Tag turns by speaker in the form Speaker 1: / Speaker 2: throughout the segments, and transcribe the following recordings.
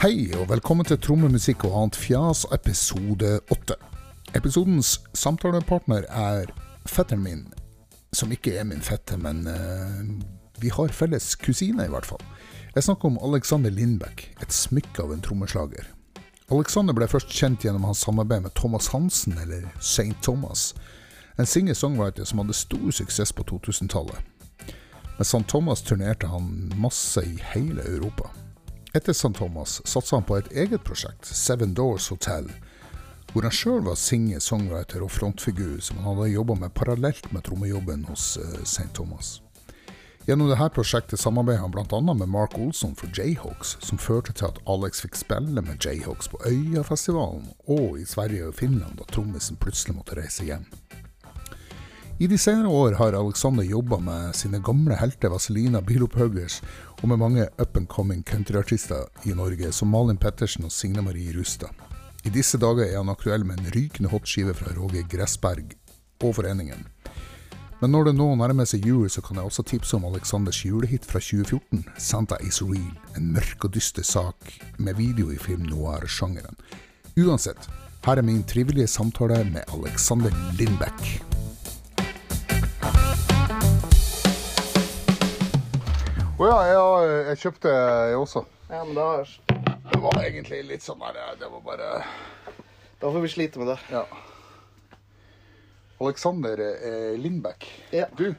Speaker 1: Hei, og velkommen til Trommemusikk og annet fjas, episode åtte. Episodens samtalepartner er fetteren min, som ikke er min fetter, men eh, vi har felles kusine, i hvert fall. Jeg snakker om Alexander Lindbekk, et smykke av en trommeslager. Alexander ble først kjent gjennom hans samarbeid med Thomas Hansen, eller St. Thomas, en singer-songwriter som hadde stor suksess på 2000-tallet. Med St. Thomas turnerte han masse i hele Europa. Etter St. Thomas satsa han på et eget prosjekt, Seven Doors Hotel, hvor han sjøl var singer, songwriter og frontfigur som han hadde jobba med parallelt med trommejobben hos eh, St. Thomas. Gjennom dette prosjektet samarbeidet han bl.a. med Mark Olsson for Jayhawks, som førte til at Alex fikk spille med Jayhawks på Øyafestivalen og i Sverige og Finland da trommisen plutselig måtte reise hjem. I de senere år har Alexander jobba med sine gamle helter Vazelina Bilopphøggers og med mange up and coming countryartister i Norge, som Malin Pettersen og Signe Marie Rustad. I disse dager er han aktuell med en rykende hotskive fra Roger Gressberg og foreningen. Men når det nå nærmer seg jul, så kan jeg også tipse om Alexanders julehit fra 2014, 'Santa Is Real', en mørk og dyster sak med video i film noir-sjangeren. Uansett, her er min trivelige samtale med Alexander Lindbekk. Å ja, jeg, jeg kjøpte jeg også.
Speaker 2: Ja, men da,
Speaker 1: Det var egentlig litt sånn der Det var bare
Speaker 2: da får vi slite med det.
Speaker 1: Ja. Alexander eh, Lindbekk.
Speaker 2: Ja.
Speaker 1: Du,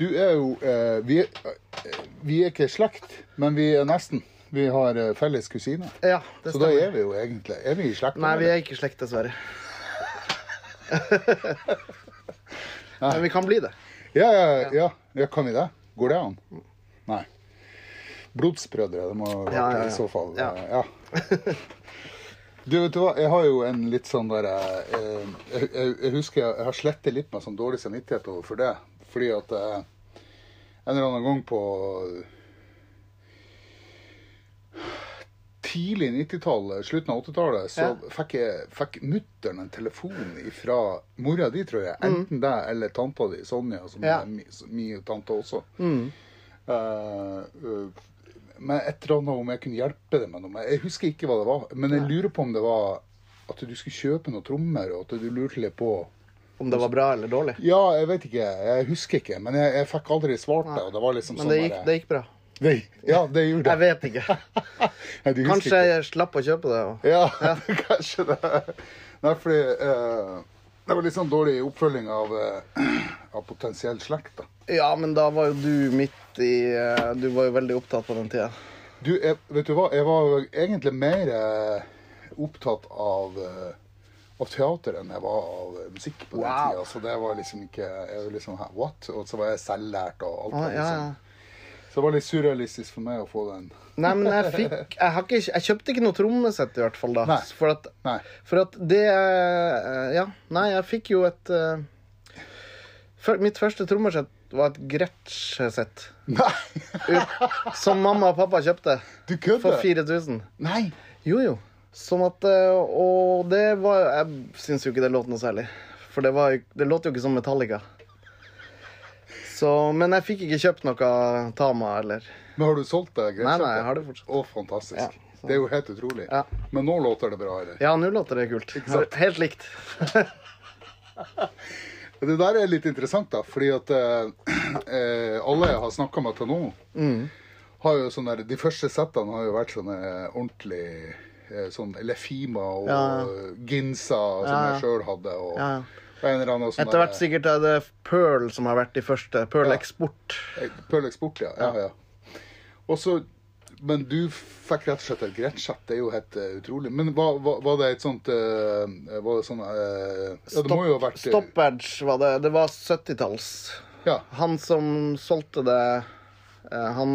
Speaker 1: du er jo eh, vi, er- eh, vi er ikke slekt, men vi er nesten. Vi har eh, felles kusine.
Speaker 2: Ja, det
Speaker 1: Så da er vi jo egentlig Er vi i slekt?
Speaker 2: Nei, vi
Speaker 1: eller?
Speaker 2: er ikke slekt, dessverre. men vi kan bli det.
Speaker 1: ja, ja, ja, ja. Kan vi det? Går det an? Nei. Blodsbrødre, det må være
Speaker 2: Ja, ja, ja.
Speaker 1: i så fall.
Speaker 2: Ja.
Speaker 1: eh, ja. Du vet du hva, jeg har jo en litt sånn der eh, jeg, jeg, jeg husker jeg, jeg har slettet litt med sånn dårlig samvittighet overfor det. Fordi at eh, en eller annen gang på tidlig 90-tallet, slutten av 80-tallet, så
Speaker 2: Ja.
Speaker 1: fikk, jeg- fikk mutter'n en telefon fra mora di, tror jeg.
Speaker 2: Mm.
Speaker 1: Enten deg eller tanta di, Sonja, som
Speaker 2: Ja.
Speaker 1: er mi- som min tante også.
Speaker 2: Mm.
Speaker 1: Eh, eh, men et eller annet om jeg kunne hjelpe deg med noe. Jeg husker ikke hva det var, men jeg lurer på om det var at du skulle kjøpe noen trommer, og at du lurte litt på
Speaker 2: Om det var bra eller dårlig.
Speaker 1: Ja, jeg vet ikke, jeg husker ikke, men jeg, jeg fikk aldri svart det, og det var liksom
Speaker 2: Men
Speaker 1: sånn
Speaker 2: det gikk,
Speaker 1: bare-
Speaker 2: det gikk bra.
Speaker 1: Nei, Ja, det gjorde
Speaker 2: Jeg
Speaker 1: det.
Speaker 2: vet ikke.
Speaker 1: Nei, du husker
Speaker 2: Kanskje
Speaker 1: ikke.
Speaker 2: jeg slapp å kjøpe det. Og...
Speaker 1: Ja, kanskje det. Nei, fordi eh, det var litt sånn dårlig oppfølging av, eh, av potensiell slekt, da.
Speaker 2: Ja, men da var jo du midt i eh, Du var jo veldig opptatt på den tida.
Speaker 1: Du, jeg, vet du hva? Jeg var jo egentlig mer eh, opptatt av, eh, av teater enn jeg var av eh, musikk på den
Speaker 2: Wow.
Speaker 1: tida. Så det var liksom ikke Jeg var liksom hæ, What? Og så var jeg selvlært og alt.
Speaker 2: Å,
Speaker 1: det,
Speaker 2: Ah, ja,
Speaker 1: liksom.
Speaker 2: ja.
Speaker 1: Så det var litt surrealistisk for meg å få den.
Speaker 2: Nei, men jeg fikk Jeg, har ikke, jeg kjøpte ikke noe trommesett, i hvert fall, da.
Speaker 1: Nei.
Speaker 2: For at
Speaker 1: Nei.
Speaker 2: For at det eh, Ja, nei, jeg fikk jo et eh, før- Mitt første trommesett var et Gretsch-sett.
Speaker 1: Nei!
Speaker 2: ut- Som mamma og pappa kjøpte
Speaker 1: Du
Speaker 2: for
Speaker 1: kødder!
Speaker 2: 4000.
Speaker 1: Nei!
Speaker 2: Jo, jo. Sånn at eh, Og det var Jeg syns jo ikke det låt noe særlig. For det, var, jo- det låt jo ikke som Metallica. Så, men jeg fikk ikke kjøpt noe Tama eller
Speaker 1: Men har du solgt det?
Speaker 2: Nei, nei, jeg har det fortsatt.
Speaker 1: Å, fantastisk.
Speaker 2: Ja, så-
Speaker 1: det er jo helt utrolig.
Speaker 2: Ja.
Speaker 1: Men nå låter det bra, eller?
Speaker 2: Ja, nå låter det kult.
Speaker 1: sant?
Speaker 2: Helt likt.
Speaker 1: Det der er litt interessant, da, fordi at eh, eh, alle jeg har snakka med til nå,
Speaker 2: Mm.
Speaker 1: har jo sånne, de første settene har jo vært sånne ordentlig eh, sånn Lefima og
Speaker 2: Ja, ja.
Speaker 1: Ginsa som
Speaker 2: Ja, ja.
Speaker 1: jeg sjøl hadde, og,
Speaker 2: Ja, ja.
Speaker 1: og en eller annen sånn
Speaker 2: Etter hvert sikkert er det Pearl som har vært de første. Pearl
Speaker 1: Ja.
Speaker 2: Eksport.
Speaker 1: Pøl Eksport, eh, ja. ja, ja. Og så men du fikk rett og slett et greit chat, det er jo helt eh, utrolig. Men var, var, var det et sånt eh, Var det sånn eh, Ja, det må jo ha vært eh,
Speaker 2: Stoppage var det. Det var 70-talls.
Speaker 1: Ja.
Speaker 2: Han som solgte det, eh, han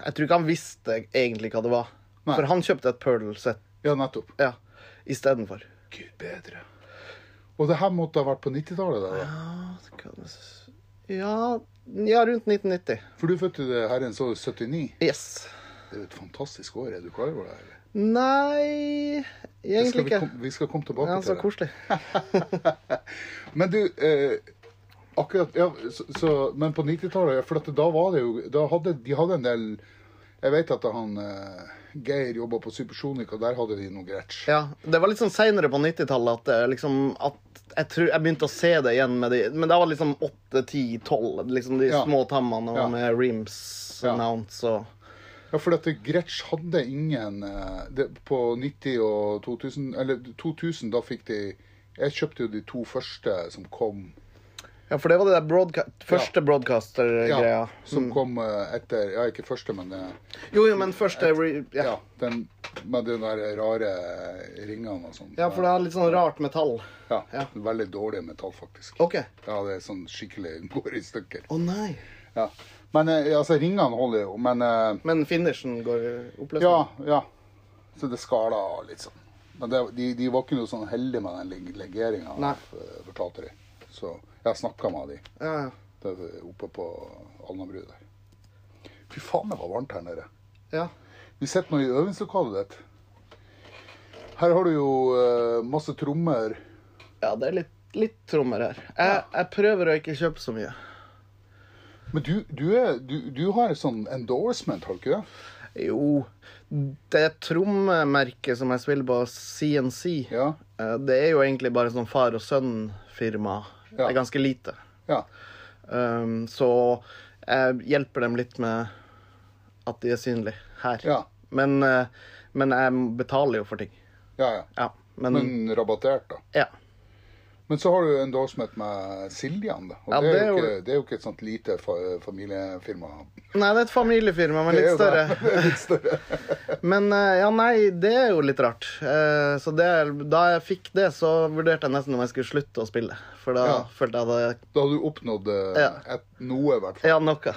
Speaker 2: Jeg tror ikke han visste egentlig hva det var.
Speaker 1: Nei.
Speaker 2: For han kjøpte et Pearl-sett
Speaker 1: ja, nettopp.
Speaker 2: ja, istedenfor.
Speaker 1: Gud bedre. Og det her måtte ha vært på 90-tallet? da, da.
Speaker 2: Ja, det kan jeg s- Ja, ja, rundt 1990.
Speaker 1: For du fødte det herrens år 79.
Speaker 2: Yes.
Speaker 1: Det er jo et fantastisk år. Er du klar over det? eller? Det
Speaker 2: Nei
Speaker 1: skal
Speaker 2: Egentlig
Speaker 1: vi,
Speaker 2: ikke.
Speaker 1: kom- vi skal komme tilbake
Speaker 2: Ja,
Speaker 1: til
Speaker 2: så
Speaker 1: det.
Speaker 2: koselig.
Speaker 1: Men du, eh, akkurat ja, så, så, Men på 90-tallet, ja, for at da var det jo da hadde, De hadde en del Jeg vet at han eh, Geir jobba på Supersonic, og der hadde de noe gretch.
Speaker 2: Ja, Det var litt sånn seinere på 90-tallet at, eh, liksom, at jeg, tror, jeg begynte å se det igjen med de Men da var det liksom 8-10-12. Liksom de
Speaker 1: Ja.
Speaker 2: små tammene og
Speaker 1: Ja.
Speaker 2: med reams
Speaker 1: Ja.
Speaker 2: og mounts og
Speaker 1: Ja, for at Gretsch hadde ingen eh, det, På 90 og 2000 Eller 2000, da fikk de Jeg kjøpte jo de to første som kom.
Speaker 2: Ja, for det var det der broadca første
Speaker 1: Ja,
Speaker 2: broadcaster-greia.
Speaker 1: Som kom eh, etter Ja, ikke første, men eh,
Speaker 2: Jo, jo, men første re ja.
Speaker 1: ja, den, med de der rare ringene og sånn.
Speaker 2: ja, for det er litt sånn rart metall.
Speaker 1: Ja,
Speaker 2: ja.
Speaker 1: Veldig dårlig metall, faktisk.
Speaker 2: OK. Å
Speaker 1: Ja, det er sånn skikkelig går i stykker.
Speaker 2: nei.
Speaker 1: Ja. Men eh, altså, ringene holder jo, men eh,
Speaker 2: Men finishen går i oppløsning.
Speaker 1: Ja, ja. Så det skala og litt sånn. Men det, de, de var ikke noe sånn heldige med den leg- legeringa,
Speaker 2: Nei.
Speaker 1: eh, fortalte de. Så jeg snakka med de
Speaker 2: Ja, ja.
Speaker 1: der oppe på Alnabru der. Fy faen, det var varmt her nede.
Speaker 2: ja.
Speaker 1: Vi sitter nå i øvingslokalet ditt. Her har du jo eh, masse trommer.
Speaker 2: Ja, det er litt, litt trommer her. Jeg, jeg prøver å ikke kjøpe så mye.
Speaker 1: Men du, du, er, du, du har en sånn endorsement, har du ikke det?
Speaker 2: Jo, det trommemerket som jeg spiller på, CNC,
Speaker 1: Ja.
Speaker 2: eh, det er jo egentlig bare sånn far og sønn-firma. Det
Speaker 1: Ja.
Speaker 2: er ganske lite.
Speaker 1: ja.
Speaker 2: Um, så jeg hjelper dem litt med at de er synlige her.
Speaker 1: Ja.
Speaker 2: Men, eh, men jeg betaler jo for ting.
Speaker 1: Ja, ja.
Speaker 2: Ja, men,
Speaker 1: Men rabattert, da.
Speaker 2: ja.
Speaker 1: Men så har du en endorsement med Siljan, da. Og
Speaker 2: Ja,
Speaker 1: det,
Speaker 2: det
Speaker 1: er jo
Speaker 2: er jo-
Speaker 1: ikke, det er jo ikke et sånt lite fa- familiefirma.
Speaker 2: Nei, det er et familiefirma, men
Speaker 1: Det er
Speaker 2: litt
Speaker 1: jo det.
Speaker 2: større. Men eh, ja, nei, det er jo litt rart. Eh, Så det, er- da jeg fikk det, så vurderte jeg nesten om jeg skulle slutte å spille. For da
Speaker 1: Ja.
Speaker 2: følte jeg at jeg
Speaker 1: Da har du oppnådd eh,
Speaker 2: Ja.
Speaker 1: et, noe, i hvert fall.
Speaker 2: Ja, noe.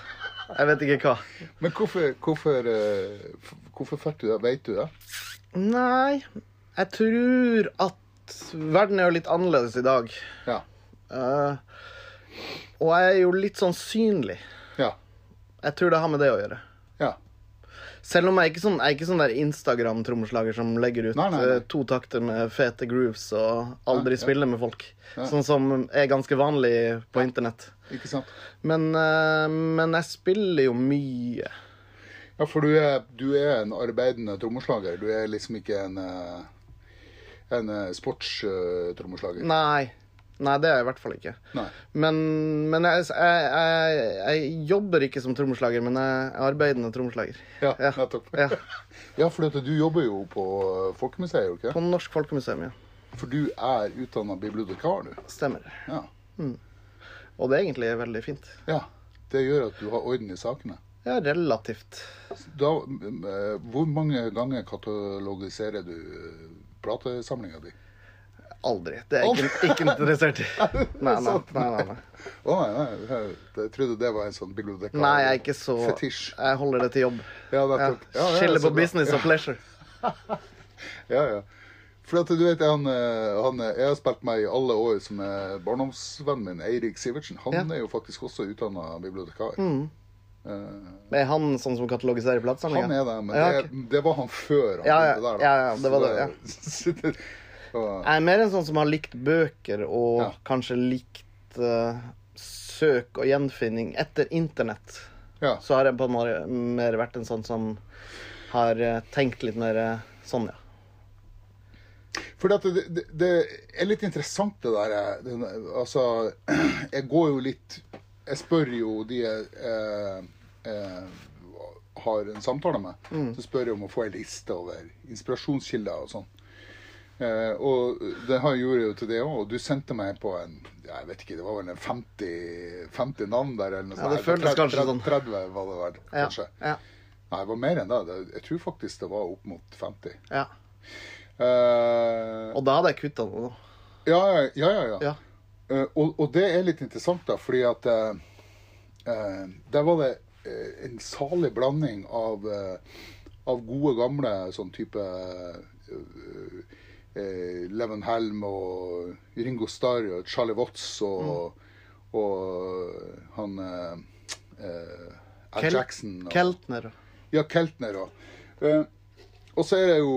Speaker 2: Jeg vet ikke hva.
Speaker 1: Men hvorfor, hvorfor, eh, f- hvorfor fikk du det? Vet du det?
Speaker 2: Nei, jeg tror at verden er jo litt annerledes i dag.
Speaker 1: Ja.
Speaker 2: Eh, og jeg er jo litt sånn synlig.
Speaker 1: Ja.
Speaker 2: Jeg tror det har med det å gjøre.
Speaker 1: ja.
Speaker 2: Selv om jeg er ikke sånn, jeg er ikke sånn der Instagram-trommeslager som legger ut
Speaker 1: Nei, nei, nei.
Speaker 2: eh, to takter med fete grooves og aldri
Speaker 1: Ja, ja.
Speaker 2: spiller med folk. Sånn som er ganske vanlig på internett.
Speaker 1: Ikke sant?
Speaker 2: Men, eh, men jeg spiller jo mye.
Speaker 1: Ja, for du er, du er en arbeidende trommeslager. Du er liksom ikke en, eh, en eh, sportstrommeslager.
Speaker 2: Nei. Nei, det er jeg i hvert fall ikke.
Speaker 1: Nei.
Speaker 2: Men, men jeg, jeg, jeg, jeg jobber ikke som trommeslager, men jeg er arbeidende trommeslager.
Speaker 1: Ja,
Speaker 2: Ja.
Speaker 1: nettopp.
Speaker 2: Ja,
Speaker 1: Ja, for at du jobber jo på eh, Folkemuseet, gjør du ikke?
Speaker 2: på Norsk Folkemuseum, ja.
Speaker 1: det? For du er utdanna bibliotekar, du.
Speaker 2: Stemmer.
Speaker 1: Ja.
Speaker 2: Og det er egentlig veldig fint.
Speaker 1: Ja, det gjør at du har orden i sakene.
Speaker 2: Ja, relativt.
Speaker 1: Da, m- eh, hvor mange ganger katalogiserer du eh, platesamlinga di?
Speaker 2: Aldri. Det er jeg ikke, ikke interessert i. Nei, nei,
Speaker 1: sånn?
Speaker 2: nei. nei, nei.
Speaker 1: Å nei, nei, jeg- jeg trodde det var en sånn bibliotekar.
Speaker 2: nei jeg er ikke så
Speaker 1: Fetisj.
Speaker 2: Jeg holder det til jobb.
Speaker 1: Ja,
Speaker 2: Ja.
Speaker 1: nettopp. Ja, ja,
Speaker 2: Skille
Speaker 1: så
Speaker 2: på
Speaker 1: bra.
Speaker 2: business og pleasure.
Speaker 1: Ja, ja. For at du vet, han, eh, han eh, jeg har spilt meg i alle år som er barndomsvennen min, Eirik Sivertsen. Han
Speaker 2: Ja. Mm.
Speaker 1: er jo faktisk også utdanna bibliotekar. Eh,
Speaker 2: Er han sånn som katalogiserer platesamlinga?
Speaker 1: han er det, men
Speaker 2: Ja, ok.
Speaker 1: det, det var han før han
Speaker 2: Ja, ja.
Speaker 1: begynte der. da.
Speaker 2: Ja, ja, det
Speaker 1: Så
Speaker 2: var det, ja.
Speaker 1: så det- og-
Speaker 2: Jeg er mer en sånn som har likt bøker og
Speaker 1: Ja.
Speaker 2: kanskje likt eh, søk og gjenfinning etter internett.
Speaker 1: ja.
Speaker 2: Så har jeg på en måte mer vært en sånn som har eh, tenkt litt mer eh, sånn, ja.
Speaker 1: Fordi at det, det, det er litt interessant det der. eh, den- altså, jeg går jo litt Jeg spør jo de jeg eh, eh, har en samtale med,
Speaker 2: Mm.
Speaker 1: så spør jeg om å få ei liste over inspirasjonskilder og sånn. Eh, og det har jeg gjorde jeg jo til det òg, og du sendte meg på en jeg vet ikke, det var vel en 50, 50 navn der, eller noe
Speaker 2: Ja, det
Speaker 1: sånt.
Speaker 2: føltes kanskje
Speaker 1: 30,
Speaker 2: sånn.
Speaker 1: 30 var det vel, kanskje.
Speaker 2: Ja.
Speaker 1: Nei, det var mer enn det. Det- Jeg tror faktisk det var opp mot 50.
Speaker 2: ja.
Speaker 1: Eh,
Speaker 2: Og da hadde jeg kutta noe, da.
Speaker 1: ja, ja, ja, ja.
Speaker 2: Ja.
Speaker 1: Eh, og, og det er litt interessant, da, fordi at eh, eh, Der var det eh, en salig blanding av, eh, av gode, gamle sånn type eh, eh, Leven Helm og Ringo Starr og Charlie Watts og, og han eh, eh, Al
Speaker 2: Kel-
Speaker 1: Jackson og,
Speaker 2: Keltner.
Speaker 1: ja, Keltner òg. og så er det jo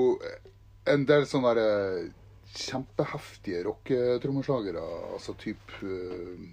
Speaker 1: en del sånne der, eh, kjempeheftige rocketrommeslagere. Altså typ eh,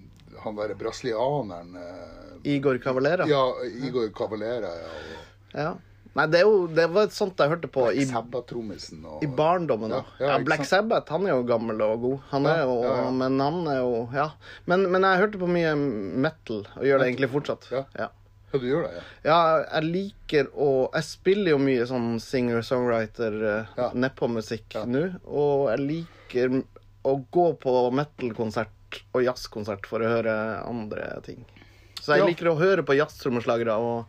Speaker 1: han derre brasilianeren eh,
Speaker 2: Igor Cavalera.
Speaker 1: Ja, Igor Cavalera. Ja, og,
Speaker 2: Ja. Nei, det, er jo, det var et sånt jeg hørte på i,
Speaker 1: Sabbatrommisen og
Speaker 2: i barndommen.
Speaker 1: Ja,
Speaker 2: Ja,
Speaker 1: ja,
Speaker 2: ja,
Speaker 1: ikke
Speaker 2: Black
Speaker 1: sant?
Speaker 2: Sabbath han er jo gammel og god. Han
Speaker 1: Ja,
Speaker 2: er jo,
Speaker 1: ja, ja.
Speaker 2: Men han er jo Ja. Men, men jeg hørte på mye metal, og gjør det egentlig fortsatt.
Speaker 1: Ja.
Speaker 2: Ja.
Speaker 1: Ja, du gjør det, ja.
Speaker 2: Ja, jeg liker å Jeg spiller jo mye sånn singer-songwriter eh,
Speaker 1: Ja.
Speaker 2: nedpå-musikk
Speaker 1: Ja.
Speaker 2: nå. Og jeg liker å gå på metal-konsert og jazzkonsert for å høre andre ting. Så jeg
Speaker 1: Ja.
Speaker 2: liker å høre på jazztrommeslagere og,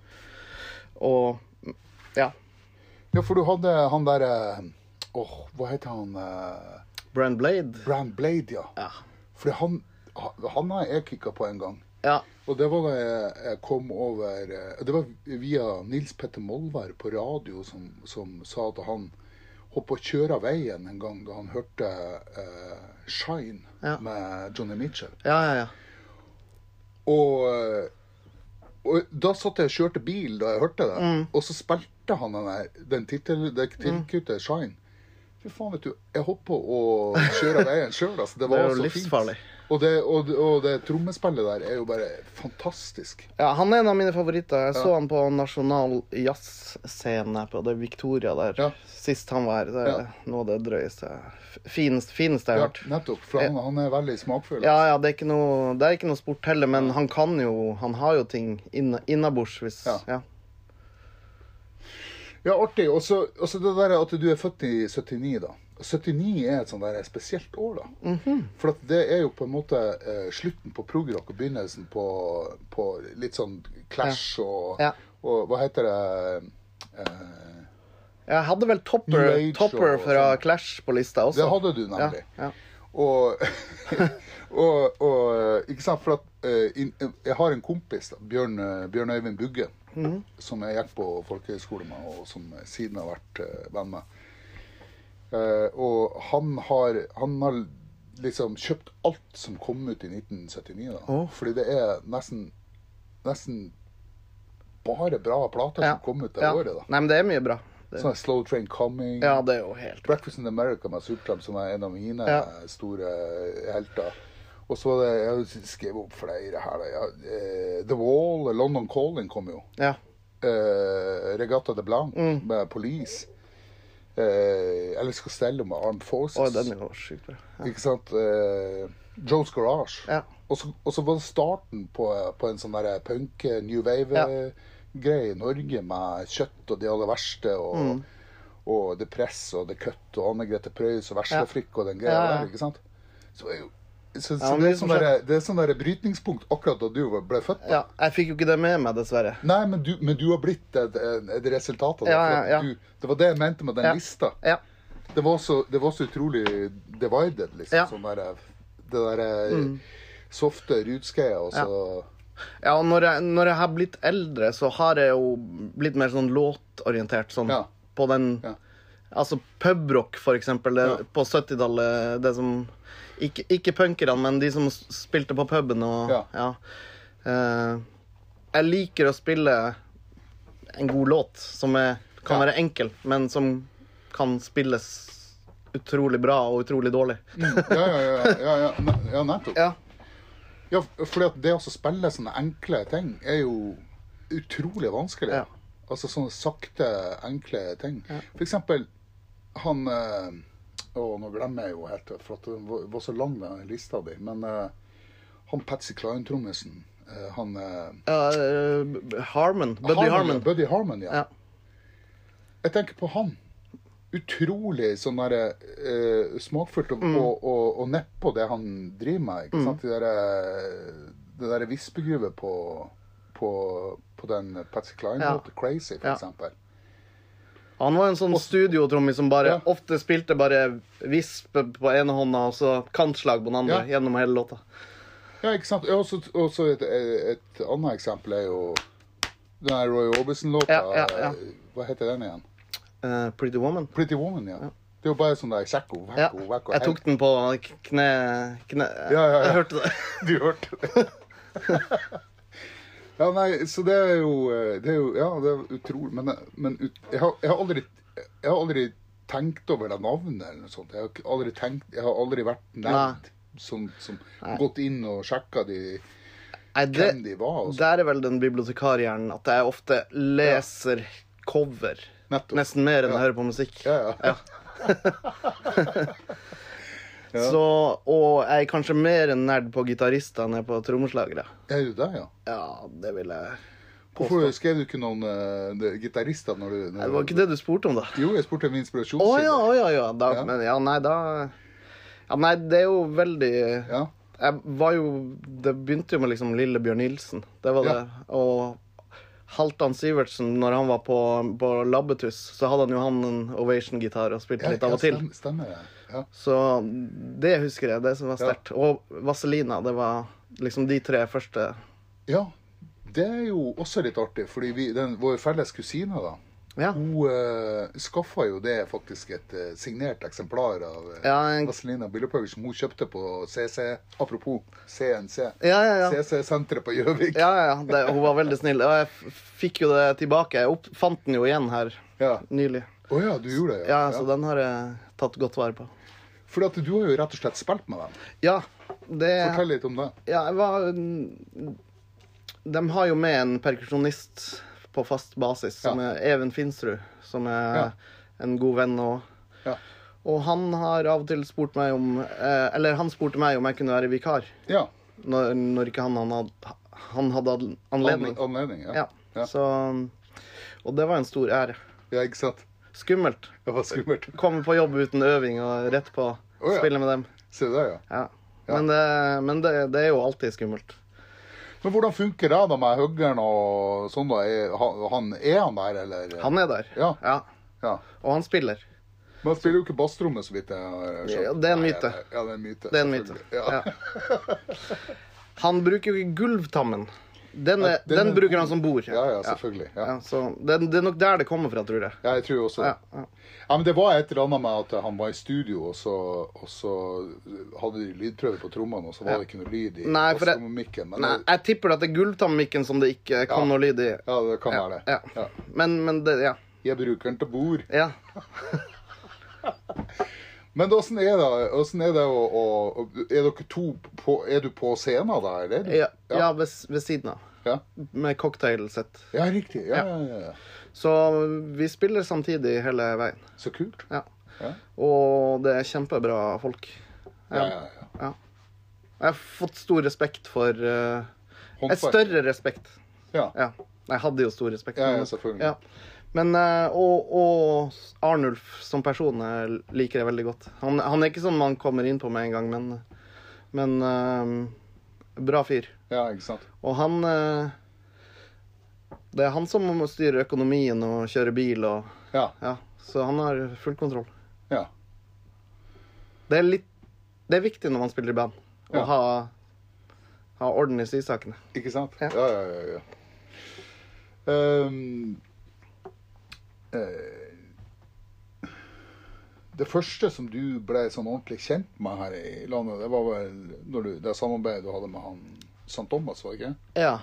Speaker 2: og Ja.
Speaker 1: Ja, for du hadde han derre Åh, hva heter han? eh,
Speaker 2: Brand Blade.
Speaker 1: Brand Blade, ja.
Speaker 2: Ja.
Speaker 1: Fordi han, han har jeg kikka på en gang.
Speaker 2: ja.
Speaker 1: Og det var da jeg, jeg kom over eh, Det var via Nils Petter Molvær på radio som, som sa at han hoppa og kjøra veien en gang da han hørte eh, Shine
Speaker 2: Ja.
Speaker 1: med Johnny Mitchell.
Speaker 2: Ja, ja, ja.
Speaker 1: Og, eh, og da satt jeg og kjørte bil da jeg hørte det,
Speaker 2: Mm.
Speaker 1: og så spilte han den, der- den tittel, det tilkuttet Shine. Fy faen, vet du, jeg hoppa og kjøra veien sjøl, altså. Det var
Speaker 2: Det er jo
Speaker 1: så
Speaker 2: livsfarlig.
Speaker 1: fint. Og det, og, og det trommespillet der er jo bare fantastisk.
Speaker 2: Ja, Han er en av mine favoritter. Jeg så han på nasjonal jazzscene på det Victoria der
Speaker 1: Ja.
Speaker 2: sist han var her. Det er
Speaker 1: Ja.
Speaker 2: noe av det drøyeste f- Finest, fineste jeg har
Speaker 1: Ja,
Speaker 2: hørt.
Speaker 1: nettopp. For han, han er veldig smakfull.
Speaker 2: Ja, ja, det er ikke noe, det er ikke noe sport heller, men han kan jo Han har jo ting inn- innabords hvis
Speaker 1: Ja.
Speaker 2: ja.
Speaker 1: Ja, artig. Og så og så det der at du er født i 79, da. 79 er et sånt der spesielt år, da.
Speaker 2: Mhm.
Speaker 1: For at det er jo på en måte eh, slutten på progrock og begynnelsen på, på litt sånn clash og,
Speaker 2: Ja.
Speaker 1: og Hva heter det eh,
Speaker 2: Jeg hadde vel Topper,
Speaker 1: New Age
Speaker 2: topper
Speaker 1: og
Speaker 2: fra
Speaker 1: sånn.
Speaker 2: Clash på lista også.
Speaker 1: Det hadde du nemlig.
Speaker 2: Ja, ja.
Speaker 1: Og, og, og Ikke sant, for at eh, inn- jeg har en kompis, da, Bjørn, eh, Bjørn Øyvind Bugge,
Speaker 2: Mhm.
Speaker 1: som jeg gikk på folkehøyskole med, og som jeg siden har vært eh, venn med. Eh, og han har, han har liksom kjøpt alt som kom ut i 1979, da.
Speaker 2: Åh.
Speaker 1: Fordi det er nesten, nesten bare bra plater
Speaker 2: Ja,
Speaker 1: som kom ut det
Speaker 2: ja.
Speaker 1: året, da.
Speaker 2: Nei, men det er mye bra. Det,
Speaker 1: Sånn Slow Train Coming.
Speaker 2: ja, det er jo helt
Speaker 1: Breakfast in America med Surtram, som er en av mine
Speaker 2: Ja.
Speaker 1: store eh, helter. Og så var det, jeg har skrevet opp flere her. Da. Ja, eh, The Wall, London Calling kom jo.
Speaker 2: Ja.
Speaker 1: Eh, Regatta de Blanc
Speaker 2: Mm.
Speaker 1: med Police. Eh, Elvis Costello med Armed Forces.
Speaker 2: Oi, den er jo sjukt bra. Ja.
Speaker 1: Ikke sant? Eh, Joe's Garage.
Speaker 2: Ja.
Speaker 1: Og så- og så var det starten på, på en sånn der punk, eh, new wave-greie i Norge med kjøtt og de aller verste og,
Speaker 2: Mm.
Speaker 1: og The Press og The Cut og Anne Grete Preus og Verslefrikk og den greia
Speaker 2: Ja, ja.
Speaker 1: der, ikke sant? Så, er jo- så, så
Speaker 2: Ja, men
Speaker 1: det er
Speaker 2: det som
Speaker 1: sånn der, det er sånn der brytningspunkt akkurat da du ble født. da.
Speaker 2: ja. Jeg fikk jo ikke det med meg, dessverre.
Speaker 1: Nei, men du, men du har blitt et, et resultat av det.
Speaker 2: Ja,
Speaker 1: for at
Speaker 2: ja, ja.
Speaker 1: Du, det var det jeg mente med den
Speaker 2: Ja.
Speaker 1: lista.
Speaker 2: Ja.
Speaker 1: Det var, så, det var så utrolig divided, liksom.
Speaker 2: Ja. Mm.
Speaker 1: Sånn der, det derre softe rutskeiet, og så
Speaker 2: Ja, og når jeg, når jeg har blitt eldre, så har jeg jo blitt mer sånn låtorientert sånn
Speaker 1: Ja.
Speaker 2: på den
Speaker 1: Ja.
Speaker 2: Altså pubrock, for eksempel, det,
Speaker 1: Ja.
Speaker 2: på 70-tallet, det som Ikke, ikke punkerne, men de som s- spilte på puben og
Speaker 1: Ja.
Speaker 2: Ja. Eh, jeg liker å spille en god låt som er, kan
Speaker 1: Ja.
Speaker 2: være enkel, men som kan spilles utrolig bra og utrolig dårlig.
Speaker 1: Mm. Ja, ja, ja. ja, ja, ne- ja nettopp.
Speaker 2: Ja.
Speaker 1: Ja, fordi at det å spille sånne enkle ting er jo utrolig vanskelig.
Speaker 2: Ja.
Speaker 1: Altså sånne sakte, enkle ting. For eksempel han eh, Å, nå glemmer jeg jo helt, for at den var- var så lang, den lista di. Men eh, han Patsy Klein-trommisen eh, Han eh,
Speaker 2: Ja, eh, B- Harmon. Buddy Harmon.
Speaker 1: ja, Buddy Harmon, ja.
Speaker 2: Ja.
Speaker 1: Jeg tenker på han. Utrolig sånn der, eh, smakfullt
Speaker 2: Mm.
Speaker 1: og, og, og, og nedpå det han driver med. Ikke sant? Det derre det der vispegruvet på, på, på den Patsy Klein-låta, 'Crazy', for
Speaker 2: Ja.
Speaker 1: eksempel.
Speaker 2: Han var en sånn studiotrommis som bare
Speaker 1: Ja.
Speaker 2: ofte spilte bare visp på ene hånda og så kantslag på den andre
Speaker 1: Ja.
Speaker 2: gjennom hele låta.
Speaker 1: Ja, ikke sant? Og så- Og så et, et annet eksempel er jo den der Roy Orbison-låta.
Speaker 2: Ja, ja, ja.
Speaker 1: Hva heter den igjen?
Speaker 2: Eh, Pretty Woman.
Speaker 1: 'Pretty Woman', ja. Det er jo bare sånn der sjekko,
Speaker 2: Ja.
Speaker 1: vekko, vekko.
Speaker 2: Jeg tok den på k- kne... kne
Speaker 1: Ja, ja, ja.
Speaker 2: Jeg hørte det.
Speaker 1: Du hørte det. ja, nei, så det er jo, eh, det er jo Ja, det er utrolig Men, eh, men ut, jeg, har, jeg, har aldri, jeg har aldri tenkt over det navnet eller noe sånt. Jeg har ikke- aldri, tenkt, jeg har aldri vært nerd som, som gått inn og sjekka de,
Speaker 2: Nei, det
Speaker 1: hvem de var. altså. Og sånt.
Speaker 2: der er vel den bibliotekarhjernen at jeg ofte leser cover.
Speaker 1: Nettopp.
Speaker 2: Nesten mer enn jeg hører på musikk.
Speaker 1: Ja, ja. Ja.
Speaker 2: Så, og jeg er kanskje mer en nerd på gitarister enn jeg er på trommeslagere.
Speaker 1: Er du det, ja?
Speaker 2: Ja, det vil jeg
Speaker 1: Hvorfor skrev du ikke noen eh, de- gitarister når du når
Speaker 2: Nei, Det var ikke det du spurte om, da.
Speaker 1: Jo, jeg spurte om
Speaker 2: Å
Speaker 1: inspirasjonskilde.
Speaker 2: ja, å ja, ja. Da,
Speaker 1: Ja.
Speaker 2: Men ja, nei, da Ja, nei, det er jo veldig
Speaker 1: ja.
Speaker 2: Jeg var jo Det begynte jo med liksom Lillebjørn Nilsen. Det var
Speaker 1: Ja.
Speaker 2: det. Og Halvdan Sivertsen, når han var på, på Labbetuss, så hadde han jo han en Ovation-gitar og spilte
Speaker 1: Ja,
Speaker 2: litt av
Speaker 1: ja,
Speaker 2: og til.
Speaker 1: stem- Stemmer det. Ja.
Speaker 2: Så det husker jeg, det som var sterkt. Og Vaselina, det var liksom de tre første
Speaker 1: ja. Det er jo også litt artig, fordi vi, den, vår felles kusine, da
Speaker 2: Ja.
Speaker 1: hun uh, skaffa jo det faktisk et eh, signert eksemplar av uh,
Speaker 2: Ja, en-
Speaker 1: Vazelina Billepaug som hun kjøpte på CC. Apropos CNC.
Speaker 2: Ja, ja, ja.
Speaker 1: CC-senteret på Gjøvik.
Speaker 2: Ja, ja, ja. Det, hun var veldig snill. Og jeg f- fikk jo det tilbake. Jeg opp, fant den jo igjen her
Speaker 1: Ja.
Speaker 2: nylig.
Speaker 1: Å ja, du gjorde det?
Speaker 2: Ja, altså, så den har jeg tatt godt vare på.
Speaker 1: Fordi at du har jo rett og slett spilt med dem.
Speaker 2: Ja, det
Speaker 1: Fortell litt om det.
Speaker 2: ja, jeg var, De har jo med en perkusjonist på fast basis, som
Speaker 1: Ja.
Speaker 2: er Even Finsrud, som er
Speaker 1: Ja.
Speaker 2: en god venn og
Speaker 1: Ja.
Speaker 2: Og han har av og til spurt meg om eh, Eller han spurte meg om jeg kunne være vikar
Speaker 1: ja.
Speaker 2: når, når ikke han, han, hadde, han hadde an-
Speaker 1: Anledning.
Speaker 2: anledning.
Speaker 1: Anledning ja.
Speaker 2: Ja.
Speaker 1: Ja.
Speaker 2: Så Og det var en stor ære.
Speaker 1: ja, ikke sant?
Speaker 2: Skummelt.
Speaker 1: Det var skummelt.
Speaker 2: Komme på jobb uten øving og rett på.
Speaker 1: Å, ja.
Speaker 2: Spille med dem.
Speaker 1: Se der, ja.
Speaker 2: Ja. Men, det, men det, det er jo alltid skummelt.
Speaker 1: Men hvordan funker det da med huggeren og sånn, da? Er han, han- er han der, eller?
Speaker 2: Han er der.
Speaker 1: Ja. Ja.
Speaker 2: Og han spiller.
Speaker 1: Men han spiller jo ikke basstromme, så vidt jeg har skjønt.
Speaker 2: Ja, det er en
Speaker 1: Nei,
Speaker 2: myte.
Speaker 1: Ja, det er en myte.
Speaker 2: Det er en myte.
Speaker 1: selvfølgelig. Ja.
Speaker 2: Han bruker jo ikke gulvtammen. Den, er,
Speaker 1: den
Speaker 2: den,
Speaker 1: er-
Speaker 2: bruker han som bord.
Speaker 1: Ja, ja, selvfølgelig. Ja.
Speaker 2: Ja, så det, det er nok der det kommer fra, tror jeg.
Speaker 1: Ja, jeg tror også det.
Speaker 2: Ja, ja.
Speaker 1: Ja, men det var et eller annet med at han var i studio, og så, og så hadde de lydprøve på trommene, og så var det ikke noe lyd i
Speaker 2: Nei, for jeg-
Speaker 1: basstrommemikken. Men
Speaker 2: Nei, jeg tipper at det er gulvtammikken som det ikke kom
Speaker 1: Ja.
Speaker 2: noe lyd i.
Speaker 1: ja, det kan være det.
Speaker 2: Ja. Men, men det Ja.
Speaker 1: Jeg bruker den til bord.
Speaker 2: ja.
Speaker 1: Men åssen er det, hvordan er det å, å Er dere to på Er du på scenen da, eller?
Speaker 2: ja,
Speaker 1: Ja.
Speaker 2: ja ved, s- ved siden av.
Speaker 1: Ja,
Speaker 2: Med cocktailsett.
Speaker 1: ja riktig. Ja, ja, ja.
Speaker 2: Så vi spiller samtidig hele veien.
Speaker 1: Så kult.
Speaker 2: Ja.
Speaker 1: Ja.
Speaker 2: Og det er kjempebra folk.
Speaker 1: Ja, ja, ja.
Speaker 2: Ja. Jeg har fått stor respekt for eh, Et
Speaker 1: Håndverk.
Speaker 2: større respekt.
Speaker 1: Ja.
Speaker 2: Ja. Jeg hadde jo stor respekt.
Speaker 1: Ja,
Speaker 2: men-
Speaker 1: ja, selvfølgelig.
Speaker 2: Ja. Men, eh, og, og Arnulf som person eh, liker jeg veldig godt. Han, han er ikke sånn man kommer inn på med en gang, men, men eh, bra fyr.
Speaker 1: ja, ikke sant.
Speaker 2: Og han eh, Det er han som må styre økonomien og kjøre bil og
Speaker 1: Ja.
Speaker 2: Ja. Så han har full kontroll.
Speaker 1: ja.
Speaker 2: Det er litt Det er viktig når man spiller i band, å
Speaker 1: Ja.
Speaker 2: ha, ha orden i sysakene.
Speaker 1: Ikke sant? Ja,
Speaker 2: Ja.
Speaker 1: ja, ja. ja. Ehm, eh, det første som du ble sånn ordentlig kjent med her i landet, det var vel når du, det samarbeidet du hadde med han St. Thomas, var det ikke?
Speaker 2: Ja.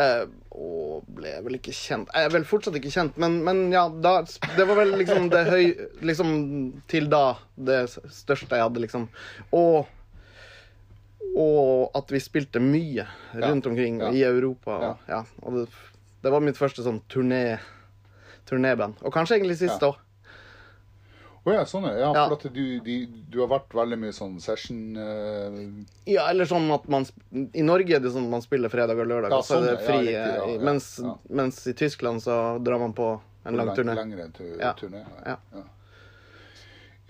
Speaker 2: Eh, og ble vel ikke kjent Jeg er vel fortsatt ikke kjent, men, men ja, da, det var vel liksom det høy... Liksom til da det s- største jeg hadde, liksom. Og og at vi spilte mye rundt omkring
Speaker 1: ja.
Speaker 2: i Europa. Og, ja. og det, det var mitt første sånn turné turnéband. Og kanskje egentlig siste òg.
Speaker 1: Å ja, sånn ja. ja
Speaker 2: Ja.
Speaker 1: for at du, de, du har vært veldig mye sånn session eh,
Speaker 2: Ja. eller sånn at man sp- I Norge er det sånn at man spiller fredag og lørdag,
Speaker 1: Ja,
Speaker 2: og så er det
Speaker 1: sånn, ja,
Speaker 2: fri.
Speaker 1: ja, riktig, ja,
Speaker 2: eh,
Speaker 1: ja,
Speaker 2: mens,
Speaker 1: ja.
Speaker 2: mens i Tyskland så drar man på en lang
Speaker 1: lang-
Speaker 2: turné.
Speaker 1: lengre tu-
Speaker 2: Ja.
Speaker 1: turné.
Speaker 2: Ja.
Speaker 1: ja.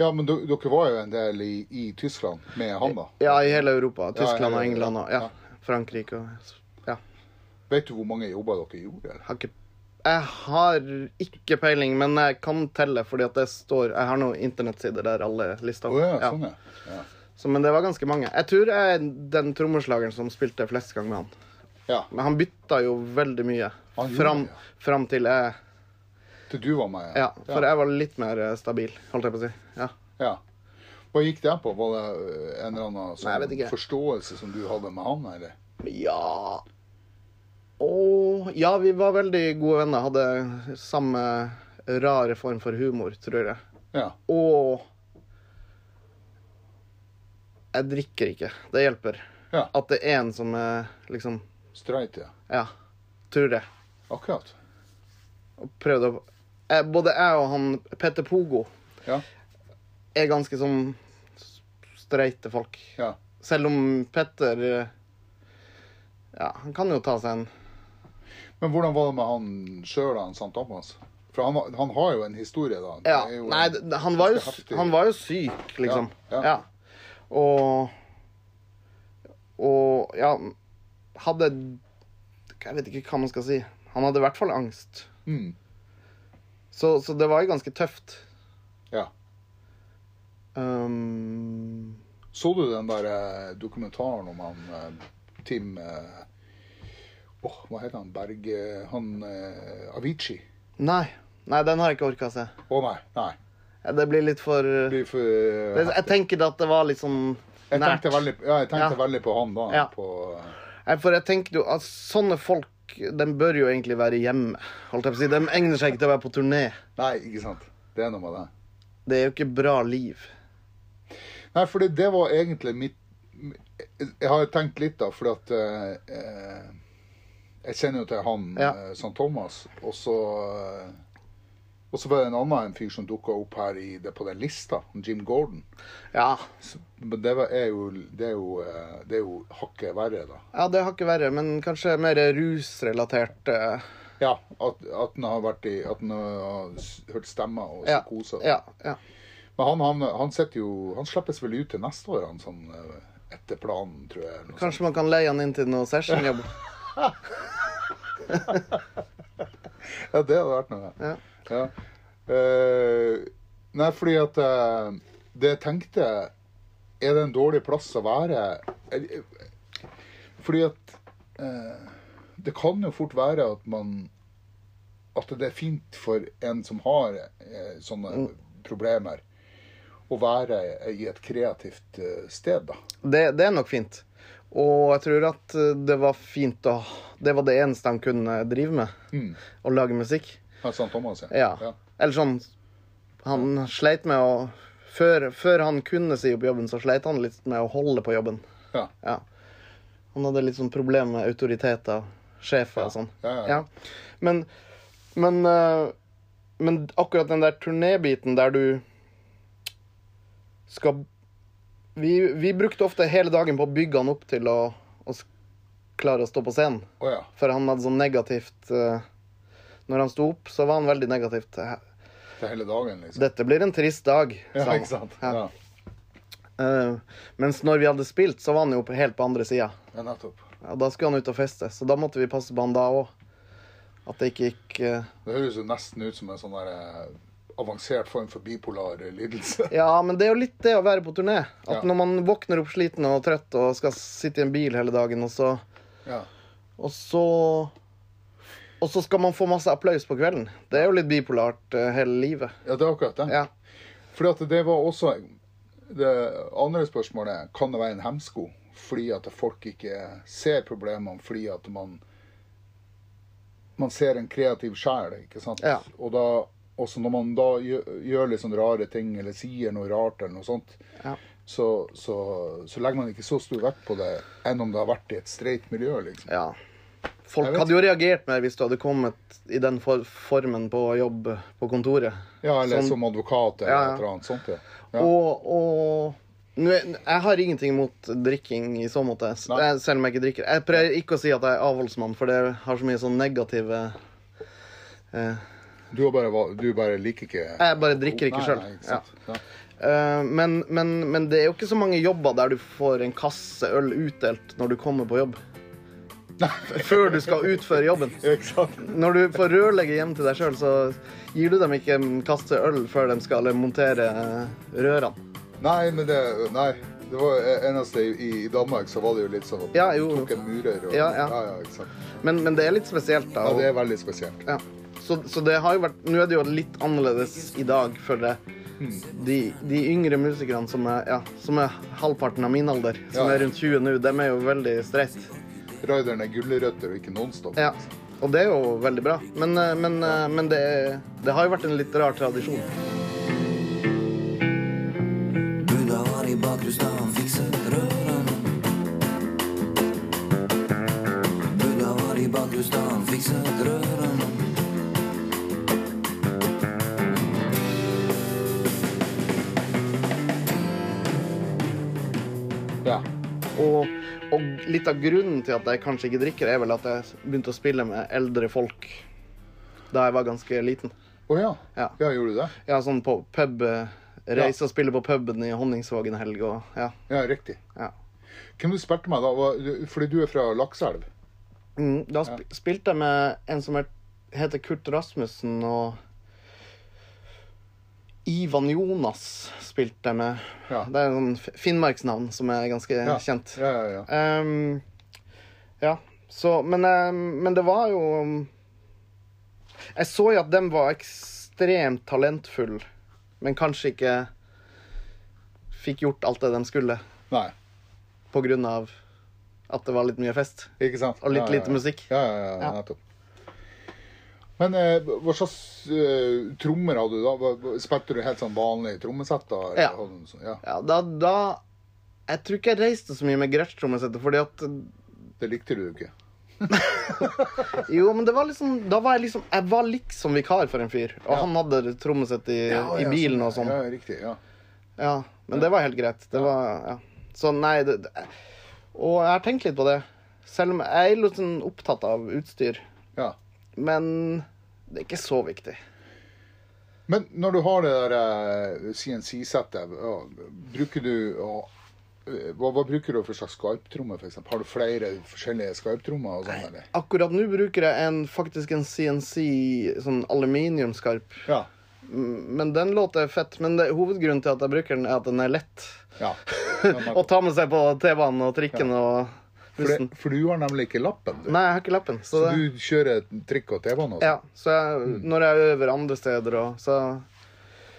Speaker 1: Ja, men do- dere var jo en del i, i Tyskland med han, da.
Speaker 2: Ja, i hele Europa.
Speaker 1: Ja, i hele
Speaker 2: Tyskland og
Speaker 1: Europa.
Speaker 2: England og
Speaker 1: Ja.
Speaker 2: ja, Frankrike og ja.
Speaker 1: Vet du hvor mange jobber dere gjorde? eller?
Speaker 2: Har ikke Jeg har ikke peiling, men jeg kan telle, fordi at det står Jeg har noen internettsider der alle lister
Speaker 1: Å
Speaker 2: opp.
Speaker 1: ja,
Speaker 2: Ja.
Speaker 1: sånn ja. ja.
Speaker 2: Så, men det var ganske mange. Jeg tror jeg er den trommeslageren som spilte flest ganger med han.
Speaker 1: Ja,
Speaker 2: Men han bytta jo veldig mye
Speaker 1: Han gjorde
Speaker 2: fram,
Speaker 1: det, ja.
Speaker 2: fram til jeg
Speaker 1: til du var med.
Speaker 2: Ja, for jeg var litt mer eh, stabil, holdt jeg på å si. Ja.
Speaker 1: Ja. Hva gikk det på? Var det ø, en eller annen
Speaker 2: Nei, jeg vet
Speaker 1: sånn
Speaker 2: ikke.
Speaker 1: forståelse som du hadde med han, eller?
Speaker 2: Ja Og ja, vi var veldig gode venner. Hadde samme rare form for humor, tror jeg.
Speaker 1: Ja.
Speaker 2: Og jeg drikker ikke. Det hjelper.
Speaker 1: Ja.
Speaker 2: At det er en som er liksom
Speaker 1: Streit, ja.
Speaker 2: Ja, tror jeg.
Speaker 1: Akkurat.
Speaker 2: Og prøvde å eh, både jeg og han Petter Pogo
Speaker 1: Ja.
Speaker 2: er ganske sånn s- streite folk.
Speaker 1: ja.
Speaker 2: Selv om Petter eh, Ja, han kan jo ta seg en
Speaker 1: Men hvordan var det med han sjøl, han St. Thomas? For han, har- han har jo en historie, da. Det
Speaker 2: Ja.
Speaker 1: er jo-
Speaker 2: Nei, d- han var jo,
Speaker 1: ganske heftig.
Speaker 2: han var jo syk, liksom.
Speaker 1: Ja, ja.
Speaker 2: Ja. Og Og ja Hadde Jeg vet ikke hva man skal si. Han hadde i hvert fall angst.
Speaker 1: Mm,
Speaker 2: Så, så det var jo ganske tøft.
Speaker 1: ja.
Speaker 2: Um,
Speaker 1: Så du den der eh, dokumentaren om han eh, Tim eh, Åh, hva heter han? Berge Han eh, Avicii?
Speaker 2: nei. Nei, den har jeg ikke orka å se.
Speaker 1: Å nei. nei.
Speaker 2: Ja, Det blir litt for
Speaker 1: Det
Speaker 2: det,
Speaker 1: blir for
Speaker 2: Jeg tenker at det var litt sånn
Speaker 1: Jeg
Speaker 2: nært.
Speaker 1: tenkte veldig, ja, jeg tenkte
Speaker 2: Ja.
Speaker 1: veldig på han da.
Speaker 2: Ja.
Speaker 1: På, eh,
Speaker 2: Nei, For jeg tenker jo at sånne folk de bør jo egentlig være hjemme. Holdt jeg på å si. De egner seg ikke til å være på turné.
Speaker 1: nei, ikke sant. Det er noe med det.
Speaker 2: Det er jo ikke bra liv.
Speaker 1: Nei, fordi det var egentlig mitt Jeg har tenkt litt, da, fordi at eh, Jeg kjenner jo til han
Speaker 2: Ja.
Speaker 1: eh, St. Thomas, og så eh, Og så var det en annen en fyr som dukka opp her i, det, på den lista, han Jim Gordon.
Speaker 2: Ja,
Speaker 1: Så, men det var, er, jo, det, er jo, eh, det er jo hakket verre, da.
Speaker 2: Ja, det har ikke verre, men kanskje mer rusrelatert. eh,
Speaker 1: Ja, At, at han har vært i At han har s- hørt stemmer og
Speaker 2: Ja,
Speaker 1: psykoser.
Speaker 2: ja, ja.
Speaker 1: Men han, han, han sitter jo Han slippes vel ut til neste år, han sånn eh, etter planen, tror jeg. eller noe
Speaker 2: Kanskje man kan leie han inn til noe sessionjobb.
Speaker 1: sånt. Ja, det hadde vært noe.
Speaker 2: Ja.
Speaker 1: Ja. Eh, nei, fordi at eh, det jeg tenkte Er det en dårlig plass å være? Eh, Fordi at eh, Det kan jo fort være at man At det er fint for en som har eh, sånne problemer, å være i et kreativt eh, sted, da.
Speaker 2: Det, det er nok fint. Og jeg tror at eh, det var fint å Det var det eneste han kunne drive med.
Speaker 1: Mm.
Speaker 2: Å lage musikk.
Speaker 1: Ja, St. Thomas,
Speaker 2: Ja. Eller sånn Han sleit med å før, før han kunne si opp jobben, så sleit han litt med å holde på jobben.
Speaker 1: Ja.
Speaker 2: Ja. Han hadde litt sånn problem med autoriteter, sjefer og sånn.
Speaker 1: Ja, ja, ja.
Speaker 2: Ja. Men, men, eh, men akkurat den der turnébiten der du skal vi, vi brukte ofte hele dagen på å bygge han opp til å, å s- klare å stå på scenen.
Speaker 1: Å ja.
Speaker 2: For han hadde sånn negativt eh, Når han sto opp, så var han veldig negativt.
Speaker 1: Det er hele dagen, liksom.
Speaker 2: 'Dette blir en trist dag', sa
Speaker 1: ja,
Speaker 2: han.
Speaker 1: ikke sant?
Speaker 2: Ja.
Speaker 1: Ja.
Speaker 2: Eh, mens når vi hadde spilt, så var han jo på- helt på andre sida.
Speaker 1: ja, nettopp.
Speaker 2: Ja, da skulle han ut og feste, så da måtte vi passe på han da òg. At det ikke gikk eh,
Speaker 1: Det høres jo nesten ut som en sånn der eh, avansert form for bipolar lidelse.
Speaker 2: Ja, men det er jo litt det å være på turné. At
Speaker 1: Ja.
Speaker 2: når man våkner opp sliten og trøtt og skal sitte i en bil hele dagen, og så
Speaker 1: Ja.
Speaker 2: Og så, og så skal man få masse applaus på kvelden. Det er jo litt bipolart eh, hele livet.
Speaker 1: ja, det er akkurat det.
Speaker 2: Ja.
Speaker 1: Fordi at det var også Det andre spørsmålet kan det være en hemsko fordi at folk ikke ser problemene, fordi at man man ser en kreativ sjel, ikke sant?
Speaker 2: Ja.
Speaker 1: Og da, også når man da gjør, gjør litt sånn rare ting, eller sier noe rart, eller noe sånt,
Speaker 2: Ja.
Speaker 1: så, så, så legger man ikke så stor vekt på det enn om det har vært i et streit miljø, liksom.
Speaker 2: ja.
Speaker 1: Jeg
Speaker 2: Folk
Speaker 1: vet.
Speaker 2: hadde jo reagert mer hvis du hadde kommet i den for formen på jobb på kontoret.
Speaker 1: Ja, eller
Speaker 2: Sånn-
Speaker 1: som advokat, eller
Speaker 2: Ja, ja.
Speaker 1: et eller annet sånt, ja. ja.
Speaker 2: Og, og nå er- Jeg har ingenting imot drikking i så måte, s-
Speaker 1: Nei.
Speaker 2: jeg- selv om jeg ikke drikker. Jeg prøver ikke å si at jeg er avholdsmann, for det har så mye sånn negative eh,
Speaker 1: Du, har bare, val- du bare liker ikke
Speaker 2: Jeg bare drikker ikke
Speaker 1: Nei,
Speaker 2: sjøl.
Speaker 1: nei, ikke
Speaker 2: Ja.
Speaker 1: sant. Ja.
Speaker 2: Eh, men, men, men det er jo ikke så mange jobber der du får en kasse øl utdelt når du kommer på jobb. Før du skal utføre jobben.
Speaker 1: Ja, ikke sant?
Speaker 2: Når du får rørlegge hjem til deg sjøl, så gir du dem ikke en kasse øl før de skal montere eh, rørene.
Speaker 1: Nei, men det Nei. Det var e- eneste i, i Danmark så var det jo litt sånn at
Speaker 2: Ja,
Speaker 1: du
Speaker 2: jo, jo.
Speaker 1: tok en murer og
Speaker 2: Ja, ja.
Speaker 1: Ja, ikke sant.
Speaker 2: Men, men det er litt spesielt, da.
Speaker 1: Ja, det er veldig spesielt.
Speaker 2: Ja. Så, så det har jo vært Nå er det jo litt annerledes i dag, føler jeg.
Speaker 1: Hmm.
Speaker 2: De, de yngre musikerne som er, ja, som er halvparten av min alder, som
Speaker 1: Ja.
Speaker 2: er rundt 20 nå, dem er jo veldig streit.
Speaker 1: Raideren er gulrøtter og ikke Nonstop.
Speaker 2: Ja. Og det er jo veldig bra. Men, eh, men, eh, men det, det har jo vært en litt rar tradisjon.
Speaker 3: Buda var i bakrus da han fikset rørene. Buda var i bakrus da han fikset rørene.
Speaker 2: Og, og litt av grunnen til at jeg kanskje ikke drikker, er vel at jeg begynte å spille med eldre folk da jeg var ganske liten.
Speaker 1: Å ja.
Speaker 2: Ja.
Speaker 1: ja. Gjorde du det?
Speaker 2: Ja, sånn på pub. eh, Reise og spille på puben i Honningsvågen helg og ja.
Speaker 1: Ja, riktig.
Speaker 2: ja.
Speaker 1: Hvem du spilte med da? Var- du- Fordi du er fra Lakselv?
Speaker 2: Mm, da sp spilte jeg med en som het- heter Kurt Rasmussen, og Ivan Jonas spilte jeg med.
Speaker 1: Ja.
Speaker 2: Det er en sånn fi- finnmarksnavn som er ganske
Speaker 1: Ja.
Speaker 2: kjent.
Speaker 1: Ja, ja, ja.
Speaker 2: Ehm, ja, så Men, ehm, men det var jo um, Jeg så jo at de var ekstremt talentfulle, men kanskje ikke fikk gjort alt det de skulle
Speaker 1: Nei,
Speaker 2: på grunn av at det var litt mye fest.
Speaker 1: ikke sant?
Speaker 2: Og litt
Speaker 1: ja, ja, ja.
Speaker 2: lite musikk.
Speaker 1: Ja, ja, ja,
Speaker 2: Ja.
Speaker 1: nettopp. Men eh, hva slags eh, trommer hadde du da? Hva- hva- Spilte du helt sånn vanlig trommesett da? eller
Speaker 2: Ja.
Speaker 1: hadde du sånn- ja.
Speaker 2: Ja, da, da Jeg tror ikke jeg reiste så mye med Gretsch-trommesettet, fordi at
Speaker 1: Det likte du jo ikke.
Speaker 2: Jo, men det var liksom Da var jeg liksom Jeg var liksom vikar for en fyr, og han hadde trommesett i, i bilen og sånn.
Speaker 1: Ja, riktig, ja.
Speaker 2: Ja, men det var helt greit. Det var, ja. Så nei det, det, Og jeg har tenkt litt på det. Selv om jeg er litt sånn opptatt av utstyr.
Speaker 1: ja.
Speaker 2: Men det er ikke så viktig.
Speaker 1: Men når du har det der eh, CNC-settet, ja, bruker du ja, eh, hva, hva bruker du for slags skarptromme, for eksempel? Har du flere forskjellige skarptrommer og sånn, eller?
Speaker 2: Akkurat nå bruker jeg en, faktisk en CNC sånn aluminiumskarp.
Speaker 1: Ja.
Speaker 2: M- Men den låter fett. Men det, hovedgrunnen til at jeg bruker den, er at den er lett
Speaker 1: ja.
Speaker 2: å ta med seg på T-banen og trikken og
Speaker 1: For,
Speaker 2: bussen.
Speaker 1: det, for du har nemlig ikke lappen, du.
Speaker 2: Nei, jeg har ikke lappen.
Speaker 1: Så
Speaker 2: Så det,
Speaker 1: du kjører trikk og T-bane? og sånn?
Speaker 2: ja, så jeg, når jeg øver andre steder og så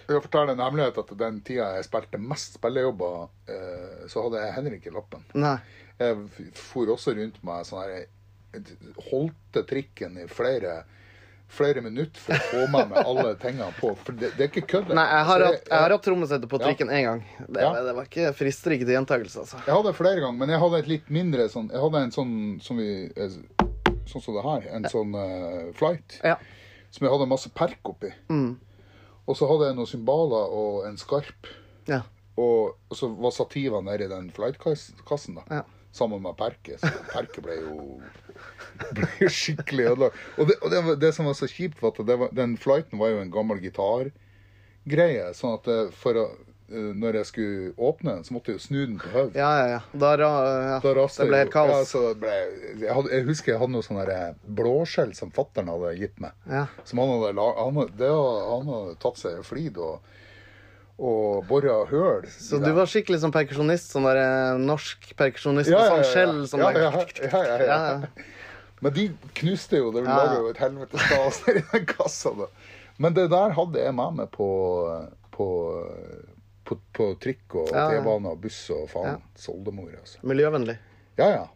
Speaker 1: Jeg kan fortelle en hemmelighet at den tida jeg spilte mest spillejobber, eh, så hadde jeg heller ikke lappen.
Speaker 2: Nei.
Speaker 1: Jeg f- for også rundt med sånn her jeg Holdte trikken i flere flere minutter for å få med meg alle tingene på. For det, det er ikke kødd.
Speaker 2: Nei, jeg har
Speaker 1: Så
Speaker 2: hatt, jeg har hatt trommesettet på trikken én gang. Det,
Speaker 1: Ja.
Speaker 2: det var ikke frister ikke til gjentakelse, altså.
Speaker 1: Jeg hadde det flere ganger, men jeg hadde et litt mindre sånn Jeg hadde en sånn som vi eh, Sånn som det her. En sånn eh, flight.
Speaker 2: Ja. Mm.
Speaker 1: Som jeg hadde masse perk oppi. Og så hadde jeg noen cymbaler og en skarp.
Speaker 2: ja.
Speaker 1: Og, og så var stativene nede i den flightkassen, da.
Speaker 2: Ja.
Speaker 1: Sammen med perket. Så perket ble jo, ble jo skikkelig ødelagt. Og, det, og det, var- det som var så kjipt, var at det var, den flighten var jo en gammel gitargreie. Sånn at eh, for å, eh, når jeg skulle åpne den, så måtte jeg jo snu den på hodet.
Speaker 2: Ja, ja, ja. Da, ra, ja.
Speaker 1: Da raste
Speaker 2: det ble
Speaker 1: jo-
Speaker 2: helt kaos.
Speaker 1: Ja, så det ble, jeg, hadde, jeg husker jeg hadde noe sånn der blåskjell som fattern hadde gitt meg.
Speaker 2: Ja.
Speaker 1: Som han hadde, la- han, hadde- det, hadde- han hadde tatt seg en flid og, og bora høl.
Speaker 2: Så du var skikkelig sånn perkusjonist? Sånn der eh, norsk perkusjonist
Speaker 1: ja,
Speaker 2: med
Speaker 1: ja,
Speaker 2: sånn
Speaker 1: ja.
Speaker 2: skjell? Sånn
Speaker 1: ja,
Speaker 2: der-
Speaker 1: ja, ja, ja, ja.
Speaker 2: Ja, ja.
Speaker 1: Men de knuste jo. Det
Speaker 2: Ja, ja.
Speaker 1: lager jo et helvetes stas i den kassa. Da. Men det der hadde jeg med meg på, på, på, på trikk og
Speaker 2: Ja, ja.
Speaker 1: T-bane og buss og faen. Soldemor, altså.
Speaker 2: Miljøvennlig.
Speaker 1: Ja, ja.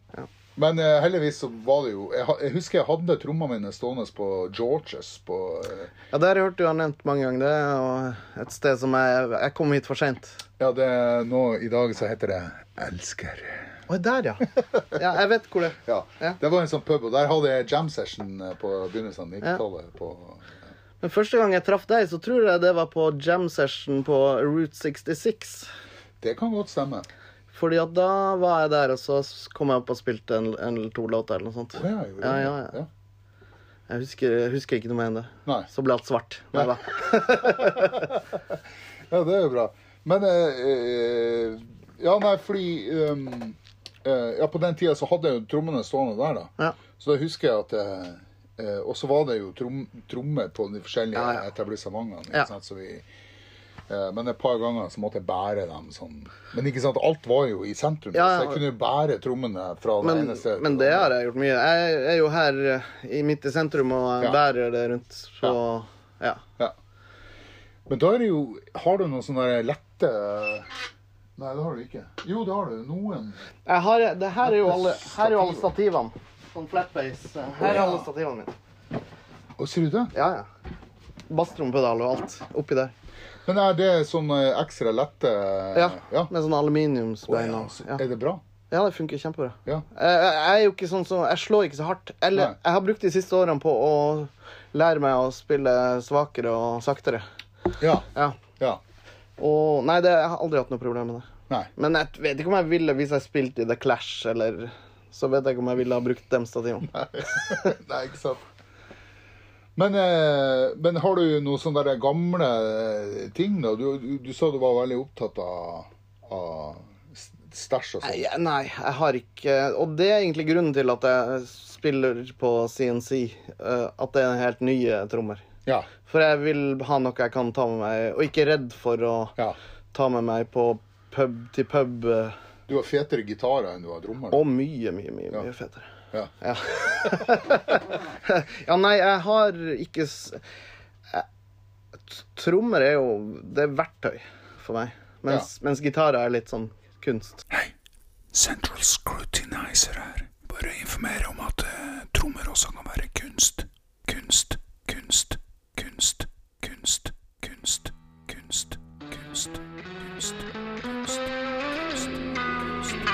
Speaker 1: Men eh, heldigvis så var det jo Jeg, ha- jeg husker jeg hadde trommene mine stående på Georges på eh,
Speaker 2: Ja, det har jeg hørt du har nevnt mange ganger. Det er jo et sted som jeg Jeg kom hit for seint.
Speaker 1: Ja, det er nå i dag så heter det Elsker.
Speaker 2: Oi, der, ja. Ja, jeg vet hvor det er.
Speaker 1: Ja.
Speaker 2: Ja.
Speaker 1: Det var en sånn pub, og der hadde jeg jam session eh, på begynnelsen av 90-tallet. på-
Speaker 2: Men første gang jeg traff deg, så tror jeg det var på jam session på Route 66.
Speaker 1: Det kan godt stemme.
Speaker 2: Fordi at da var jeg der, og så kom jeg opp og spilte en, en eller to låter eller noe sånt.
Speaker 1: Å, ja, jeg gjorde
Speaker 2: Ja,
Speaker 1: det.
Speaker 2: ja, ja. Jeg husker, jeg husker ikke noe mer enn det.
Speaker 1: Nei.
Speaker 2: Så ble alt svart. Nei da.
Speaker 1: Ja, det er jo bra. Men eh, eh, Ja, nei, fordi ehm, eh, Ja, på den tida så hadde jeg jo trommene stående der, da.
Speaker 2: Ja.
Speaker 1: Så da husker jeg at eh, eh, Og så var det jo trom, trommer på de forskjellige
Speaker 2: Ja, ja.
Speaker 1: etablissementene. Ikke
Speaker 2: Ja.
Speaker 1: sant? Så vi, eh, men et par ganger så måtte jeg bære dem sånn. Men ikke sant, alt var jo i sentrum,
Speaker 2: Ja, ja.
Speaker 1: så jeg kunne jo bære trommene fra det
Speaker 2: Men,
Speaker 1: ene stedet.
Speaker 2: men
Speaker 1: til
Speaker 2: det har
Speaker 1: andre.
Speaker 2: jeg gjort mye. Jeg er jo her eh, i midt i sentrum og jeg
Speaker 1: Ja.
Speaker 2: bærer det rundt. Så ja.
Speaker 1: Ja. Men da er det jo Har du noen sånne lette Nei, det har du ikke. Jo, det har du. Noen.
Speaker 2: Jeg har, det her er jo alle, her er jo alle stativene. Sånn flatbase. Her er alle stativene mine.
Speaker 1: Å, sier du det?
Speaker 2: Ja, ja. Basstrompedal og alt oppi der.
Speaker 1: Men er det sånn eh, ekstra lette eh,
Speaker 2: Ja.
Speaker 1: ja.
Speaker 2: Med sånn aluminiumsbein
Speaker 1: Ja,
Speaker 2: og sånn.
Speaker 1: så-
Speaker 2: ja.
Speaker 1: Er det bra?
Speaker 2: ja, det funker kjempebra.
Speaker 1: Ja.
Speaker 2: Jeg, jeg jeg er jo ikke sånn som Jeg slår ikke så hardt. Eller
Speaker 1: Nei.
Speaker 2: jeg har brukt de siste årene på å lære meg å spille svakere og saktere.
Speaker 1: Ja.
Speaker 2: Ja.
Speaker 1: ja.
Speaker 2: Og Nei, det, jeg har aldri hatt noe problem med det.
Speaker 1: Nei.
Speaker 2: Men jeg vet ikke om jeg ville hvis jeg spilte i The Clash, eller så vet jeg ikke om jeg ville ha brukt dem stativene.
Speaker 1: Nei, ikke sant. Men, eh, men har du noen sånne der gamle eh, ting, da? Du, du, du sa du var veldig opptatt av, av s- stæsj og
Speaker 2: Nei,
Speaker 1: sånn.
Speaker 2: jeg- Nei, jeg har ikke Og det er egentlig grunnen til at jeg spiller på CNC, eh, at det er helt nye trommer.
Speaker 1: Ja.
Speaker 2: For jeg vil ha noe jeg kan ta med meg, og ikke redd for å
Speaker 1: ja.
Speaker 2: ta med meg på pub til pub. eh,
Speaker 1: Du har fetere gitarer enn du har trommer. da.
Speaker 2: Og mye, mye, mye, mye fetere.
Speaker 1: Ja.
Speaker 2: Ja. ja, nei, jeg har ikke s- jeg- t- Trommer er jo Det er verktøy for meg. Mens, mens gitarer er litt sånn kunst.
Speaker 4: Hei, Central Scrutinizer her. Bare informere om at eh, trommer også kan være kunst. Kunst, kunst, kunst, kunst, kunst, kunst, kunst, kunst, kunst, kunst, kunst, kunst.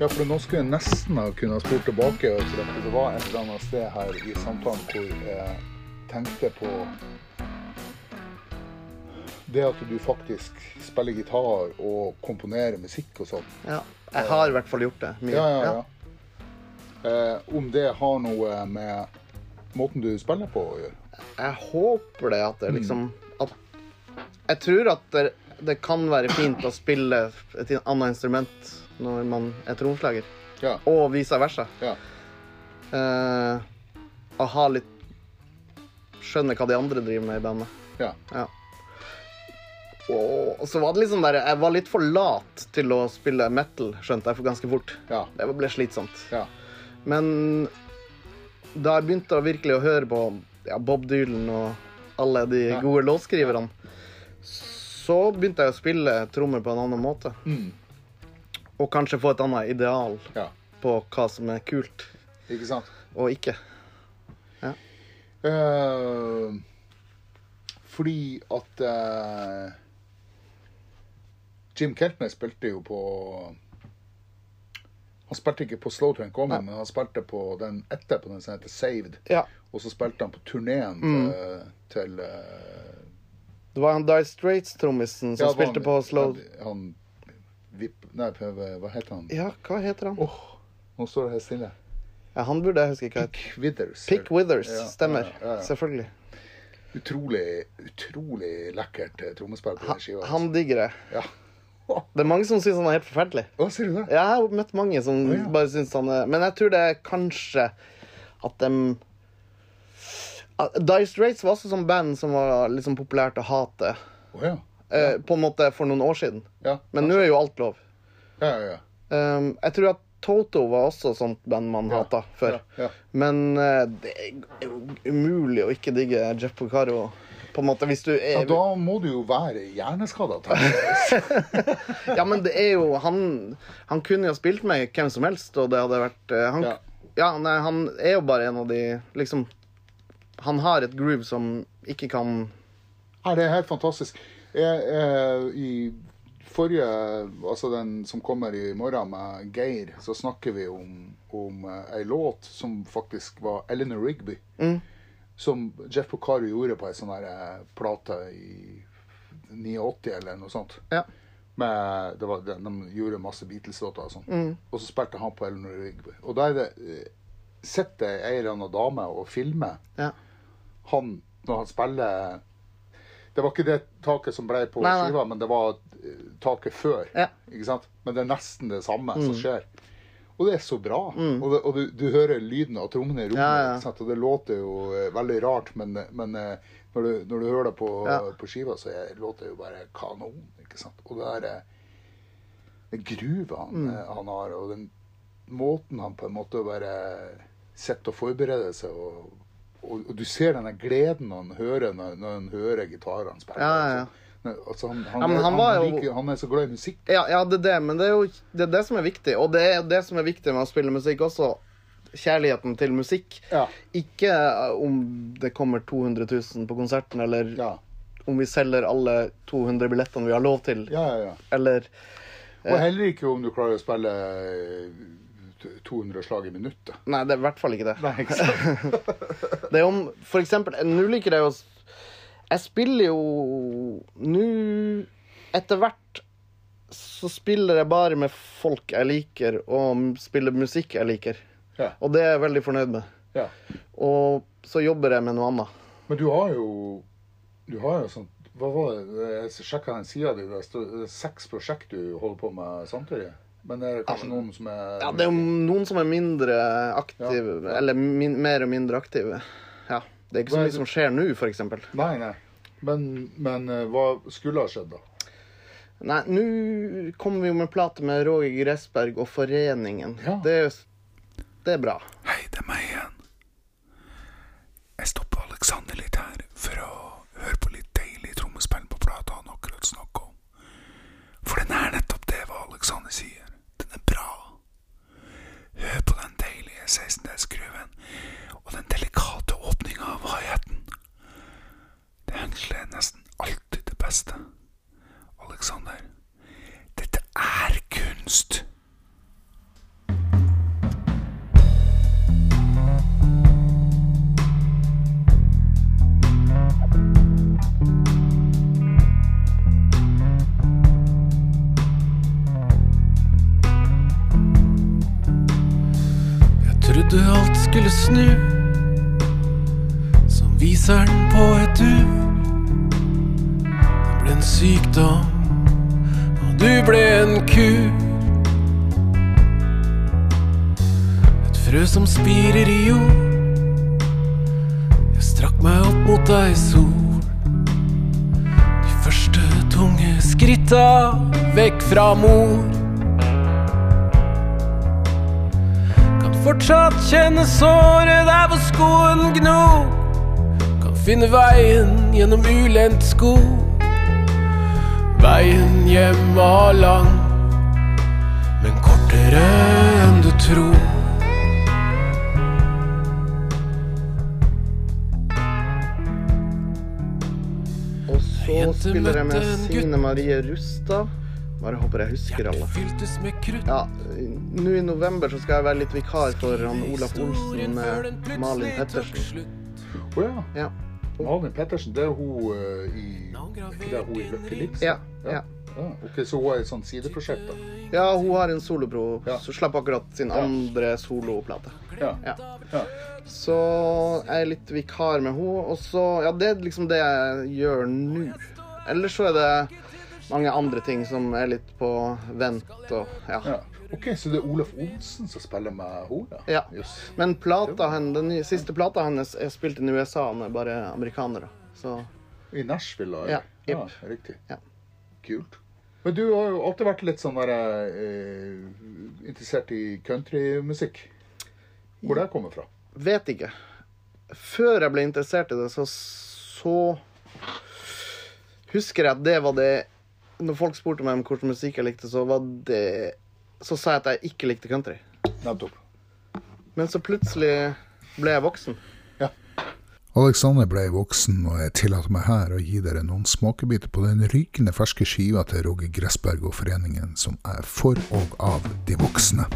Speaker 1: Ja, for nå skulle jeg nesten ha kunnet spurt tilbake. til at Det var et eller annet sted her i samtalen hvor jeg tenkte på det at du faktisk spiller gitar og komponerer musikk og sånn.
Speaker 2: Ja. Jeg har i hvert fall gjort det. Mye.
Speaker 1: Ja, ja, ja. Eh, om det har noe med måten du spiller på å gjøre?
Speaker 2: Jeg håper det at det
Speaker 1: Mm.
Speaker 2: liksom at, Jeg tror at det, det kan være fint å spille et annet instrument når man er tromslager,
Speaker 1: Ja.
Speaker 2: og vice versa.
Speaker 1: ja.
Speaker 2: Eh, å ha litt Skjønne hva de andre driver med i bandet.
Speaker 1: ja.
Speaker 2: Ja. Og og så var det liksom der Jeg var litt for lat til å spille metal, skjønte jeg, for ganske fort.
Speaker 1: Ja.
Speaker 2: Det ble slitsomt.
Speaker 1: ja.
Speaker 2: Men da jeg begynte å virkelig å høre på ja, Bob Dylan og alle de gode låtskriverne, så begynte jeg å spille trommer på en annen måte.
Speaker 1: Mm.
Speaker 2: Og kanskje få et annet ideal
Speaker 1: ja.
Speaker 2: på hva som er kult
Speaker 1: Ikke sant?
Speaker 2: og ikke.
Speaker 1: Eh, fordi at eh, Jim Keltner spilte jo på Han spilte ikke på Slow Train Coming, men han spilte på den etterpå, den som heter Saved.
Speaker 2: Ja.
Speaker 1: Og så spilte han på turneen
Speaker 2: Mm.
Speaker 1: til eh,
Speaker 2: Det var han Die Straits-trommisen som
Speaker 1: ja, var
Speaker 2: spilte
Speaker 1: han-
Speaker 2: på Slow
Speaker 1: Han, Vip... Nei, hva heter han?
Speaker 2: Ja, hva heter han?
Speaker 1: Åh, nå står det helt stille.
Speaker 2: Ja, han burde jeg huske hva heter.
Speaker 1: Withers.
Speaker 2: Pick Withers.
Speaker 1: Ja,
Speaker 2: Stemmer.
Speaker 1: ja, ja, ja.
Speaker 2: Selvfølgelig.
Speaker 1: Utrolig, utrolig lekkert eh, trommespill på den skiva. altså.
Speaker 2: Han digger det.
Speaker 1: Ja.
Speaker 2: Det er mange som syns han er helt forferdelig.
Speaker 1: Hva sier du der?
Speaker 2: Jeg har møtt mange som
Speaker 1: Å, ja.
Speaker 2: bare syns han er Men jeg tror det er kanskje at dem at Dire Straits var også sånn band som var liksom populært å hate
Speaker 1: Å ja.
Speaker 2: eh, på en måte for noen år siden.
Speaker 1: Ja.
Speaker 2: Men nå er jo alt lov.
Speaker 1: ja, ja, ja.
Speaker 2: Um, jeg tror at Toto var også sånt band man
Speaker 1: Ja,
Speaker 2: hata før.
Speaker 1: ja, ja.
Speaker 2: Men eh, det er jo umulig å ikke digge Jeff Porcaro. På en måte, hvis du er
Speaker 1: Ja, da må du jo være hjerneskada. tenker jeg.
Speaker 2: Ja, men det er jo Han, han kunne jo spilt med hvem som helst, og det hadde vært eh, han, ja.
Speaker 1: Ja.
Speaker 2: nei, han er jo bare en av de Liksom Han har et groove som ikke kan
Speaker 1: Ja, det er helt fantastisk. Jeg, eh, I forrige, altså den som kommer i morgen med Geir, så snakker vi om, om eh, ei låt som faktisk var Eleanor Rigby. Som Jeff Pocaro gjorde på ei sånn der eh, plate i 89 eller noe sånt.
Speaker 2: Ja.
Speaker 1: Med, det var, de, de gjorde masse Beatles-låter og sånn.
Speaker 2: Mm.
Speaker 1: Og så spilte han på Eleanor Rigby. Og der er det, eh, sitter ei eller annen dame og filmer
Speaker 2: ja.
Speaker 1: han når han spiller Det var ikke det taket som ble på
Speaker 2: Nei, nei.
Speaker 1: skiva, men det var eh, taket før.
Speaker 2: Ja. Mm.
Speaker 1: Ikke sant? Men det er nesten det samme som skjer. Og det er så bra. Og, det, og du, du hører lyden av trommene i rommet,
Speaker 2: Ja, ja.
Speaker 1: ikke sant? og det låter jo eh, veldig rart, men, men eh, når, du, når du hører det på,
Speaker 2: Ja.
Speaker 1: på skiva, så er, låter det jo bare kanon. ikke sant? Og det der eh, den gruva han,
Speaker 2: Mm.
Speaker 1: eh, han har, og den måten han på en måte bare sitter og forbereder seg og, og, og du ser denne gleden han hører når, når han hører gitarene spille.
Speaker 2: Ja, ja, ja.
Speaker 1: Altså, altså, han, han,
Speaker 2: Ja, men
Speaker 1: er-
Speaker 2: han
Speaker 1: han,
Speaker 2: var jo-
Speaker 1: liker, han er så glad i musikk.
Speaker 2: Ja, ja, det er det, men det er jo det, er det som er viktig. Og det er det som er viktig med å spille musikk også. Kjærligheten til musikk.
Speaker 1: Ja.
Speaker 2: Ikke eh, om det kommer 200 000 på konserten, eller
Speaker 1: Ja,
Speaker 2: om vi selger alle 200 billettene vi har lov til,
Speaker 1: ja, ja. ja.
Speaker 2: eller
Speaker 1: Og heller ikke om du klarer å spille eh, 200 slag i minuttet.
Speaker 2: Nei, det er i hvert fall ikke det.
Speaker 1: Nei, ikke sant?
Speaker 2: Det er om For eksempel, eh, nå liker jeg jo Jeg spiller jo Nå Etter hvert så spiller jeg bare med folk jeg liker, og spiller musikk jeg liker.
Speaker 1: Ja.
Speaker 2: Og det er jeg veldig fornøyd med.
Speaker 1: Ja.
Speaker 2: Og så jobber jeg med noe annet.
Speaker 1: Men du har jo Du har jo sånt Hva var det? Jeg sjekka den sida di. Det står det er seks prosjekt du holder på med samtidig. Men det er kanskje noen som er
Speaker 2: Ja, det er jo noen som er mindre aktive,
Speaker 1: Ja, ja.
Speaker 2: eller min, mer og mindre aktive. Ja. Det er ikke så
Speaker 1: Hva er
Speaker 2: mye
Speaker 1: det-
Speaker 2: som skjer nå, for eksempel.
Speaker 1: Nei, nei. Men, men eh, hva skulle ha skjedd, da?
Speaker 2: Nei, nå kommer vi jo med plate med Roger Gressberg og Foreningen.
Speaker 1: Ja.
Speaker 2: Det, er, det er bra.
Speaker 4: Hei, det er meg igjen. Jeg stopper Alexander litt her for å høre på litt deilig trommespill på plata han akkurat snakka om. For den er nettopp det hva Alexander sier. Den er bra. Hør på den deilige 16-delsgruven og den delikate åpninga av hi-haten. Det er egentlig nesten alltid det beste. Alexander, dette er kunst.
Speaker 5: Jeg trodde alt skulle snu Som viseren på et ur Det ble en sykdom Og du ble en kur Et frø som spirer i jord Jeg strakk meg opp mot deg sol De første tunge skritta Vekk fra mor Kan fortsatt kjenne såret der hvor skoen gno Kan finne veien gjennom ulendt skog Veien hjem var lang Men kortere enn du tror
Speaker 2: Og så
Speaker 5: Jente
Speaker 2: spiller jeg med
Speaker 5: møtte en gutt.
Speaker 2: Signe Marie Rustad. Bare håper jeg husker alle.
Speaker 5: Hjertet fyltes med krutt
Speaker 2: Ja, Nå i november så skal jeg være litt vikar for han Olaf Olsen med Malin Pettersen.
Speaker 1: Å ja.
Speaker 2: Ja.
Speaker 1: Malin Pettersen, det er hun eh, i ikke Det er hun i Løkkelips?
Speaker 2: Ja, ja.
Speaker 1: ja. Ok, Så hun er et sånt sideprosjekt, da?
Speaker 2: ja, hun har en solopro.
Speaker 1: Ja.
Speaker 2: Så slapp akkurat sin andre soloplate.
Speaker 1: Ja.
Speaker 2: Ja.
Speaker 1: Ja.
Speaker 2: Så jeg er litt vikar med henne. Og så Ja, det er liksom det jeg gjør nå. Ellers så er det mange andre ting som er litt på vent og ja.
Speaker 1: ja. Ok, Så det er Olaf Olsen som spiller med henne?
Speaker 2: Ja.
Speaker 1: Jøss.
Speaker 2: Men plata hen, den nye- siste plata hennes er spilt inn i USA med bare amerikanere. Så
Speaker 1: I Nashville, da?
Speaker 2: Ja,
Speaker 1: eller?
Speaker 2: jepp.
Speaker 1: ja riktig.
Speaker 2: Ja.
Speaker 1: Kult. Men du har jo alltid vært litt sånn der eh, interessert i countrymusikk. Hvor det kommer fra?
Speaker 2: vet ikke. Før jeg ble interessert i det, så, så husker jeg at det var det Når folk spurte meg om hvilken musikk jeg likte, så var det Så sa jeg at jeg ikke likte country.
Speaker 1: Nettopp.
Speaker 2: Men så plutselig ble jeg voksen.
Speaker 4: Alexander ble voksen, og jeg tillater meg her å gi dere noen smakebiter på den rykende ferske skiva til Roger Gressberg og Foreningen, som er for og av de voksne.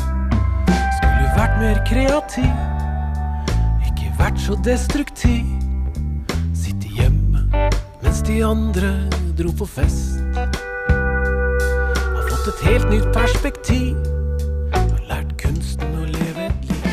Speaker 5: Skulle vært mer kreativ Ikke vært så destruktiv Sitte hjemme Mens de andre dro på fest Har fått et helt nytt perspektiv Har lært kunsten å leve et liv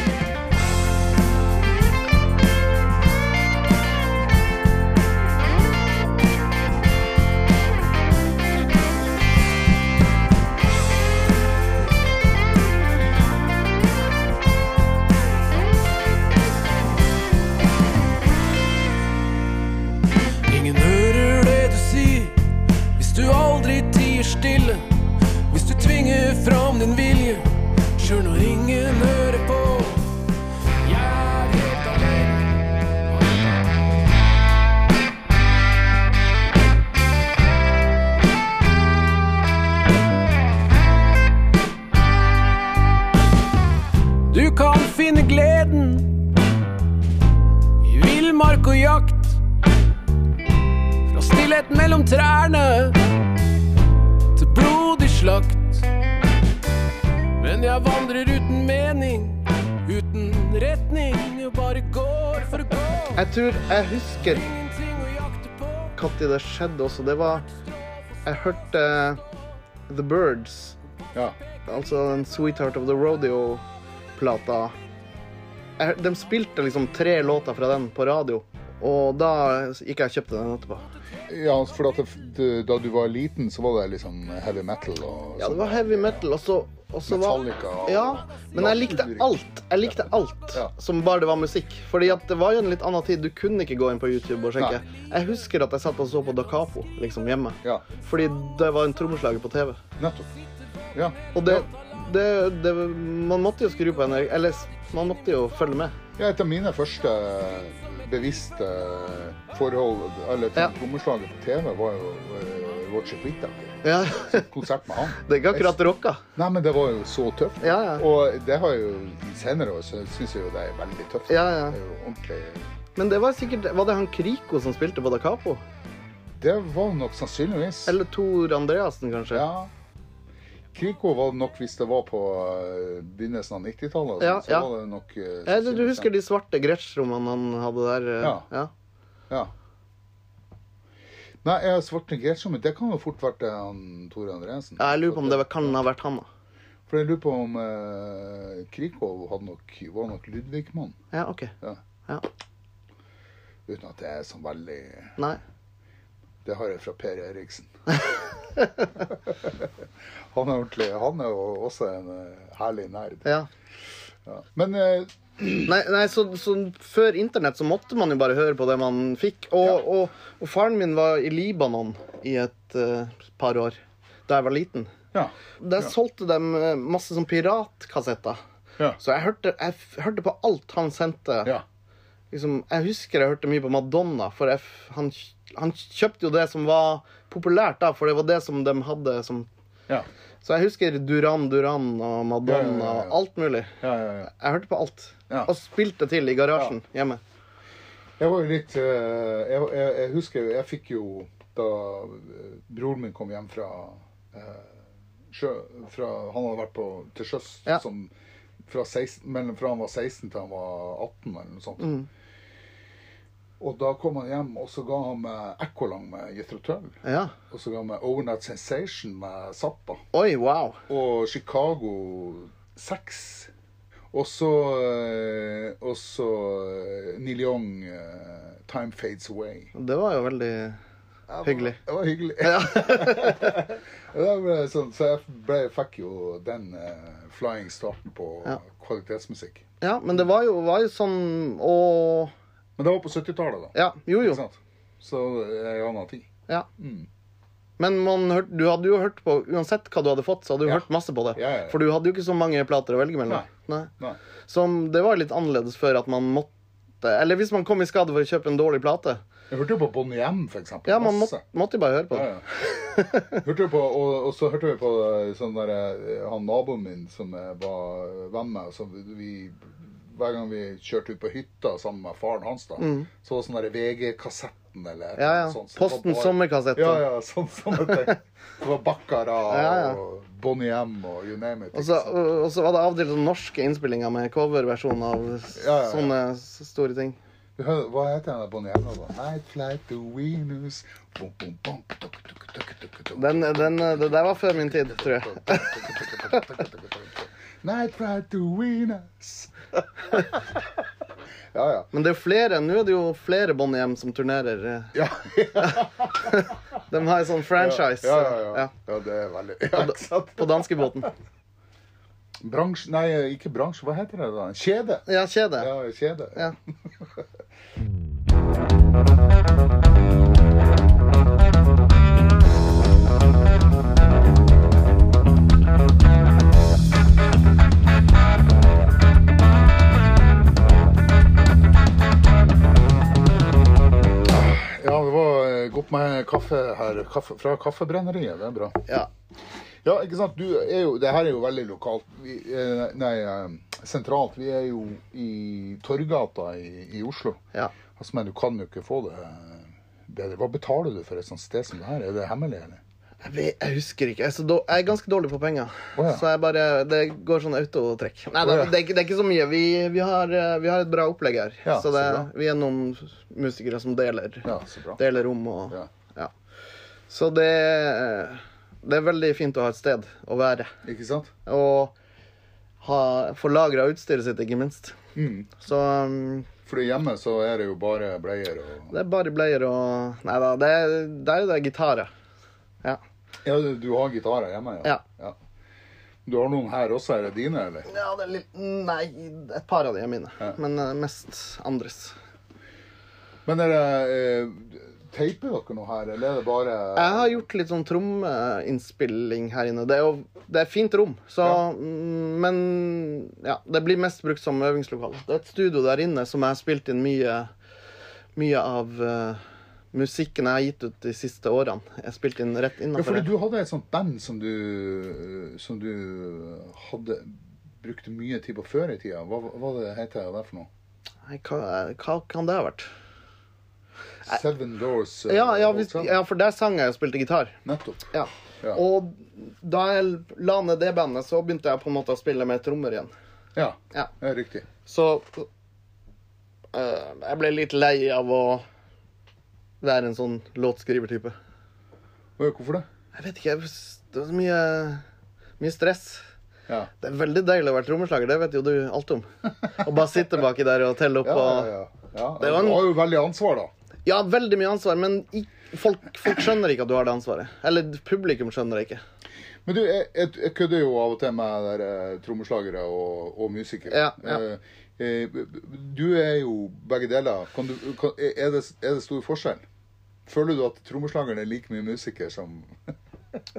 Speaker 5: ifra om din vilje, sjøl når ingen hører på. Jeg er helt alene. Du kan finne gleden i villmark og jakt. Fra stillhet mellom trærne til blodig slakt. Men jeg vandrer uten mening, uten retning, og bare går for å gå.
Speaker 2: Jeg tror jeg husker
Speaker 5: Ingenting å jakte på.
Speaker 2: når det skjedde også. Det var Jeg hørte eh, The Birds,
Speaker 1: Ja.
Speaker 2: altså den Sweetheart of the Rodeo-plata. Jeg hør- De spilte liksom tre låter fra den på radio, og da gikk jeg og kjøpte den etterpå.
Speaker 1: ja altså, for at det, da du var liten, så var det liksom heavy metal og
Speaker 2: Ja, det
Speaker 1: sånn.
Speaker 2: var heavy metal, og så og så var-
Speaker 1: Metallica og-
Speaker 2: Ja, men jeg likte
Speaker 1: Ulrik.
Speaker 2: alt. Jeg likte alt
Speaker 1: Ja.
Speaker 2: som bare det var musikk. Fordi at det var jo en litt annen tid. Du kunne ikke gå inn på YouTube og sjekke. Jeg husker at jeg satt og så på Da Capo liksom hjemme.
Speaker 1: Ja,
Speaker 2: Fordi det var en trommeslager på TV.
Speaker 1: nettopp. Ja.
Speaker 2: Og det, det, det Man måtte jo skru på NRK Eller s- man måtte jo følge med.
Speaker 1: Ja, et av mine første eh, bevisste eh, forhold, eller
Speaker 2: Ja.
Speaker 1: ja. trommeslaget på TV, var jo eh, Roger Whittaker.
Speaker 2: Ja,
Speaker 1: Konsert med han.
Speaker 2: Det er ikke akkurat rocka.
Speaker 1: Nei, men det var jo så tøft.
Speaker 2: Ja, ja.
Speaker 1: Og det har jo i senere år så syns jeg jo det er veldig tøft.
Speaker 2: Ja, ja.
Speaker 1: Det er jo ordentlig
Speaker 2: Men det var sikkert Var det han Kriko som spilte på Da Capo?
Speaker 1: Det var nok sannsynligvis
Speaker 2: Eller Tor Andreassen, kanskje?
Speaker 1: Ja. Kriko var det nok hvis det var på eh, begynnelsen av 90-tallet. og
Speaker 2: Ja,
Speaker 1: sånn, så
Speaker 2: ja.
Speaker 1: var det nok eh,
Speaker 2: Eller du
Speaker 1: sannsynligvis-
Speaker 2: husker de svarte Gretsch-rommene han hadde der? eh,
Speaker 1: Ja.
Speaker 2: ja.
Speaker 1: Ja. Nei, jeg har svart negert som Det kan jo fort vært det han Tore Andreassen.
Speaker 2: Ja, Jeg lurer på om det var- kan ha vært han, da.
Speaker 1: For jeg lurer på om eh, Krikov hadde nok, var nok Ludvig-mann.
Speaker 2: Ja, OK.
Speaker 1: Ja.
Speaker 2: Ja.
Speaker 1: Uten at det er sånn veldig
Speaker 2: Nei.
Speaker 1: Det har jeg fra Per Eriksen. han er ordentlig Han er jo også en eh, herlig nerd.
Speaker 2: Ja.
Speaker 1: Ja. Men eh,
Speaker 2: Nei, nei så, så før internett så måtte man jo bare høre på det man fikk. Og, og, og faren min var i Libanon i et eh, par år da jeg var liten.
Speaker 1: ja.
Speaker 2: Der solgte de eh, masse sånn piratkassetter.
Speaker 1: Ja.
Speaker 2: Så jeg hørte, jeg f- hørte på alt han sendte.
Speaker 1: ja.
Speaker 2: Liksom, jeg husker jeg hørte mye på Madonna, for jeg, f- han, kj- han kjøpte jo det som var populært da, for det var det som de hadde som
Speaker 1: Ja.
Speaker 2: Så jeg husker Duran Duran og
Speaker 1: Ja, ja,
Speaker 2: Madonna
Speaker 1: ja, ja.
Speaker 2: og alt mulig.
Speaker 1: Ja, ja, ja.
Speaker 2: Jeg hørte på alt.
Speaker 1: Ja.
Speaker 2: Og spilte til i garasjen hjemme.
Speaker 1: Jeg var jo litt eh, jeg, jeg, jeg husker jo Jeg fikk jo da eh, broren min kom hjem fra eh, sjø fra, Han hadde vært på, til sjøs
Speaker 2: Ja.
Speaker 1: som fra, 16, mellom, fra han var 16 til han var 18, eller noe sånt. Og da kom han hjem, og så ga han meg Ekkolang med Jethro Tull.
Speaker 2: Ja.
Speaker 1: Og så ga han meg Overnight Sensation med Zappa.
Speaker 2: Oi, wow.
Speaker 1: Og Chicago 6. Og så eh, Og så eh, Neil Young eh, Time Fades Away.
Speaker 2: Det var jo veldig Hyggelig.
Speaker 1: Det var hyggelig.
Speaker 2: Ja.
Speaker 1: Det ble sånn, så jeg ble, fikk jo den eh, flying starten på
Speaker 2: Ja.
Speaker 1: kvalitetsmusikk.
Speaker 2: Ja, men det var jo, var jo sånn og
Speaker 1: Men det var på 70-tallet, da.
Speaker 2: Ja, jo jo.
Speaker 1: Ikke sant? Mm. Så eh, jeg aner ting.
Speaker 2: Ja. Men man hørte, du hadde jo hørt på Uansett hva du hadde fått, så hadde du
Speaker 1: Ja.
Speaker 2: hørt masse på det.
Speaker 1: Ja, ja, ja.
Speaker 2: For du hadde jo ikke så mange plater å velge mellom. Nei.
Speaker 1: Nei.
Speaker 2: Som det var litt annerledes før at man måtte Eller hvis man kom i skade for å kjøpe en dårlig plate.
Speaker 1: Jeg hørte jo på Bonnie M, for eksempel.
Speaker 2: Ja, man må,
Speaker 1: Masse.
Speaker 2: måtte jo bare høre på
Speaker 1: Ja,
Speaker 2: det.
Speaker 1: ja. Hørte jo på, og, og så hørte vi på eh, sånn der, eh, han naboen min som jeg var venn med. Så vi, hver gang vi kjørte ut på hytta sammen med faren hans, da, så var det sånn der VG-kassetten eller et
Speaker 2: Mm. Ja,
Speaker 1: eller
Speaker 2: ja.
Speaker 1: annet sånt Sånn som
Speaker 2: Posten
Speaker 1: var bare-
Speaker 2: sommerkassett.
Speaker 1: Ja, ja, sånn sånne ting. Det var Baccara
Speaker 2: Ja, ja.
Speaker 1: og Bonnie M og you name it.
Speaker 2: Og
Speaker 1: ikke
Speaker 2: så,
Speaker 1: sant?
Speaker 2: og og så var det av og til sånne norske innspillinger med coverversjon av s-
Speaker 1: Ja, ja, ja.
Speaker 2: sånne s- store ting.
Speaker 1: Du hører- Hva heter den der Bonnie M? da? Night flight to Venus Bom, bom, bom, tuk, tuk, tuk, tuk, tuk.
Speaker 2: Den, den, eh, det der var før min tid, tror jeg.
Speaker 1: Night flight to Venus Ja, ja.
Speaker 2: Men det er jo flere, nå er det jo flere Bonnie M som turnerer. eh.
Speaker 1: Ja,
Speaker 2: De har en sånn franchise
Speaker 1: ja, ja, ja.
Speaker 2: eh,
Speaker 1: ja det er veldig ja, ikke sant?
Speaker 2: på danskebåten.
Speaker 1: Bransje Nei, ikke bransje. Hva heter det? da? Kjede.
Speaker 2: Ja, kjede.
Speaker 1: Ja, kjede.
Speaker 2: Ja.
Speaker 1: opp eh, med kaffe her kaffe, fra Kaffebrenneriet. Det er bra.
Speaker 2: Ja.
Speaker 1: Ja, ikke sant. Du er jo Det her er jo veldig lokalt. Vi, eh, nei, eh, sentralt. Vi er jo i Torgata i, i Oslo.
Speaker 2: ja.
Speaker 1: Altså, men du kan jo ikke få det eh, bedre. Hva betaler du for et sånt sted som det her? Er det hemmelig, eller?
Speaker 2: Jeg, vet, jeg husker ikke. Jeg er, så dår- jeg er ganske dårlig på penger.
Speaker 1: Å, ja.
Speaker 2: Så jeg bare, det går sånn autotrekk. Nei, det,
Speaker 1: Å, ja.
Speaker 2: det, er ikke- det er ikke så mye. Vi, vi, har, eh, vi har et bra opplegg her.
Speaker 1: Ja,
Speaker 2: så
Speaker 1: så
Speaker 2: det,
Speaker 1: bra.
Speaker 2: vi er noen musikere som deler,
Speaker 1: Ja, så bra.
Speaker 2: deler rom og
Speaker 1: Ja.
Speaker 2: ja. Så det, eh, det er veldig fint å ha et sted å være.
Speaker 1: Ikke sant?
Speaker 2: Og ha, få lagra utstyret sitt, ikke minst. Så um,
Speaker 1: For hjemme så er det jo bare bleier og
Speaker 2: det er bare bleier og Nei da, det, er- der er det gitarer. Ja.
Speaker 1: Ja, du- du har gitarer hjemme,
Speaker 2: Ja.
Speaker 1: ja. Du har noen her også. Er det dine, eller?
Speaker 2: Ja, det er litt Nei, et par av de er mine. Men eh, mest andres.
Speaker 1: Men er det eh, Teiper dere noe her, eller er det bare
Speaker 2: Jeg har gjort litt sånn trommeinnspilling her inne. Det er jo det er fint rom, så mm, Men ja, det blir mest brukt som øvingslokale. Det er et studio der inne som jeg har spilt inn mye, mye av eh, musikken jeg har gitt ut de siste årene. Jeg har spilt inn rett
Speaker 1: Ja,
Speaker 2: innafor
Speaker 1: fordi
Speaker 2: det.
Speaker 1: du hadde et sånt band som du, eh, som du eh, hadde brukte mye tid på før i tida. Hva, hva det heter det for noe?
Speaker 2: Nei, Hva, hva kan det ha vært?
Speaker 1: Seven Doors eh,
Speaker 2: Ja, ja, hvis,
Speaker 1: Hotel.
Speaker 2: ja for der sang jeg og spilte gitar.
Speaker 1: Nettopp.
Speaker 2: Ja.
Speaker 1: Ja.
Speaker 2: Og da jeg la ned det bandet, så begynte jeg på en måte å spille med trommer igjen.
Speaker 1: Ja,
Speaker 2: Ja.
Speaker 1: ja riktig.
Speaker 2: Så øh, jeg ble litt lei av å være en sånn låtskrivertype.
Speaker 1: Oi, Hvorfor det?
Speaker 2: Jeg vet ikke, jeg, det var så mye, mye stress.
Speaker 1: Ja.
Speaker 2: Det er veldig deilig å være trommeslager, det vet jo du alt om. Å bare sitte baki der og telle opp
Speaker 1: Ja, ja,
Speaker 2: og
Speaker 1: ja. ja.
Speaker 2: Det var en-
Speaker 1: Du har jo veldig ansvar, da.
Speaker 2: Ja, veldig mye ansvar, men i, folk, folk skjønner ikke at du har det ansvaret. Eller publikum skjønner det ikke.
Speaker 1: Men du, jeg, jeg, jeg kødder jo av og til med der, eh, trommeslagere og, og musikere.
Speaker 2: Ja, ja.
Speaker 1: Eh, eh, Du er jo begge deler. Kan du, kan, er, det, er det stor forskjell? Føler du at trommeslageren er like mye musiker som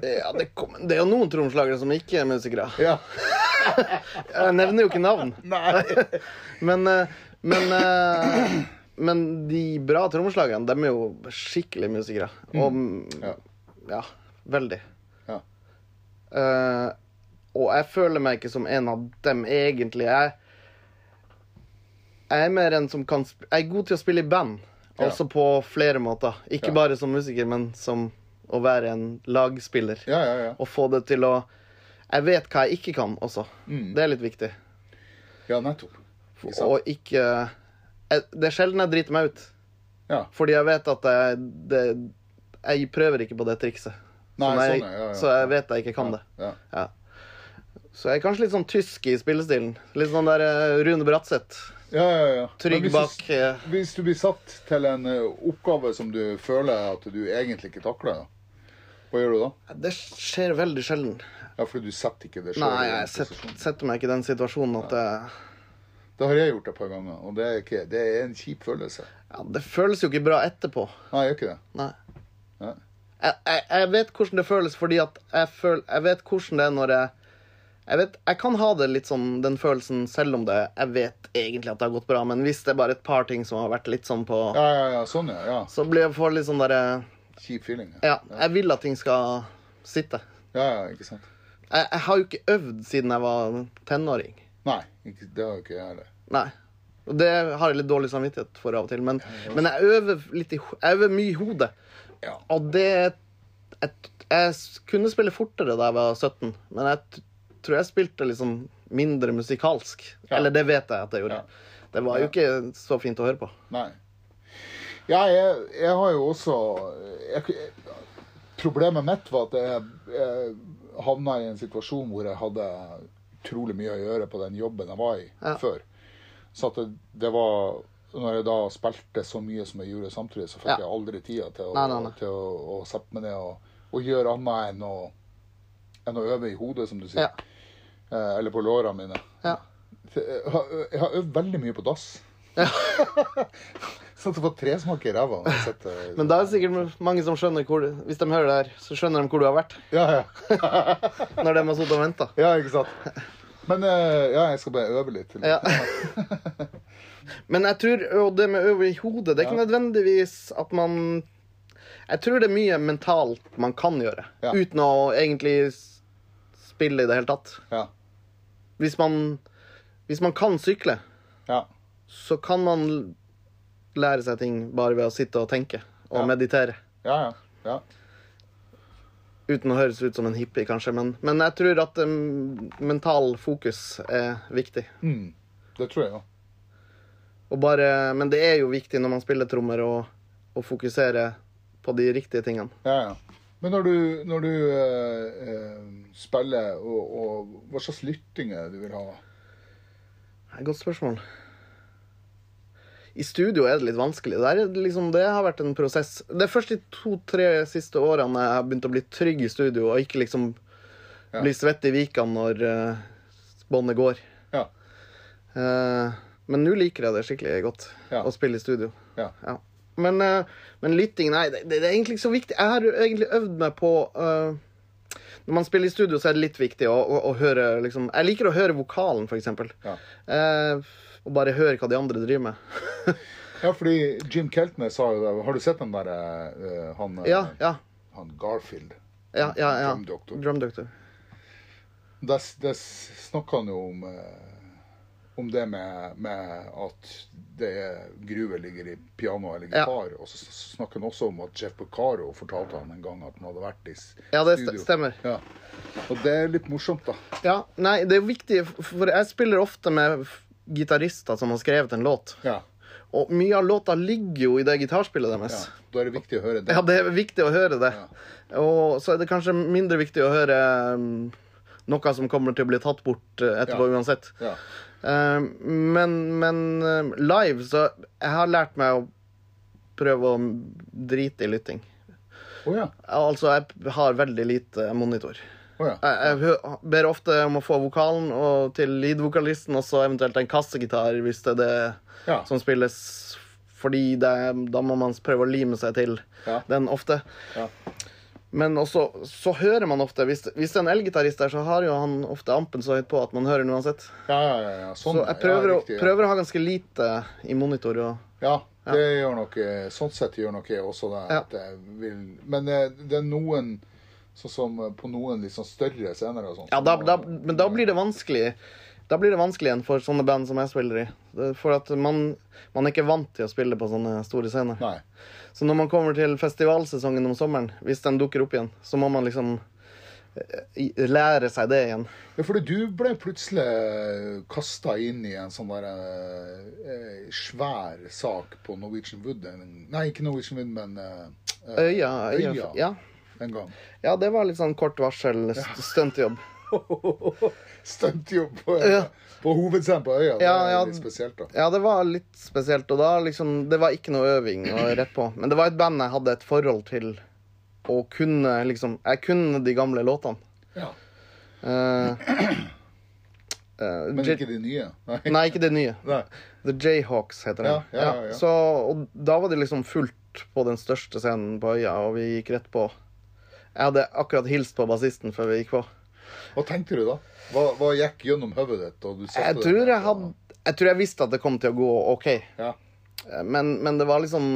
Speaker 2: Ja, det, kom, det er jo noen trommeslagere som ikke er musikere.
Speaker 1: Ja.
Speaker 2: Jeg nevner jo ikke navn.
Speaker 1: Nei.
Speaker 2: Men, eh, men, eh, men de bra trommeslagerne, de er jo skikkelig musikere. Og
Speaker 1: Mm. Ja.
Speaker 2: ja, veldig.
Speaker 1: Ja.
Speaker 2: Eh, og jeg føler meg ikke som en av dem egentlig. Jeg, jeg er mer en som kan sp Jeg er god til å spille i band,
Speaker 1: Ja.
Speaker 2: altså på flere måter. Ikke
Speaker 1: Ja.
Speaker 2: bare som musiker, men som å være en lagspiller.
Speaker 1: Ja, ja, ja.
Speaker 2: Og få det til å Jeg vet hva jeg ikke kan også.
Speaker 1: Mm.
Speaker 2: Det er litt viktig.
Speaker 1: Ja, nettopp. Ikke sant?
Speaker 2: Og ikke jeg, Det er sjelden jeg driter meg ut.
Speaker 1: Ja.
Speaker 2: Fordi jeg vet at jeg det, Jeg prøver ikke på det trikset.
Speaker 1: Nei,
Speaker 2: Som jeg,
Speaker 1: sånn, ja, ja, ja.
Speaker 2: Så jeg vet jeg ikke kan det.
Speaker 1: Ja.
Speaker 2: Så jeg er kanskje litt sånn tysk i spillestilen. Litt sånn der eh, Rune Bratseth.
Speaker 1: Ja, ja, ja. Men
Speaker 2: Trygg
Speaker 1: hvis du-
Speaker 2: bak eh,
Speaker 1: Hvis du blir satt til en eh, oppgave som du føler at du egentlig ikke takler, da, hva gjør du da?
Speaker 2: Det skjer veldig sjelden.
Speaker 1: Ja, fordi du setter ikke det sjøl.
Speaker 2: Nei, jeg setter, setter meg ikke i den situasjonen at eh, jeg
Speaker 1: Det har jeg gjort et par ganger, og det er, ikke, det er en kjip følelse.
Speaker 2: ja, Det føles jo ikke bra etterpå.
Speaker 1: Nei, jeg gjør ikke det.
Speaker 2: Nei.
Speaker 1: Nei.
Speaker 2: Jeg, jeg, jeg vet hvordan det føles, fordi at jeg, føl, jeg vet hvordan det er når jeg jeg, vet, jeg kan ha det litt sånn, den følelsen selv om det Jeg vet egentlig at det har gått bra, men hvis det er bare et par ting som har vært litt sånn på
Speaker 1: Ja, ja, ja, sånn, ja. ja.
Speaker 2: Så blir jeg for litt sånn derre
Speaker 1: Kjip feeling. Ja.
Speaker 2: Ja, jeg vil at ting skal sitte.
Speaker 1: ja, ja, ikke sant.
Speaker 2: Jeg, jeg har jo ikke øvd siden jeg var tenåring.
Speaker 1: Nei, ikke, det har jo ikke jeg heller.
Speaker 2: Nei. Og det har jeg litt dårlig samvittighet for av og til, men, men jeg øver litt i ho- Jeg øver mye i hodet.
Speaker 1: Ja.
Speaker 2: Og det jeg, jeg s- kunne spille fortere da jeg var 17, men jeg t tror jeg spilte liksom mindre musikalsk.
Speaker 1: Ja.
Speaker 2: Eller det vet jeg at jeg gjorde.
Speaker 1: Ja.
Speaker 2: Det var jo ikke så fint å høre på.
Speaker 1: Nei. Ja, jeg, jeg har jo også jeg, jeg, Problemet mitt var at jeg, jeg havna i en situasjon hvor jeg hadde utrolig mye å gjøre på den jobben jeg var i
Speaker 2: Ja.
Speaker 1: før. Så at det, det var Når jeg da spilte så mye som jeg gjorde samtidig, så fikk
Speaker 2: Ja.
Speaker 1: jeg aldri tida til å,
Speaker 2: Nei, nei, nei.
Speaker 1: Til å, å sette meg ned og, og gjøre annet enn å, enn å øve i hodet, som du sier.
Speaker 2: Ja.
Speaker 1: Eh, eller på låra mine.
Speaker 2: Ja.
Speaker 1: Jeg har, eh, jeg har øvd veldig mye på dass. sånn at du får tresmak i ræva. når jeg eh, sitter-
Speaker 2: Men da er det sikkert mange som skjønner hvor du- Hvis de hører det her, så skjønner de hvor du har vært.
Speaker 1: ja, ja.
Speaker 2: Når de har sittet og venta.
Speaker 1: ja, ikke sant. Men eh, ja, jeg skal bare øve litt. til.
Speaker 2: Ja. Men jeg tror og det med øve i hodet Det er ikke nødvendigvis at man Jeg tror det er mye mentalt man kan gjøre,
Speaker 1: Ja.
Speaker 2: uten å egentlig s- spille i det hele tatt.
Speaker 1: Ja.
Speaker 2: Hvis man, hvis man kan sykle,
Speaker 1: ja.
Speaker 2: så kan man l- lære seg ting bare ved å sitte og tenke og
Speaker 1: Ja.
Speaker 2: meditere.
Speaker 1: Ja, ja. ja.
Speaker 2: Uten å høres ut som en hippie, kanskje, men, men jeg tror at um, mental fokus er viktig.
Speaker 1: Mm. Det tror jeg òg.
Speaker 2: Og bare, men det er jo viktig når man spiller trommer, å- å fokusere på de riktige tingene.
Speaker 1: Ja, ja. Men når du, når du eh, eh, spiller, og, og hva slags lytting er det du vil ha?
Speaker 2: Det er et Godt spørsmål. I studio er det litt vanskelig. Det, er liksom, det har vært en prosess. Det er først de to-tre siste årene jeg har begynt å bli trygg i studio, og ikke liksom
Speaker 1: Ja.
Speaker 2: bli svett i vikene når eh, båndet går.
Speaker 1: Ja.
Speaker 2: Eh, men nå liker jeg det skikkelig godt
Speaker 1: Ja.
Speaker 2: å spille i studio.
Speaker 1: Ja.
Speaker 2: Men, eh, men lytting, nei, det, det er egentlig ikke så viktig. Jeg har jo egentlig øvd meg på eh, Når man spiller i studio, så er det litt viktig å, å, å høre liksom Jeg liker å høre vokalen, for eksempel.
Speaker 1: Ja.
Speaker 2: Eh, og bare høre hva de andre driver med.
Speaker 1: ja, fordi Jim Keltner sa jo det. Har du sett den derre eh, han, eh,
Speaker 2: Ja, ja.
Speaker 1: han Garfield?
Speaker 2: ja, ja, ja.
Speaker 1: Drum Doctor.
Speaker 2: Drum Doctor.
Speaker 1: Der, s- der s- snakker han jo om, eh, om det med, med at det er gruve ligger i piano eller
Speaker 2: Ja.
Speaker 1: gitar. Og så s- snakker han også om at Jeff Beccaro fortalte han en gang at han hadde vært i s-
Speaker 2: Ja, det st-
Speaker 1: studio.
Speaker 2: stemmer.
Speaker 1: Ja. Og det er litt morsomt, da.
Speaker 2: Ja, nei, det er viktig, for jeg spiller ofte med f- gitarister som har skrevet en låt.
Speaker 1: Ja.
Speaker 2: Og mye av låta ligger jo i det gitarspillet deres.
Speaker 1: ja. Da er det viktig å høre det.
Speaker 2: Ja, det er viktig å høre det. Og så er det kanskje mindre viktig å høre um, noe som kommer til å bli tatt bort uh, etterpå
Speaker 1: Ja.
Speaker 2: uansett.
Speaker 1: Ja.
Speaker 2: Um, men men um, live, så Jeg har lært meg å prøve å drite i lytting.
Speaker 1: Å ja.
Speaker 2: Altså, jeg har veldig lite monitor.
Speaker 1: Å ja.
Speaker 2: Jeg, jeg hø- ber ofte om å få vokalen og til lead-vokalisten, og så eventuelt en kassegitar, hvis det er det
Speaker 1: Ja.
Speaker 2: som spilles. Fordi det, da må man prøve å lime seg til
Speaker 1: Ja.
Speaker 2: den ofte.
Speaker 1: Ja.
Speaker 2: Men også, så hører man ofte Hvis, hvis det er en elgitarist der, så har jo han ofte ampen så høyt på at man hører den uansett.
Speaker 1: Ja, ja, ja, ja. Sånn.
Speaker 2: Så jeg prøver,
Speaker 1: ja,
Speaker 2: å,
Speaker 1: riktig, ja.
Speaker 2: prøver å ha ganske lite i monitor. Og,
Speaker 1: Ja, det gjør nok eh, Sånn sett gjør nok jeg også det.
Speaker 2: Ja.
Speaker 1: At jeg vil, men eh, det er noen Sånn som eh, på noen litt sånn større scener og sånt
Speaker 2: ja,
Speaker 1: så
Speaker 2: da,
Speaker 1: må-
Speaker 2: da, men da blir det vanskelig. Da blir det vanskelig igjen for sånne band som jeg spiller i. Det- For at man, man er ikke vant til å spille på sånne store scener.
Speaker 1: Nei.
Speaker 2: Så når man kommer til festivalsesongen om sommeren, hvis den dukker opp igjen, så må man liksom eh, i- lære seg det igjen.
Speaker 1: Ja, fordi du ble plutselig kasta inn i en sånn der eh, eh, svær sak på Norwegian Wood en, Nei, ikke Norwegian Wood, men eh, eh,
Speaker 2: Øya, øya,
Speaker 1: Øya.
Speaker 2: Ja.
Speaker 1: en gang.
Speaker 2: ja, det var litt sånn kort varsel, st- stuntjobb.
Speaker 1: Stuntjobb på,
Speaker 2: Ja.
Speaker 1: på hovedscenen på øya.
Speaker 2: Ja,
Speaker 1: det er
Speaker 2: ja.
Speaker 1: litt spesielt, da.
Speaker 2: Ja, det var litt spesielt, og da liksom Det var ikke noe øving og rett på. Men det var et band jeg hadde et forhold til og kunne liksom Jeg kunne de gamle låtene.
Speaker 1: Ja.
Speaker 2: Eh, eh,
Speaker 1: Men
Speaker 2: J-
Speaker 1: ikke de nye. Nei.
Speaker 2: Nei, ikke det nye.
Speaker 1: Nei.
Speaker 2: The Jayhawks heter den.
Speaker 1: Ja, ja, ja, ja.
Speaker 2: Så, og da var det liksom fullt på den største scenen på øya, og vi gikk rett på. Jeg hadde akkurat hilst på bassisten før vi gikk på.
Speaker 1: Hva tenkte du da? Hva, hva gikk gjennom hodet ditt? da du satte
Speaker 2: Jeg
Speaker 1: deg
Speaker 2: tror
Speaker 1: ned
Speaker 2: jeg,
Speaker 1: på-
Speaker 2: hadde, jeg tror jeg visste at det kom til å gå OK.
Speaker 1: Ja.
Speaker 2: Men, men det var liksom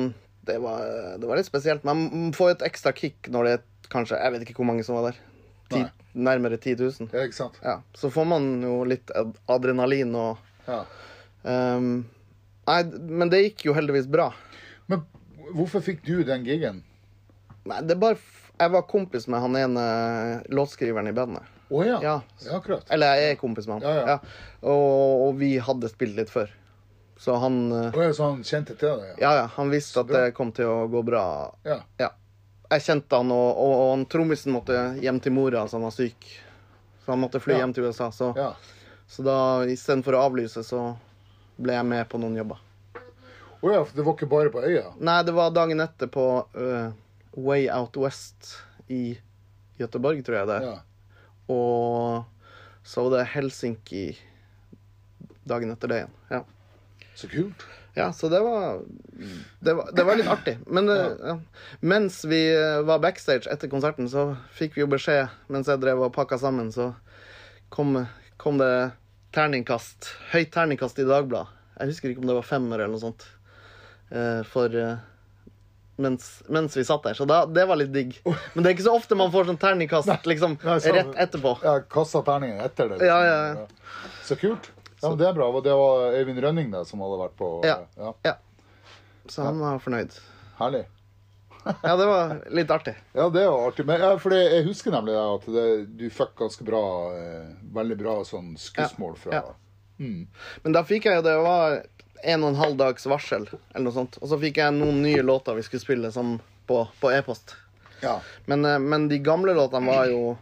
Speaker 2: det var, det var litt spesielt. Man får jo et ekstra kick når det er kanskje Jeg vet ikke hvor mange som var der. Ti, nærmere 10 000.
Speaker 1: Ja, ikke sant?
Speaker 2: Ja. Så får man jo litt ad- adrenalin og
Speaker 1: Ja.
Speaker 2: ehm, Nei, men det gikk jo heldigvis bra.
Speaker 1: Men hvorfor fikk du den gigen?
Speaker 2: Nei, det er bare f- Jeg var kompis med han ene eh, låtskriveren i bandet.
Speaker 1: Å ja. ja.
Speaker 2: Ja.
Speaker 1: Akkurat.
Speaker 2: Eller jeg er kompis med han.
Speaker 1: Ja, ja.
Speaker 2: Og, og vi hadde spilt litt før. Så han eh,
Speaker 1: Å ja, så han kjente til det? Ja.
Speaker 2: Ja, ja, han visste at
Speaker 1: bra.
Speaker 2: det kom til å gå bra.
Speaker 1: ja.
Speaker 2: Ja. Jeg kjente han, og, og, og han trommisen måtte hjem til mora, som var syk. Så han måtte fly
Speaker 1: Ja.
Speaker 2: hjem til USA. Så,
Speaker 1: ja.
Speaker 2: så da, istedenfor å avlyse, så ble jeg med på noen jobber.
Speaker 1: Å ja, for det var ikke bare på øya?
Speaker 2: Nei, det var dagen etter på øh, Way Out West i Göteborg, tror jeg det er.
Speaker 1: Ja.
Speaker 2: Og så var det Helsinki dagen etter det igjen. Ja.
Speaker 1: Så kult.
Speaker 2: Ja, så det var Det var, det var litt artig. Men det, ja. mens vi eh, var backstage etter konserten, så fikk vi jo beskjed mens jeg drev og pakka sammen, så kom, kom det terningkast. Høyt terningkast i Dagbladet. Jeg husker ikke om det var femmer eller noe sånt. eh, For eh, mens, mens vi satt der. Så da, det var litt digg. Men det er ikke så ofte man får sånn terningkast liksom,
Speaker 1: Nei, så-
Speaker 2: rett etterpå.
Speaker 1: Ja, Kasta terningen etter det.
Speaker 2: Ja, ja, ja.
Speaker 1: Så kult. Ja, men Det er bra. Og det var Øyvind Rønning det, som hadde vært på
Speaker 2: Ja.
Speaker 1: ja.
Speaker 2: Så han var fornøyd.
Speaker 1: Herlig.
Speaker 2: Ja, det var litt artig.
Speaker 1: Ja, det var artig. Men, ja, for det, jeg husker nemlig det at det, du fikk ganske bra eh, Veldig bra sånn skussmål fra
Speaker 2: Ja. Men da fikk jeg jo det var en og en halv dags varsel, eller noe sånt. Og så fikk jeg noen nye låter vi skulle spille sånn på, på e-post.
Speaker 1: Ja.
Speaker 2: Men, eh, men de gamle låtene var jo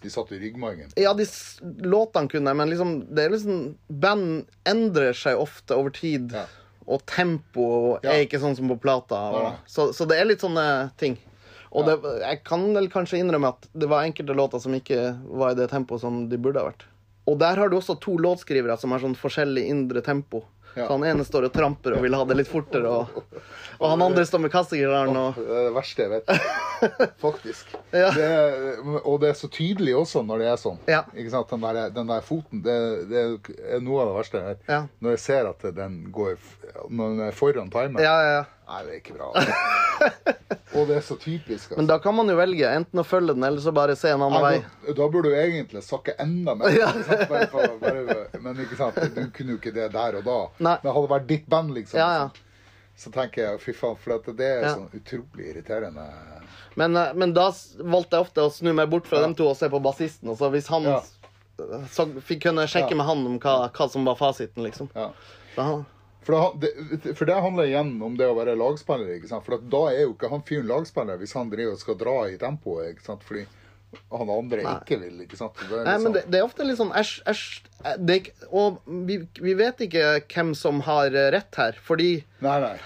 Speaker 1: De satt i ryggmargen.
Speaker 2: Ja, de s- låtene kunne jeg, men liksom, det er liksom Band endrer seg ofte over tid.
Speaker 1: Ja.
Speaker 2: Og tempo
Speaker 1: Ja.
Speaker 2: er ikke sånn som på plata. Og,
Speaker 1: Nei, nei.
Speaker 2: så, så det er litt sånne ting. Og det, jeg kan vel kanskje innrømme at det var enkelte låter som ikke var i det tempoet som de burde ha vært. Og der har du også to låtskrivere som har sånn forskjellig indre tempo.
Speaker 1: Ja.
Speaker 2: Så han ene står og tramper og vil ha det litt fortere, og, og han andre står med kassegitaren og
Speaker 1: Det er det verste jeg vet. Faktisk.
Speaker 2: Ja.
Speaker 1: Det er, og det er så tydelig også når det er sånn.
Speaker 2: Ja.
Speaker 1: Ikke sant? Den, der, den der foten, det, det er noe av det verste jeg vet.
Speaker 2: Ja.
Speaker 1: Når jeg ser at den går f- Når den er foran timer.
Speaker 2: Ja, ja, ja.
Speaker 1: Nei, det er ikke bra. og det er så typisk.
Speaker 2: Men
Speaker 1: Altså.
Speaker 2: da kan man jo velge enten å følge den, eller så bare se en annen
Speaker 1: Nei,
Speaker 2: vei.
Speaker 1: da, da burde du egentlig sakke enda mer. ikke sant? Bare, for- bare, men ikke sant, du kunne jo ikke det der og da.
Speaker 2: Nei.
Speaker 1: Men hadde det vært ditt band, liksom,
Speaker 2: Ja, ja.
Speaker 1: så tenker jeg fy faen, for at det er
Speaker 2: Ja.
Speaker 1: sånn utrolig irriterende.
Speaker 2: Men, eh, men da s- valgte jeg ofte å snu meg bort fra dem to og se på bassisten. Og så hvis han
Speaker 1: Ja.
Speaker 2: så fikk kunne jeg sjekke
Speaker 1: Ja.
Speaker 2: med han om hva, hva som var fasiten, liksom.
Speaker 1: Ja.
Speaker 2: Så han,
Speaker 1: For, da, det, for det handler igjen om det å være lagspiller. ikke sant? For at da er jo ikke han fyren lagspiller, hvis han driver og skal dra i tempoet. ikke sant? Fordi han andre ikke vil, ikke sant? Det er
Speaker 2: nei,
Speaker 1: liksom-
Speaker 2: men det, det er ofte litt sånn æsj, æsj eh, det er ikke- Og vi, vi vet ikke hvem som har eh, rett her, fordi
Speaker 1: Nei, nei.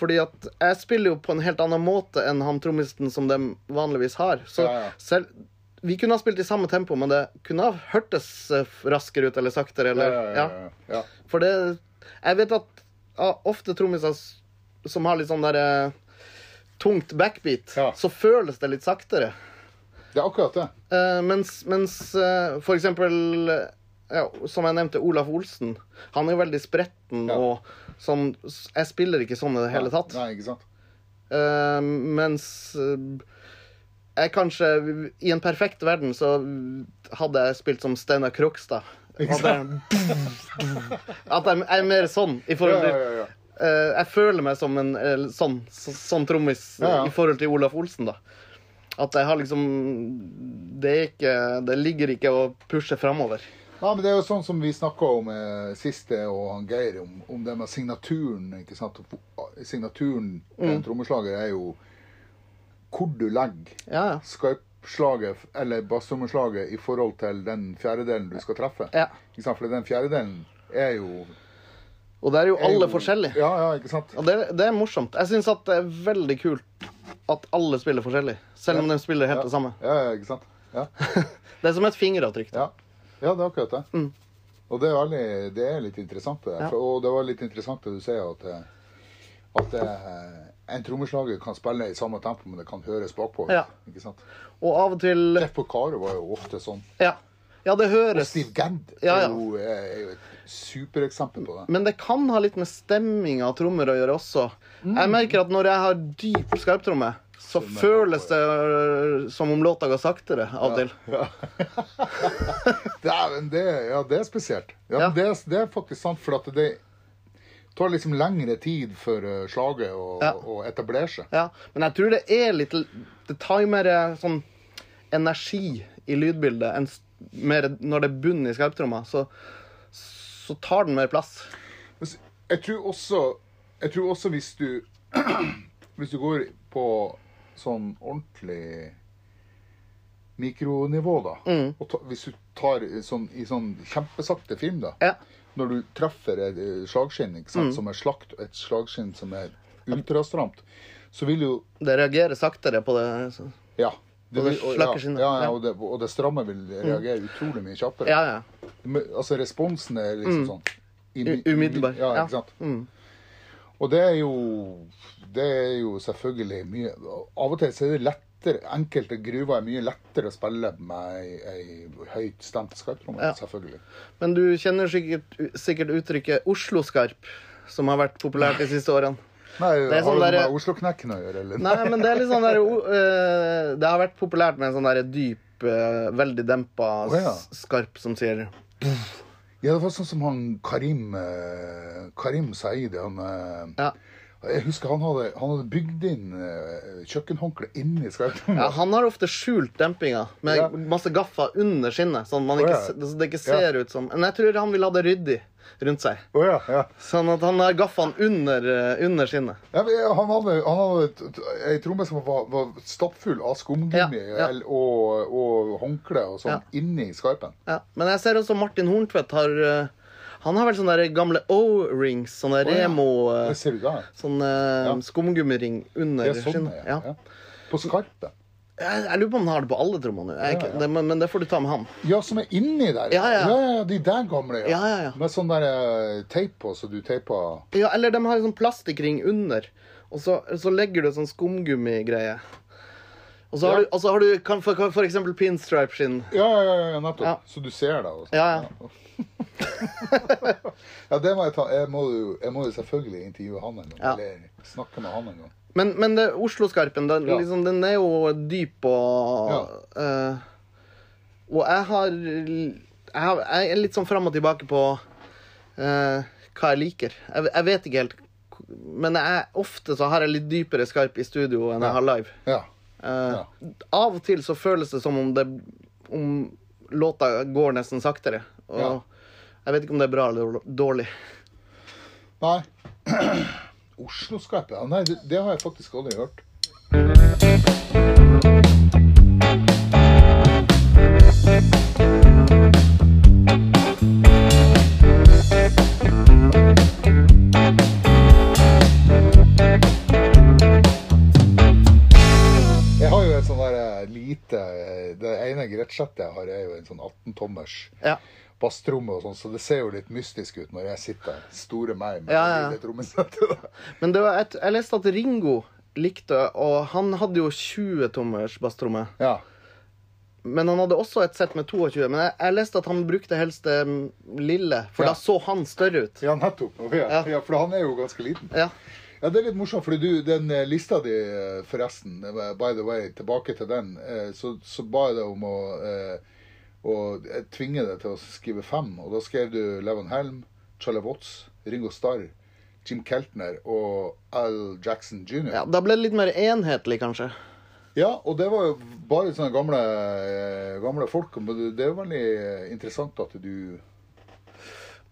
Speaker 2: fordi at jeg spiller jo på en helt annen måte enn han trommisen som de vanligvis har. Så
Speaker 1: Ja, ja.
Speaker 2: selv Vi kunne ha spilt i samme tempo, men det kunne ha hørtes eh, raskere ut eller saktere.
Speaker 1: Ja,
Speaker 2: Eller,
Speaker 1: ja, ja, ja. ja.
Speaker 2: For det Jeg vet at ja, ofte trommiser s- som har litt sånn der eh, tungt backbeat,
Speaker 1: Ja.
Speaker 2: så føles det litt saktere.
Speaker 1: Det er akkurat det.
Speaker 2: Eh, mens mens eh, for eksempel eh, ja, Som jeg nevnte, Olaf Olsen. Han er jo veldig spretten
Speaker 1: Ja.
Speaker 2: og sånn s- Jeg spiller ikke sånn i det hele tatt.
Speaker 1: Nei, ikke sant?
Speaker 2: Eh, mens eh, jeg kanskje I en perfekt verden så hadde jeg spilt som Steinar Krokstad.
Speaker 1: Ikke
Speaker 2: At jeg, at jeg jeg er mer sånn i
Speaker 1: Ja,
Speaker 2: forhold til
Speaker 1: ja, ja, ja.
Speaker 2: Eh, jeg føler meg som en eh, sånn, så, sånn trommis eh,
Speaker 1: Ja, ja.
Speaker 2: i forhold til Olaf Olsen, da. At jeg har liksom Det, er ikke, det ligger ikke å pushe framover.
Speaker 1: Nei, men Det er jo sånn som vi snakka om eh, sist, jeg og han Geir, om, om det med signaturen. ikke sant? Signaturen
Speaker 2: Mm.
Speaker 1: til en trommeslager er jo hvor du legger
Speaker 2: Ja, ja.
Speaker 1: skarpslaget f- eller basstrommeslaget i forhold til den fjerdedelen du skal treffe.
Speaker 2: Ja.
Speaker 1: Ikke sant? For den fjerdedelen er jo
Speaker 2: Og det er jo
Speaker 1: er
Speaker 2: alle
Speaker 1: jo-
Speaker 2: forskjellige.
Speaker 1: Ja, ja, ikke sant?
Speaker 2: Og det, det er morsomt. Jeg syns at det er veldig kult at alle spiller forskjellig. Selv om de spiller helt det samme.
Speaker 1: Ja, ja, ikke sant? Ja,
Speaker 2: Det er som et fingeravtrykk. da.
Speaker 1: ja. ja det er akkurat det. Og det er, veldig, det er litt interessant, det der.
Speaker 2: Mm. Ja.
Speaker 1: For, og det var litt interessant det du sier, at, eh, at eh, en trommeslager kan spille i samme tempo, men det kan høres bakpå.
Speaker 2: Ja.
Speaker 1: Ikke sant?
Speaker 2: Og av og til
Speaker 1: Jeff Porcaro var jo ofte sånn.
Speaker 2: Ja, ja det
Speaker 1: Og
Speaker 2: høres.
Speaker 1: Steve Gadd
Speaker 2: Ja, ja.
Speaker 1: er, jo, er jo et supereksempel på det.
Speaker 2: Men det kan ha litt med stemminga av trommer å gjøre også. Jeg merker at når jeg har dyp skarptromme, så føles det øh, som om låta går saktere av og til.
Speaker 1: Dæven, det, ja, det er spesielt. Ja,
Speaker 2: Ja.
Speaker 1: men Det, er- det er faktisk sant, for at det tar liksom lengre tid for eh, slaget å,
Speaker 2: Ja.
Speaker 1: å etablere seg.
Speaker 2: Ja. Men jeg tror det er litt Det tar jo mer eh, sånn energi i lydbildet enn s- mer når det er bunn i skarptromma. Så, så tar den mer plass.
Speaker 1: Men s- Jeg tror også, jeg tror også hvis, du, hvis du går på sånn ordentlig mikronivå, da
Speaker 2: Mm.
Speaker 1: og ta, Hvis du tar i sånn, i sånn kjempesakte film, da
Speaker 2: Ja. Mm.
Speaker 1: Når du treffer et eh, slagskinn ikke sant, som er slakt, og et slagskinn som er ultrastramt, så vil jo
Speaker 2: Det reagerer saktere på det. øh, så-
Speaker 1: Ja.
Speaker 2: Og det
Speaker 1: og-
Speaker 2: slakker
Speaker 1: ja,
Speaker 2: skinnet.
Speaker 1: Ja,
Speaker 2: Ja.
Speaker 1: ja, og, det, og det stramme vil reagere utrolig mye kjappere.
Speaker 2: Ja, ja.
Speaker 1: Men, Altså responsen er liksom sånn imi-
Speaker 2: U- umiddelbar,
Speaker 1: Ja,
Speaker 2: ja.
Speaker 1: ikke
Speaker 2: Mm.
Speaker 1: sant. Og det er jo Det er jo selvfølgelig mye Av og til så er det lettere Enkelte gruver er mye lettere å spille med ei, ei høyt stemt skarptromme,
Speaker 2: Ja.
Speaker 1: selvfølgelig.
Speaker 2: Men du kjenner sikkert, sikkert uttrykket Oslo-skarp, som har vært populært de siste årene.
Speaker 1: Nei,
Speaker 2: er
Speaker 1: har
Speaker 2: sånn
Speaker 1: det noe
Speaker 2: der-
Speaker 1: med Oslo-knekken å gjøre, eller?
Speaker 2: Nei, men det er litt sånn der o- eh, Det har vært populært med en sånn der dyp, eh, veldig dempa
Speaker 1: Å, ja.
Speaker 2: s- skarp som sier
Speaker 1: Ja, det var sånn som han Karim eh, Karim Saeed, han eh,
Speaker 2: Ja.
Speaker 1: Jeg husker han hadde, han hadde bygd inn eh, kjøkkenhåndkle inni skarpen.
Speaker 2: Ja, han har ofte skjult dempinga med
Speaker 1: Ja.
Speaker 2: masse gaffa under skinnet. Sånn at man
Speaker 1: Å,
Speaker 2: ikke,
Speaker 1: ja.
Speaker 2: se- så det ikke ser ut som Men jeg tror han vil ha det ryddig rundt seg.
Speaker 1: Å ja, ja.
Speaker 2: Sånn at han har gaffaen under, eh, under skinnet.
Speaker 1: Ja, men, eh, han hadde, han hadde t- t- ei tromme som var, var stappfull av skumgummi
Speaker 2: Ja, ja.
Speaker 1: el- og, og håndkle og sånn
Speaker 2: Ja.
Speaker 1: inni skarpen.
Speaker 2: Ja. Men jeg ser også Martin Horntvedt har eh, Han har vel sånne der gamle O-rings, sånne
Speaker 1: ja.
Speaker 2: Remo eh,
Speaker 1: Det ser du der.
Speaker 2: Sånn eh,
Speaker 1: Ja.
Speaker 2: skumgummiring under
Speaker 1: Det er sånn,
Speaker 2: skinnet.
Speaker 1: ja.
Speaker 2: Ja.
Speaker 1: ja. På skarpen.
Speaker 2: Jeg, jeg lurer på om han har det på alle trommene nå. Jeg er ikke-
Speaker 1: Ja, ja.
Speaker 2: det- Men, men det får du ta med han.
Speaker 1: Ja, som er inni der.
Speaker 2: Ja, ja.
Speaker 1: ja, ja, de der gamle,
Speaker 2: Ja, ja, ja.
Speaker 1: Med sånn der eh, teip på, så du teiper
Speaker 2: Ja, eller de har en sånn plastikkring under, og så, så legger du en sånn skumgummigreie. Og så har
Speaker 1: Ja.
Speaker 2: du, og så har du kan, for, kan, for eksempel pinstripe-skinn.
Speaker 1: Ja, ja, ja, ja nettopp.
Speaker 2: Ja.
Speaker 1: Så du ser det. Og sånn.
Speaker 2: Ja, ja.
Speaker 1: ja, det må jeg ta. Jeg må, jo, jeg må jo selvfølgelig intervjue han en gang.
Speaker 2: Ja.
Speaker 1: Eller snakke med han en gang.
Speaker 2: Men, men det- Oslo-skarpen, den,
Speaker 1: Ja.
Speaker 2: liksom, den er jo dyp og eh, Og jeg har, jeg har Jeg er litt sånn fram og tilbake på eh, hva jeg liker. Jeg, jeg vet ikke helt. k- Men jeg, ofte så har jeg litt dypere skarp i studio enn jeg har live.
Speaker 1: Ja.
Speaker 2: Eh, Av og til så føles det som om det Om låta går nesten saktere. Og
Speaker 1: Ja.
Speaker 2: jeg vet ikke om det er bra eller dårlig.
Speaker 1: Nei. Oslo-skarpe? Ja, nei, det, det har jeg faktisk aldri hørt. Jeg har jo et sånn der eh, lite eh, Det ene gretsettet jeg har, er jo en sånn 18-tommers
Speaker 2: Ja.
Speaker 1: basstromme og sånn, så det ser jo litt mystisk ut når jeg sitter der, store meg med
Speaker 2: Ja,
Speaker 1: ja,
Speaker 2: ja, ja.
Speaker 1: lille trommesettet. der.
Speaker 2: Men det var et, jeg leste at Ringo likte Og han hadde jo 20-tommers basstromme.
Speaker 1: Ja.
Speaker 2: Men han hadde også et sett med 22. Men jeg, jeg leste at han brukte helst det mm, lille, for
Speaker 1: Ja.
Speaker 2: da så han større ut.
Speaker 1: ja, nettopp. Ja.
Speaker 2: Ja.
Speaker 1: Ja, for han er jo ganske liten.
Speaker 2: Ja.
Speaker 1: Ja, Det er litt morsomt, for du, den eh, lista di, eh, forresten, eh, by the way, tilbake til den, eh, så, så ba jeg deg om å, eh, å jeg tvinge deg til å skrive fem, og da skrev du Levon Helm, Charlie Watts, Ringo Starr, Jim Keltner og Al Jackson jr.
Speaker 2: Ja, da ble det litt mer enhetlig, kanskje.
Speaker 1: Ja, og det var jo bare sånne gamle, eh, gamle folk. Men det- det er jo veldig interessant at du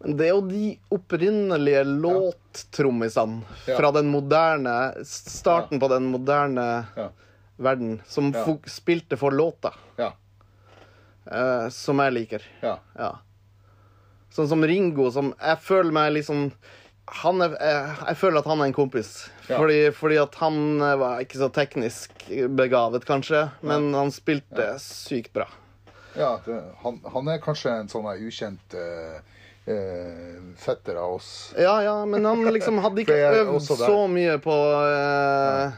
Speaker 2: Men det er jo de opprinnelige låttrommisene
Speaker 1: Ja.
Speaker 2: fra den moderne starten på den moderne
Speaker 1: Ja.
Speaker 2: verden, som
Speaker 1: Ja.
Speaker 2: fok- spilte for låta,
Speaker 1: Ja.
Speaker 2: eh, som jeg liker.
Speaker 1: ja.
Speaker 2: Ja. Sånn som Ringo, som jeg føler meg liksom han er, jeg, jeg føler at han er en kompis.
Speaker 1: Ja.
Speaker 2: Fordi, fordi at han eh, var ikke så teknisk begavet, kanskje, men han spilte sykt bra.
Speaker 1: ja det, han, han er kanskje en sånn her ukjent eh, eh, fetter av oss.
Speaker 2: Ja, ja, men han liksom hadde ikke
Speaker 1: For jeg er
Speaker 2: øvd
Speaker 1: også der.
Speaker 2: så mye på eh,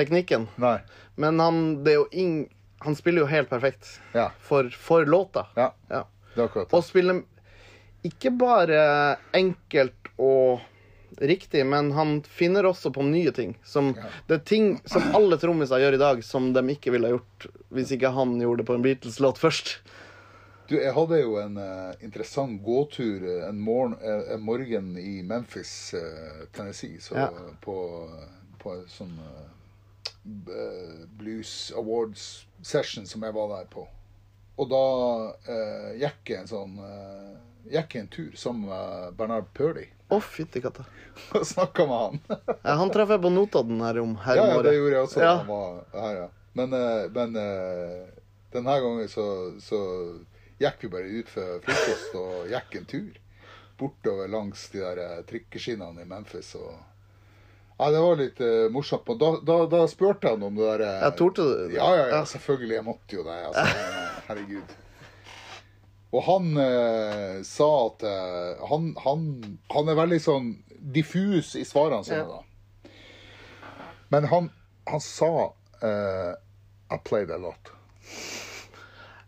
Speaker 2: teknikken.
Speaker 1: Nei.
Speaker 2: Men han, det er jo ing, han spiller jo helt perfekt
Speaker 1: Ja.
Speaker 2: for, for låta.
Speaker 1: ja
Speaker 2: Ja.
Speaker 1: det er akkurat det.
Speaker 2: Og spiller ikke bare enkelt og riktig, men han finner også på nye ting. Som, det er ting som alle trommiser gjør i dag, som de ikke ville ha gjort hvis ikke han gjorde det på en Beatles-låt først.
Speaker 1: Du, jeg hadde jo en eh, interessant gåtur eh, en, morgen, eh, en morgen i Memphis, eh, Tennessee, så,
Speaker 2: Ja.
Speaker 1: på, på en sånn eh, b- eh, Blues Awards session som jeg var der på. Og da eh, gikk jeg en sånn eh, gikk jeg en tur sammen med Bernard Purdy
Speaker 2: Å, fytti katta.
Speaker 1: og snakka med han.
Speaker 2: Ja, han traff jeg på Notodden her om her
Speaker 1: Ja,
Speaker 2: om
Speaker 1: ja, det
Speaker 2: året.
Speaker 1: gjorde jeg også.
Speaker 2: Ja.
Speaker 1: da han var her, ja. Men, eh, men eh, denne gangen så, så gikk vi bare ut for frokost og gikk en tur. Bortover langs de der eh, trikkeskinnene i Memphis. Og... Ja, det var litt eh, morsomt. Men da, da, da spurte han om det der eh,
Speaker 2: Jeg torde det.
Speaker 1: Ja, ja, ja, selvfølgelig. Jeg måtte jo det. Altså, herregud. Og han eh, sa at eh, han, han, han er veldig sånn diffus i svarene sine,
Speaker 2: Ja.
Speaker 1: da. Men han, han sa eh, I played a lot.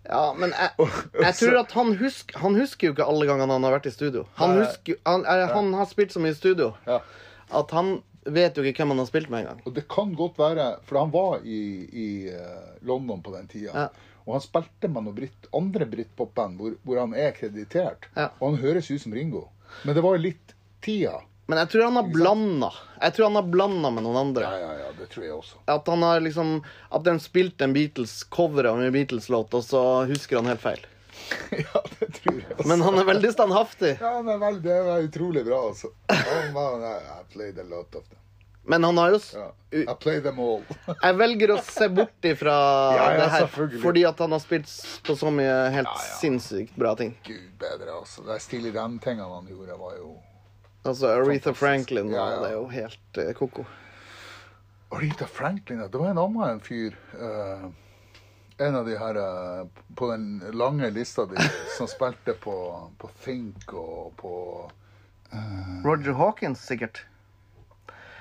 Speaker 2: Ja, men jeg, jeg tror at han husker Han husker jo ikke alle gangene han har vært i studio. Han,
Speaker 1: Nei.
Speaker 2: husker, jo- han, eh, han har spilt så mye i studio
Speaker 1: Ja.
Speaker 2: at han vet jo ikke hvem han har spilt med engang.
Speaker 1: Og det kan godt være, for han var i, i eh, London på den tida.
Speaker 2: Ja.
Speaker 1: Og han spilte med noen britt, andre britpopband hvor, hvor han er kreditert.
Speaker 2: Ja.
Speaker 1: Og han høres ut som Ringo. Men det var jo litt tida.
Speaker 2: Men jeg tror han har blanda. Jeg tror han har blanda med noen andre.
Speaker 1: Ja, ja, ja, det tror jeg også.
Speaker 2: At han har liksom At den spilte en Beatles-cover av en Beatles-låt, og så husker han helt feil.
Speaker 1: ja, det tror jeg også.
Speaker 2: Men han er veldig standhaftig.
Speaker 1: Ja, han er vel, det var utrolig bra, altså. Han var, I played a lot of them.
Speaker 2: Men han har jo s-
Speaker 1: Ja.
Speaker 2: u-
Speaker 1: I played them all.
Speaker 2: Jeg velger å se bort ifra
Speaker 1: Ja, ja,
Speaker 2: det her,
Speaker 1: selvfølgelig.
Speaker 2: fordi at han har spilt s- på så mye helt
Speaker 1: Ja, ja.
Speaker 2: sinnssykt bra ting.
Speaker 1: Gud bedre, altså. De Steely Dan-tingene han gjorde, var jo
Speaker 2: Altså Aretha
Speaker 1: Fantastisk.
Speaker 2: Franklin,
Speaker 1: Ja, ja.
Speaker 2: det er jo helt eh, koko.
Speaker 1: Aretha Franklin, ja. Det var en annen en fyr. eh, en av de her eh, på den lange lista di som spilte på, på Think og på
Speaker 2: Roger Hawkins, sikkert.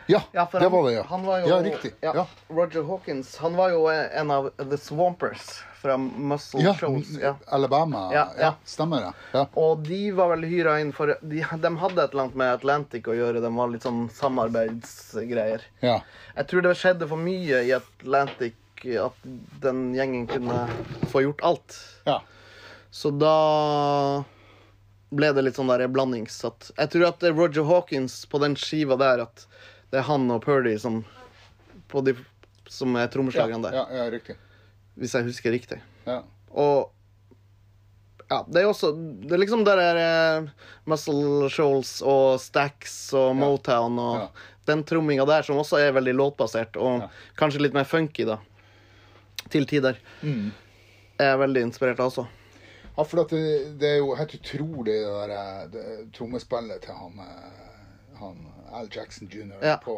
Speaker 1: Ja,
Speaker 2: Ja, for
Speaker 1: det
Speaker 2: han-
Speaker 1: var det, ja.
Speaker 2: Han var jo,
Speaker 1: ja, riktig.
Speaker 2: ja,
Speaker 1: Ja.
Speaker 2: Roger Hawkins han var jo eh, en av The Swampers fra Muscle
Speaker 1: Ja,
Speaker 2: Shoals. Ja.
Speaker 1: Alabama.
Speaker 2: Ja,
Speaker 1: Ja,
Speaker 2: ja.
Speaker 1: stemmer det. Ja.
Speaker 2: Og de var vel hyra inn for de, de hadde et eller annet med Atlantic å gjøre. De var litt sånn samarbeidsgreier.
Speaker 1: ja.
Speaker 2: Jeg tror det skjedde for mye i Atlantic at den gjengen kunne få gjort alt.
Speaker 1: ja.
Speaker 2: Så da ble det litt sånn der blandings. At jeg tror at det er Roger Hawkins på den skiva der at det er han og Purdy som, på de, som er
Speaker 1: Ja,
Speaker 2: trommeslagerne der,
Speaker 1: ja, ja, riktig.
Speaker 2: hvis jeg husker riktig.
Speaker 1: Ja.
Speaker 2: Og ja, det er også Det er liksom der er eh, Muscle Shoals og Stacks og Motown og
Speaker 1: Ja.
Speaker 2: den tromminga der som også er veldig låtbasert og kanskje litt mer funky, da. Til tider.
Speaker 1: Mm.
Speaker 2: Jeg er veldig inspirert av også.
Speaker 1: Ja, for at det, det er jo helt utrolig det der eh, det, trommespillet til han, eh, han Al Jackson jr.
Speaker 2: Ja.
Speaker 1: på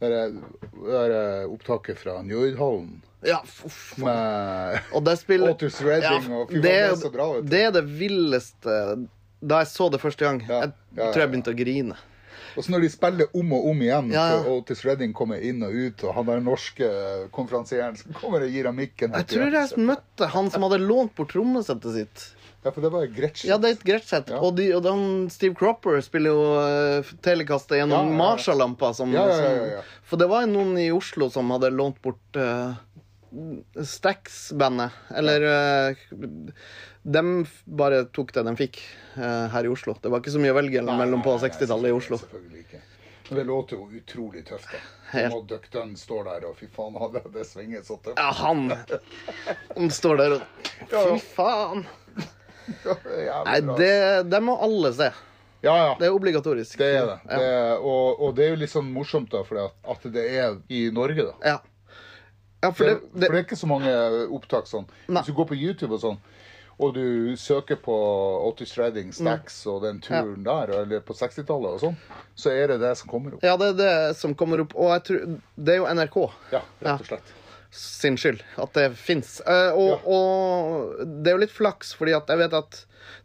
Speaker 1: det der, eh, det der eh, opptaket fra Njordhallen
Speaker 2: Ja, f- f-
Speaker 1: med
Speaker 2: og det spiller
Speaker 1: Otis Redding og fy faen, det
Speaker 2: er-
Speaker 1: er så bra, vet du.
Speaker 2: Det er det villeste Da jeg så det første gang,
Speaker 1: Ja,
Speaker 2: jeg
Speaker 1: ja, ja,
Speaker 2: tror
Speaker 1: ja.
Speaker 2: jeg begynte å grine.
Speaker 1: Og så når de spiller om og om igjen,
Speaker 2: Ja, ja.
Speaker 1: for Otis Redding kommer inn og ut, og han der norske eh, konferansieren som kommer og gir ham mikken
Speaker 2: Jeg tror jeg møtte han som hadde lånt bort trommesettet sitt.
Speaker 1: Ja, for det var Gretchen.
Speaker 2: Ja, det er et greit sett.
Speaker 1: Ja.
Speaker 2: Og, de, og den Steve Cropper spiller jo uh, telekastet
Speaker 1: Ja, ja,
Speaker 2: gjennom
Speaker 1: ja.
Speaker 2: Marshall-lampa. Som,
Speaker 1: Ja, ja, ja, ja, ja.
Speaker 2: som- For det var noen i Oslo som hadde lånt bort uh, Stax-bandet. Eller De bare tok det de fikk eh, her i Oslo. Det var ikke så mye å velge mellom på 60-tallet i Oslo.
Speaker 1: Selvfølgelig ikke. Men det låter jo utrolig tøft, da.
Speaker 2: Helt.
Speaker 1: Og Duck Dunn står der, og fy faen, hadde det svinget så tøft.
Speaker 2: Ja, han Han står der og
Speaker 1: Ja, ja.
Speaker 2: Fy faen! Nei,
Speaker 1: Jævlig bra.
Speaker 2: det, det må alle se.
Speaker 1: Ja, ja.
Speaker 2: Det er obligatorisk.
Speaker 1: Det er det. det er, og, og det er jo litt sånn morsomt, da, for at at det er i Norge, da.
Speaker 2: Ja. ja,
Speaker 1: For
Speaker 2: for
Speaker 1: det,
Speaker 2: det,
Speaker 1: for det er ikke så mange opptak sånn.
Speaker 2: Nei.
Speaker 1: Hvis du går på YouTube og sånn, og du søker på Otis
Speaker 2: Mm.
Speaker 1: Redding, Stacks og den turen der, eller på 60-tallet og sånn, så er det det som kommer opp.
Speaker 2: Ja, det er det som kommer opp. Og jeg tror, det er jo NRK
Speaker 1: Ja, rett og slett.
Speaker 2: sin skyld at det fins. Eh, og, og det er jo litt flaks, fordi at jeg vet at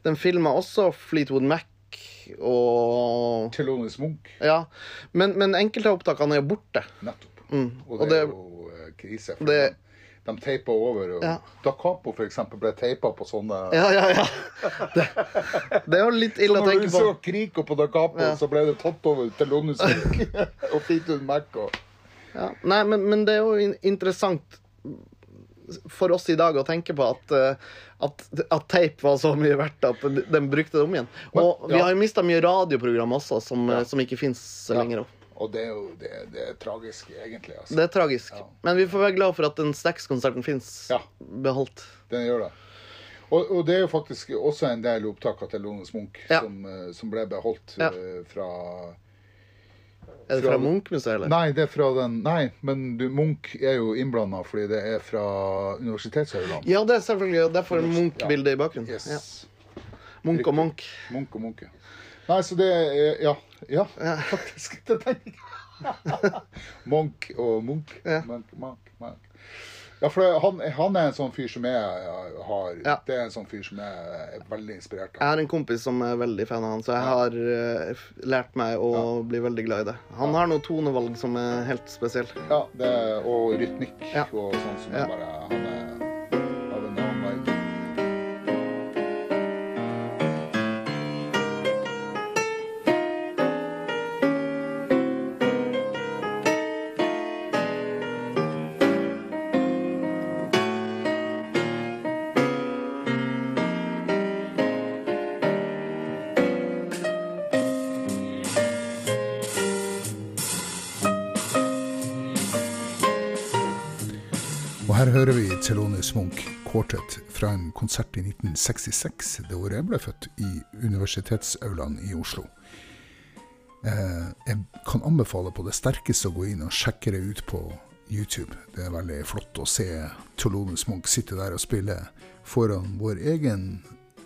Speaker 2: den filma også Fleetwood Mac og
Speaker 1: Thelonious Munch,
Speaker 2: Ja. Men, men enkelte av opptakene er jo borte.
Speaker 1: nettopp. Og,
Speaker 2: Mm. og
Speaker 1: det
Speaker 2: det-
Speaker 1: er jo eh, krise. For
Speaker 2: det-
Speaker 1: de, de teipa over. Og
Speaker 2: Ja.
Speaker 1: Da Capo, for eksempel, ble teipa på sånne
Speaker 2: Ja, ja, ja. Det, det er jo litt ille å
Speaker 1: Når
Speaker 2: tenke
Speaker 1: du
Speaker 2: på.
Speaker 1: så Kriko på Da Capo,
Speaker 2: Ja.
Speaker 1: så ble det tatt over til Lonus og Fleetwood Mac og
Speaker 2: Ja. Nei, men, men det er jo in- interessant for oss i dag å tenke på at, eh, at, at teip var så mye verdt at de de brukte det om igjen. Og
Speaker 1: Men-
Speaker 2: vi
Speaker 1: ja.
Speaker 2: har jo mista mye radioprogram også som, eh, som ikke fins lenger. også.
Speaker 1: Og det er jo det, det er tragisk, egentlig. Altså.
Speaker 2: Det er tragisk.
Speaker 1: Ja.
Speaker 2: Men vi får være glad for at den Stax-konserten fins
Speaker 1: Ja.
Speaker 2: beholdt.
Speaker 1: Den gjør det. Og, og det er jo faktisk også en del opptak av Lonus Munch
Speaker 2: Ja.
Speaker 1: som, eh, som ble beholdt
Speaker 2: Ja.
Speaker 1: eh, fra
Speaker 2: Er det
Speaker 1: Fra-
Speaker 2: fra Munch-museet, eller?
Speaker 1: Nei, det er fra den Nei, men du, Munch er jo innblanda fordi det er fra Universitetshøgland.
Speaker 2: Ja, det er selvfølgelig og derfor Munch-bildet i bakgrunnen.
Speaker 1: Yes.
Speaker 2: Ja. Munch og Munch.
Speaker 1: Munch og Munch. ja. Nei, så det er Ja, ja faktisk. Det tenker jeg. Munch og Munch.
Speaker 2: Ja.
Speaker 1: Munch, Munch, Munch. Ja, for det- han, han er en sånn fyr som jeg eh, har
Speaker 2: Ja.
Speaker 1: Det er en sånn fyr som jeg er veldig inspirert
Speaker 2: Jeg
Speaker 1: av.
Speaker 2: har en kompis som er veldig fan av han, så jeg har eh, f- lært meg å bli veldig glad i det. Han har noen tonevalg som er helt spesielle.
Speaker 1: Ja, det, og rytmikk
Speaker 2: Ja.
Speaker 1: og sånn som
Speaker 2: Ja.
Speaker 1: er bare Han er av en annen verden.
Speaker 4: Her hører vi Thelonious Munch Quartet fra en konsert i 1966, det året jeg ble født, i universitetsaulaen i Oslo. Eh, jeg kan anbefale på det sterkeste å gå inn og sjekke det ut på YouTube. Det er veldig flott å se Thelonious Munch sitte der og spille foran vår egen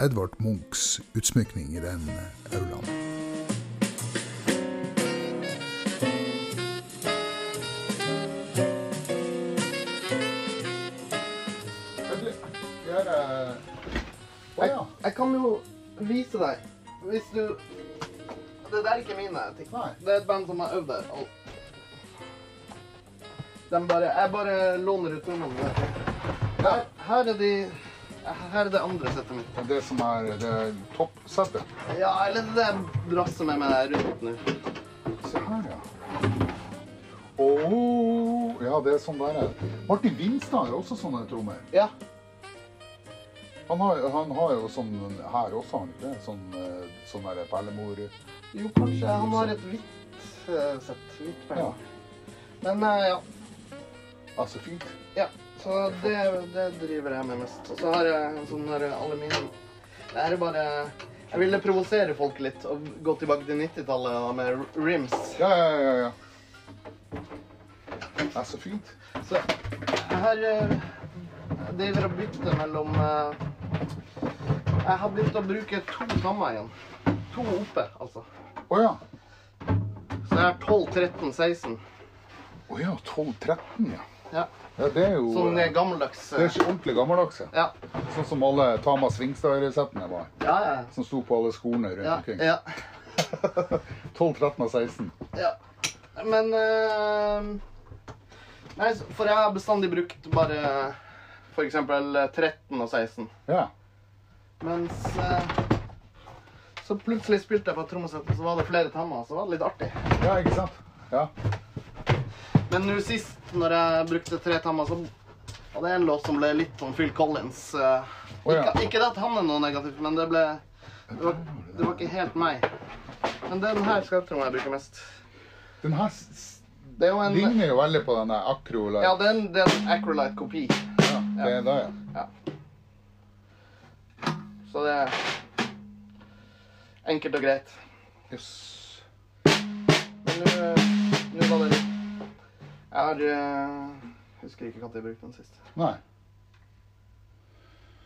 Speaker 4: Edvard Munchs utsmykning i den aulaen.
Speaker 1: Vent litt. Jeg er eh, Å ja.
Speaker 2: Jeg kan jo vise deg. Hvis du Det der er ikke mine ting.
Speaker 1: Nei.
Speaker 2: Det er et band som har øvd der. Og... De bare, jeg bare låner ut ungene mine. Her, her er de Her er det andre settet mitt.
Speaker 1: Men eh, Det som er det toppsettet.
Speaker 2: Ja, eller det der drasset med meg der rundt nå.
Speaker 1: Se her, ja. Åh, ja, det er sånn der. ja. Martin Vinstad har også sånne trommer.
Speaker 2: Ja.
Speaker 1: Han har, han har jo sånn her også, han ikke? det? Sånn, eh, sånn der perlemor...
Speaker 2: Jo, kanskje han har et hvitt eh, sett. Hvitt
Speaker 1: Ja,
Speaker 2: band. Men eh, ja.
Speaker 1: altså fint.
Speaker 2: Ja, så det, det driver jeg med mest. Og så har jeg en sånn der aluminium. Det her er bare Jeg ville provosere folk litt og gå tilbake til 90-tallet da, med r- rims.
Speaker 1: Ja, ja, ja, ja. Det er så fint.
Speaker 2: Så her eh, jeg driver og bytter mellom eh, Jeg har begynt å bruke to samme igjen. To oppe, altså.
Speaker 1: Å ja.
Speaker 2: Så jeg har 12, 13, 16.
Speaker 1: Å ja, 12-13, ja.
Speaker 2: Ja.
Speaker 1: ja. Det er jo
Speaker 2: Sånn
Speaker 1: eh,
Speaker 2: eh, gammeldags
Speaker 1: Det er
Speaker 2: eh,
Speaker 1: ikke ordentlig gammeldags. ja.
Speaker 2: Ja.
Speaker 1: Sånn som alle Tama Svingstad-reseptene var.
Speaker 2: Ja, ja.
Speaker 1: Som sto på alle skolene rundt
Speaker 2: ja,
Speaker 1: omkring.
Speaker 2: ja.
Speaker 1: 12, 13 og 16.
Speaker 2: Ja. Men eh, Nei, så- for jeg har bestandig brukt bare for eksempel 13 og 16.
Speaker 1: Ja.
Speaker 2: Mens eh, så plutselig spilte jeg på et trommesett, og så var det flere tammer. Så var det litt artig.
Speaker 1: ja, ikke sant? Ja.
Speaker 2: Men nå sist, når jeg brukte tre tammer, så var det en låt som ble litt sånn Phil Collins. eh,
Speaker 1: Å, ja.
Speaker 2: ikke, ikke at han er noe negativt, men det ble det var, det var ikke helt meg. Men den her skal jeg tro jeg bruker mest.
Speaker 1: Den her s- s-
Speaker 2: Det er jo en,
Speaker 1: ligner jo veldig på den der akro... eller-
Speaker 2: ja, det er en, det er en Acrolite-kopi.
Speaker 1: Ja, det er det, ja.
Speaker 2: Ja. Så det er enkelt og greit.
Speaker 1: Jøss.
Speaker 2: Men nå- nå var det litt Jeg har eh, Husker ikke når jeg brukte den sist.
Speaker 1: Nei.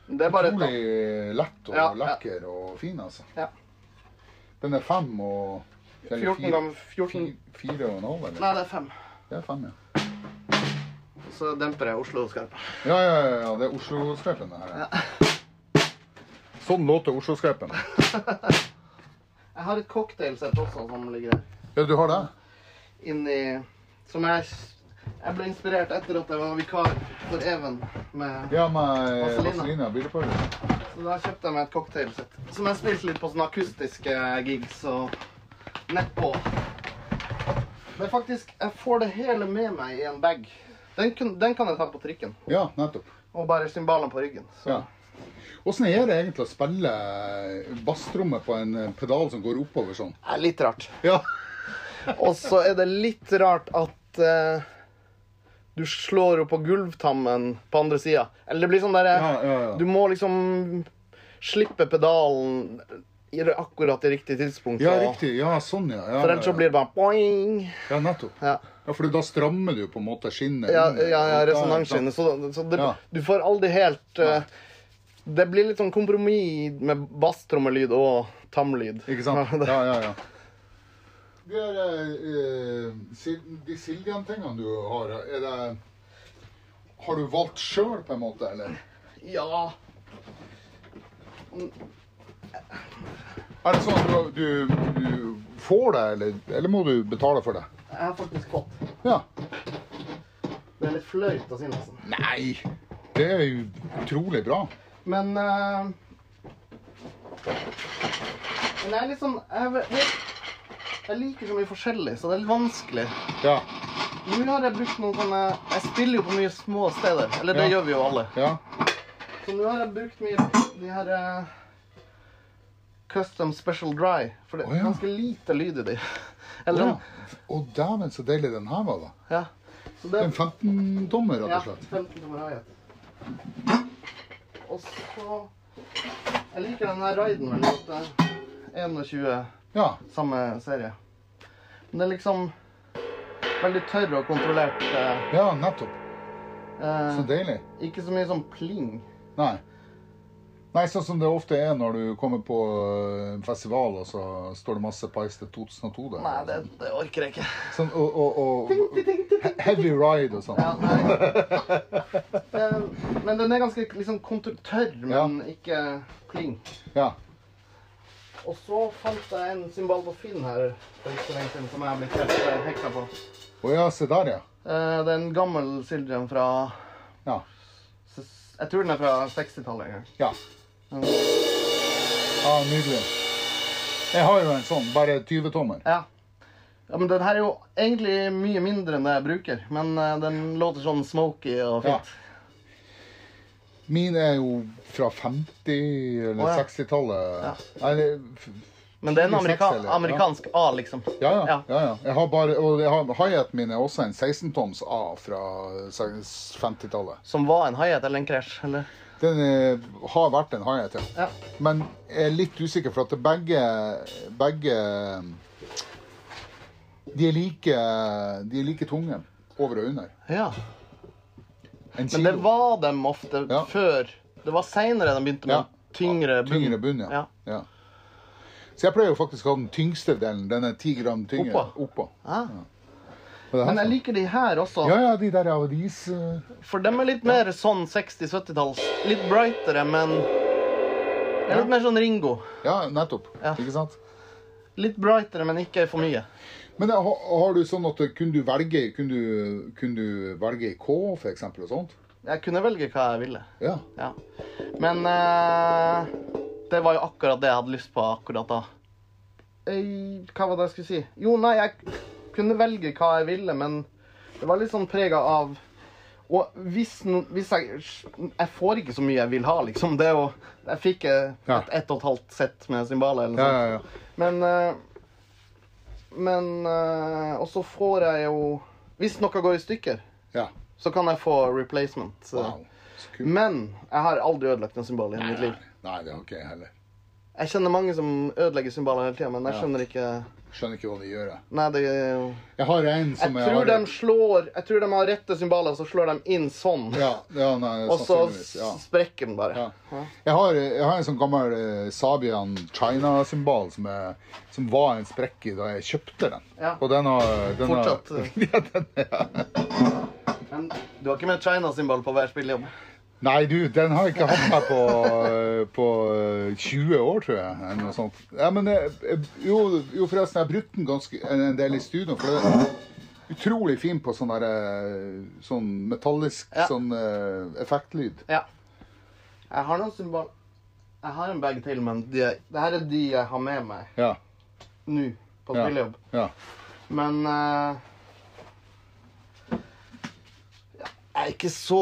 Speaker 2: Men Det er bare et
Speaker 1: Utrolig lett og
Speaker 2: Ja, ja.
Speaker 1: lekker og fin, altså.
Speaker 2: Ja.
Speaker 1: Den er fem og eller
Speaker 2: 14
Speaker 1: fire-
Speaker 2: ganger 14
Speaker 1: fi- Fire og en halv, eller?
Speaker 2: Nei, det er fem.
Speaker 1: Det er fem, ja.
Speaker 2: Så demper jeg Oslo skarp.
Speaker 1: Ja, ja, ja, ja. Det er Oslo-skrepen, det her. Ja. Sånn låter Oslo-skrepen.
Speaker 2: Jeg har et cocktailsett også som ligger der.
Speaker 1: Ja, du har det?
Speaker 2: Inni Som jeg Jeg ble inspirert etter at jeg var vikar for Even. Med,
Speaker 1: Ja, med
Speaker 2: Vaselina.
Speaker 1: vaselina og bilpulver.
Speaker 2: Så da kjøpte jeg meg et cocktailsett. Som jeg spilte litt på sånne akustiske gigs og nettpå. Det er faktisk Jeg får det hele med meg i en bag. Den, kun, den kan jeg ta på trikken.
Speaker 1: Ja, nettopp.
Speaker 2: Og bare symbalene på ryggen. Så.
Speaker 1: Ja. Åssen er det egentlig å spille eh, basstrommet på en eh, pedal som går oppover sånn?
Speaker 2: Det er litt rart.
Speaker 1: Ja.
Speaker 2: Og så er det litt rart at eh, du slår jo på gulvtammen på andre sida. Eller det blir sånn derre
Speaker 1: Ja, ja, ja.
Speaker 2: Du må liksom slippe pedalen i det- akkurat i riktig tidspunkt.
Speaker 1: Ja,
Speaker 2: og-
Speaker 1: riktig. Ja, sånn, ja. ja
Speaker 2: For ellers så
Speaker 1: ja.
Speaker 2: blir det bare boing.
Speaker 1: Ja, nettopp.
Speaker 2: Ja.
Speaker 1: Ja, for da strammer du på en måte skinnet.
Speaker 2: Ja,
Speaker 1: under.
Speaker 2: ja, ja
Speaker 1: Da-
Speaker 2: resonansskinnet. Så, så det,
Speaker 1: Ja.
Speaker 2: du får aldri helt eh, Det blir litt sånn kompromiss med basstrommelyd og tamlyd.
Speaker 1: Ikke sant?
Speaker 2: Ja, det-
Speaker 1: Ja, ja, ja. De, er, eh, sil- de Siljan-tingene du har, er det Har du valgt sjøl, på en måte, eller?
Speaker 2: Ja.
Speaker 1: Er det sånn at du, du, du får det, eller, eller må du betale for det?
Speaker 2: Jeg har faktisk fått.
Speaker 1: Ja.
Speaker 2: Det er litt flaut å si, nesten.
Speaker 1: Nei! Det er jo utrolig bra.
Speaker 2: Men eh, Men jeg er litt sånn jeg, vet- jeg, jeg liker så mye forskjellig, så det er litt vanskelig.
Speaker 1: Ja.
Speaker 2: Nå har jeg brukt noen sånne Jeg spiller jo på mye små steder. Eller det
Speaker 1: Ja.
Speaker 2: gjør vi jo alle.
Speaker 1: Ja.
Speaker 2: Så nå har jeg brukt mye de her eh, Custom Special Dry. For det
Speaker 1: Å,
Speaker 2: er
Speaker 1: ja.
Speaker 2: ganske lite lyd i de. Eller
Speaker 1: Å
Speaker 2: sånn.
Speaker 1: ja. Å, dæven, så deilig den her var, da.
Speaker 2: Ja. Så det,
Speaker 1: En 15-tommer, rett
Speaker 2: ja,
Speaker 1: og slett.
Speaker 2: 15 tommer hi-hat. Og så Jeg liker den her riden veldig godt. det er 21,
Speaker 1: Ja.
Speaker 2: samme serie. Men det er liksom veldig tørr og kontrollert. eh,
Speaker 1: ja, nettopp.
Speaker 2: eh,
Speaker 1: Så deilig.
Speaker 2: ikke så mye sånn pling.
Speaker 1: Nei. Nei, sånn som det ofte er når du kommer på øh, en festival, og så står det masse Pies til 2002 der.
Speaker 2: Nei, det, det orker jeg ikke.
Speaker 1: Sånn, og, og, og he- Heavy Ride og sånn.
Speaker 2: Ja, nei. Eh, Men den er ganske liksom kontur- tørr, men ikke pling.
Speaker 1: Ja.
Speaker 2: Og så fant jeg en symbol på Finn her for ikke så lenge siden som jeg ble helt eh, hekta på.
Speaker 1: Å ja, se der, ja.
Speaker 2: Eh, Det er en gammel Sildrian fra
Speaker 1: Ja.
Speaker 2: s- Jeg tror den er fra 60-tallet en gang.
Speaker 1: Ja. ja nydelig. Jeg har jo en sånn, bare 20-tommer.
Speaker 2: Ja. ja. Men den her er jo egentlig mye mindre enn det jeg bruker, men eh, den låter sånn smoky og
Speaker 1: Ja.
Speaker 2: fint.
Speaker 1: Min er jo fra 50- eller
Speaker 2: Å, ja.
Speaker 1: 60-tallet. Eller f-
Speaker 2: Men det er en
Speaker 1: 26
Speaker 2: amerika
Speaker 1: eller? Ja.
Speaker 2: amerikansk A, liksom.
Speaker 1: Ja, ja.
Speaker 2: Ja.
Speaker 1: ja, ja. Jeg har bare, og jeg har- hi-haten min er også en 16-toms A fra 50-tallet.
Speaker 2: Som var en hi-hat eller en crash, eller?
Speaker 1: Den eh, har vært en hi-hat, ja.
Speaker 2: Ja.
Speaker 1: Men jeg er litt usikker, for at det begge, begge de, er like, de er like tunge over og under.
Speaker 2: Ja.
Speaker 1: En
Speaker 2: Men
Speaker 1: kilo.
Speaker 2: det var dem ofte
Speaker 1: Ja.
Speaker 2: før. Det var seinere de begynte med
Speaker 1: Ja.
Speaker 2: tyngre bunn.
Speaker 1: tyngre bunn. Ja.
Speaker 2: Ja.
Speaker 1: Ja. Så jeg pleier jo faktisk å ha den tyngste delen. Den er ti gram tyngre.
Speaker 2: Oppå.
Speaker 1: Oppå.
Speaker 2: Ah.
Speaker 1: Og det her
Speaker 2: Men jeg
Speaker 1: sånn.
Speaker 2: liker de her også,
Speaker 1: Ja, ja, de der av dis eh,
Speaker 2: for dem er litt mer sånn 60-70-talls. Litt brightere, men ja, Litt mer sånn Ringo.
Speaker 1: Ja, nettopp.
Speaker 2: Ja.
Speaker 1: Ikke sant?
Speaker 2: Litt brightere, men ikke for mye.
Speaker 1: Men eh, har, har du sånn at eh, kunne du velge Kunne du, kunne du velge i K, for eksempel, og sånt?
Speaker 2: Jeg kunne velge hva jeg ville.
Speaker 1: Ja.
Speaker 2: Ja. Men eh, det var jo akkurat det jeg hadde lyst på akkurat da. Eh, hva var det jeg skulle si? Jo, nei, jeg kunne velge hva jeg ville, men det var litt sånn prega av Og hvis, no- hvis jeg Jeg får ikke så mye jeg vil ha, liksom. Det er jo Jeg fikk eh,
Speaker 1: Ja.
Speaker 2: et ett og et halvt sett med cymbaler eller noe
Speaker 1: Ja, ja,
Speaker 2: sånt.
Speaker 1: ja.
Speaker 2: Men eh, Men eh, Og så får jeg jo Hvis noe går i stykker,
Speaker 1: Ja.
Speaker 2: så kan jeg få replacement. Så.
Speaker 1: Wow. Så kult.
Speaker 2: Men jeg har aldri ødelagt en symbol i mitt liv.
Speaker 1: Nei, det har ikke jeg heller.
Speaker 2: Jeg kjenner mange som ødelegger symboler hele tida, men jeg skjønner ikke
Speaker 1: Skjønner ikke hva de gjør. Jeg,
Speaker 2: Nei, det er jo
Speaker 1: jeg har en som
Speaker 2: Jeg tror de
Speaker 1: har...
Speaker 2: slår Jeg tror de har rette symboler, og så slår de inn sånn.
Speaker 1: Ja, ja, nei,
Speaker 2: Og så
Speaker 1: sannsynligvis. Ja.
Speaker 2: sprekker den bare.
Speaker 1: Ja. Jeg, har, jeg har en sånn gammel eh, Sabian China-symbal som, er- som var en sprekk i da jeg kjøpte den.
Speaker 2: Ja.
Speaker 1: Og den har den
Speaker 2: Fortsatt.
Speaker 1: Har,
Speaker 2: eh, Men du har ikke med China-symbol på hver spillejobb?
Speaker 1: nei, du, den har jeg ikke hatt meg på, eh, på eh, 20 år, tror jeg. Eller noe sånt. Ja, men jeg, jeg, jo, jo, forresten, jeg har brukt den ganske, en en del i studio. For det er utrolig fin på sånn, der, eh, sånn metallisk
Speaker 2: Ja.
Speaker 1: sånn, eh, effektlyd.
Speaker 2: Ja. Jeg har noen symbol Jeg har en bag til, men de, er- det her er de jeg har med meg
Speaker 1: Ja.
Speaker 2: nå på
Speaker 1: Ja.
Speaker 2: spillejobb.
Speaker 1: ja.
Speaker 2: Men eh, Jeg er ikke så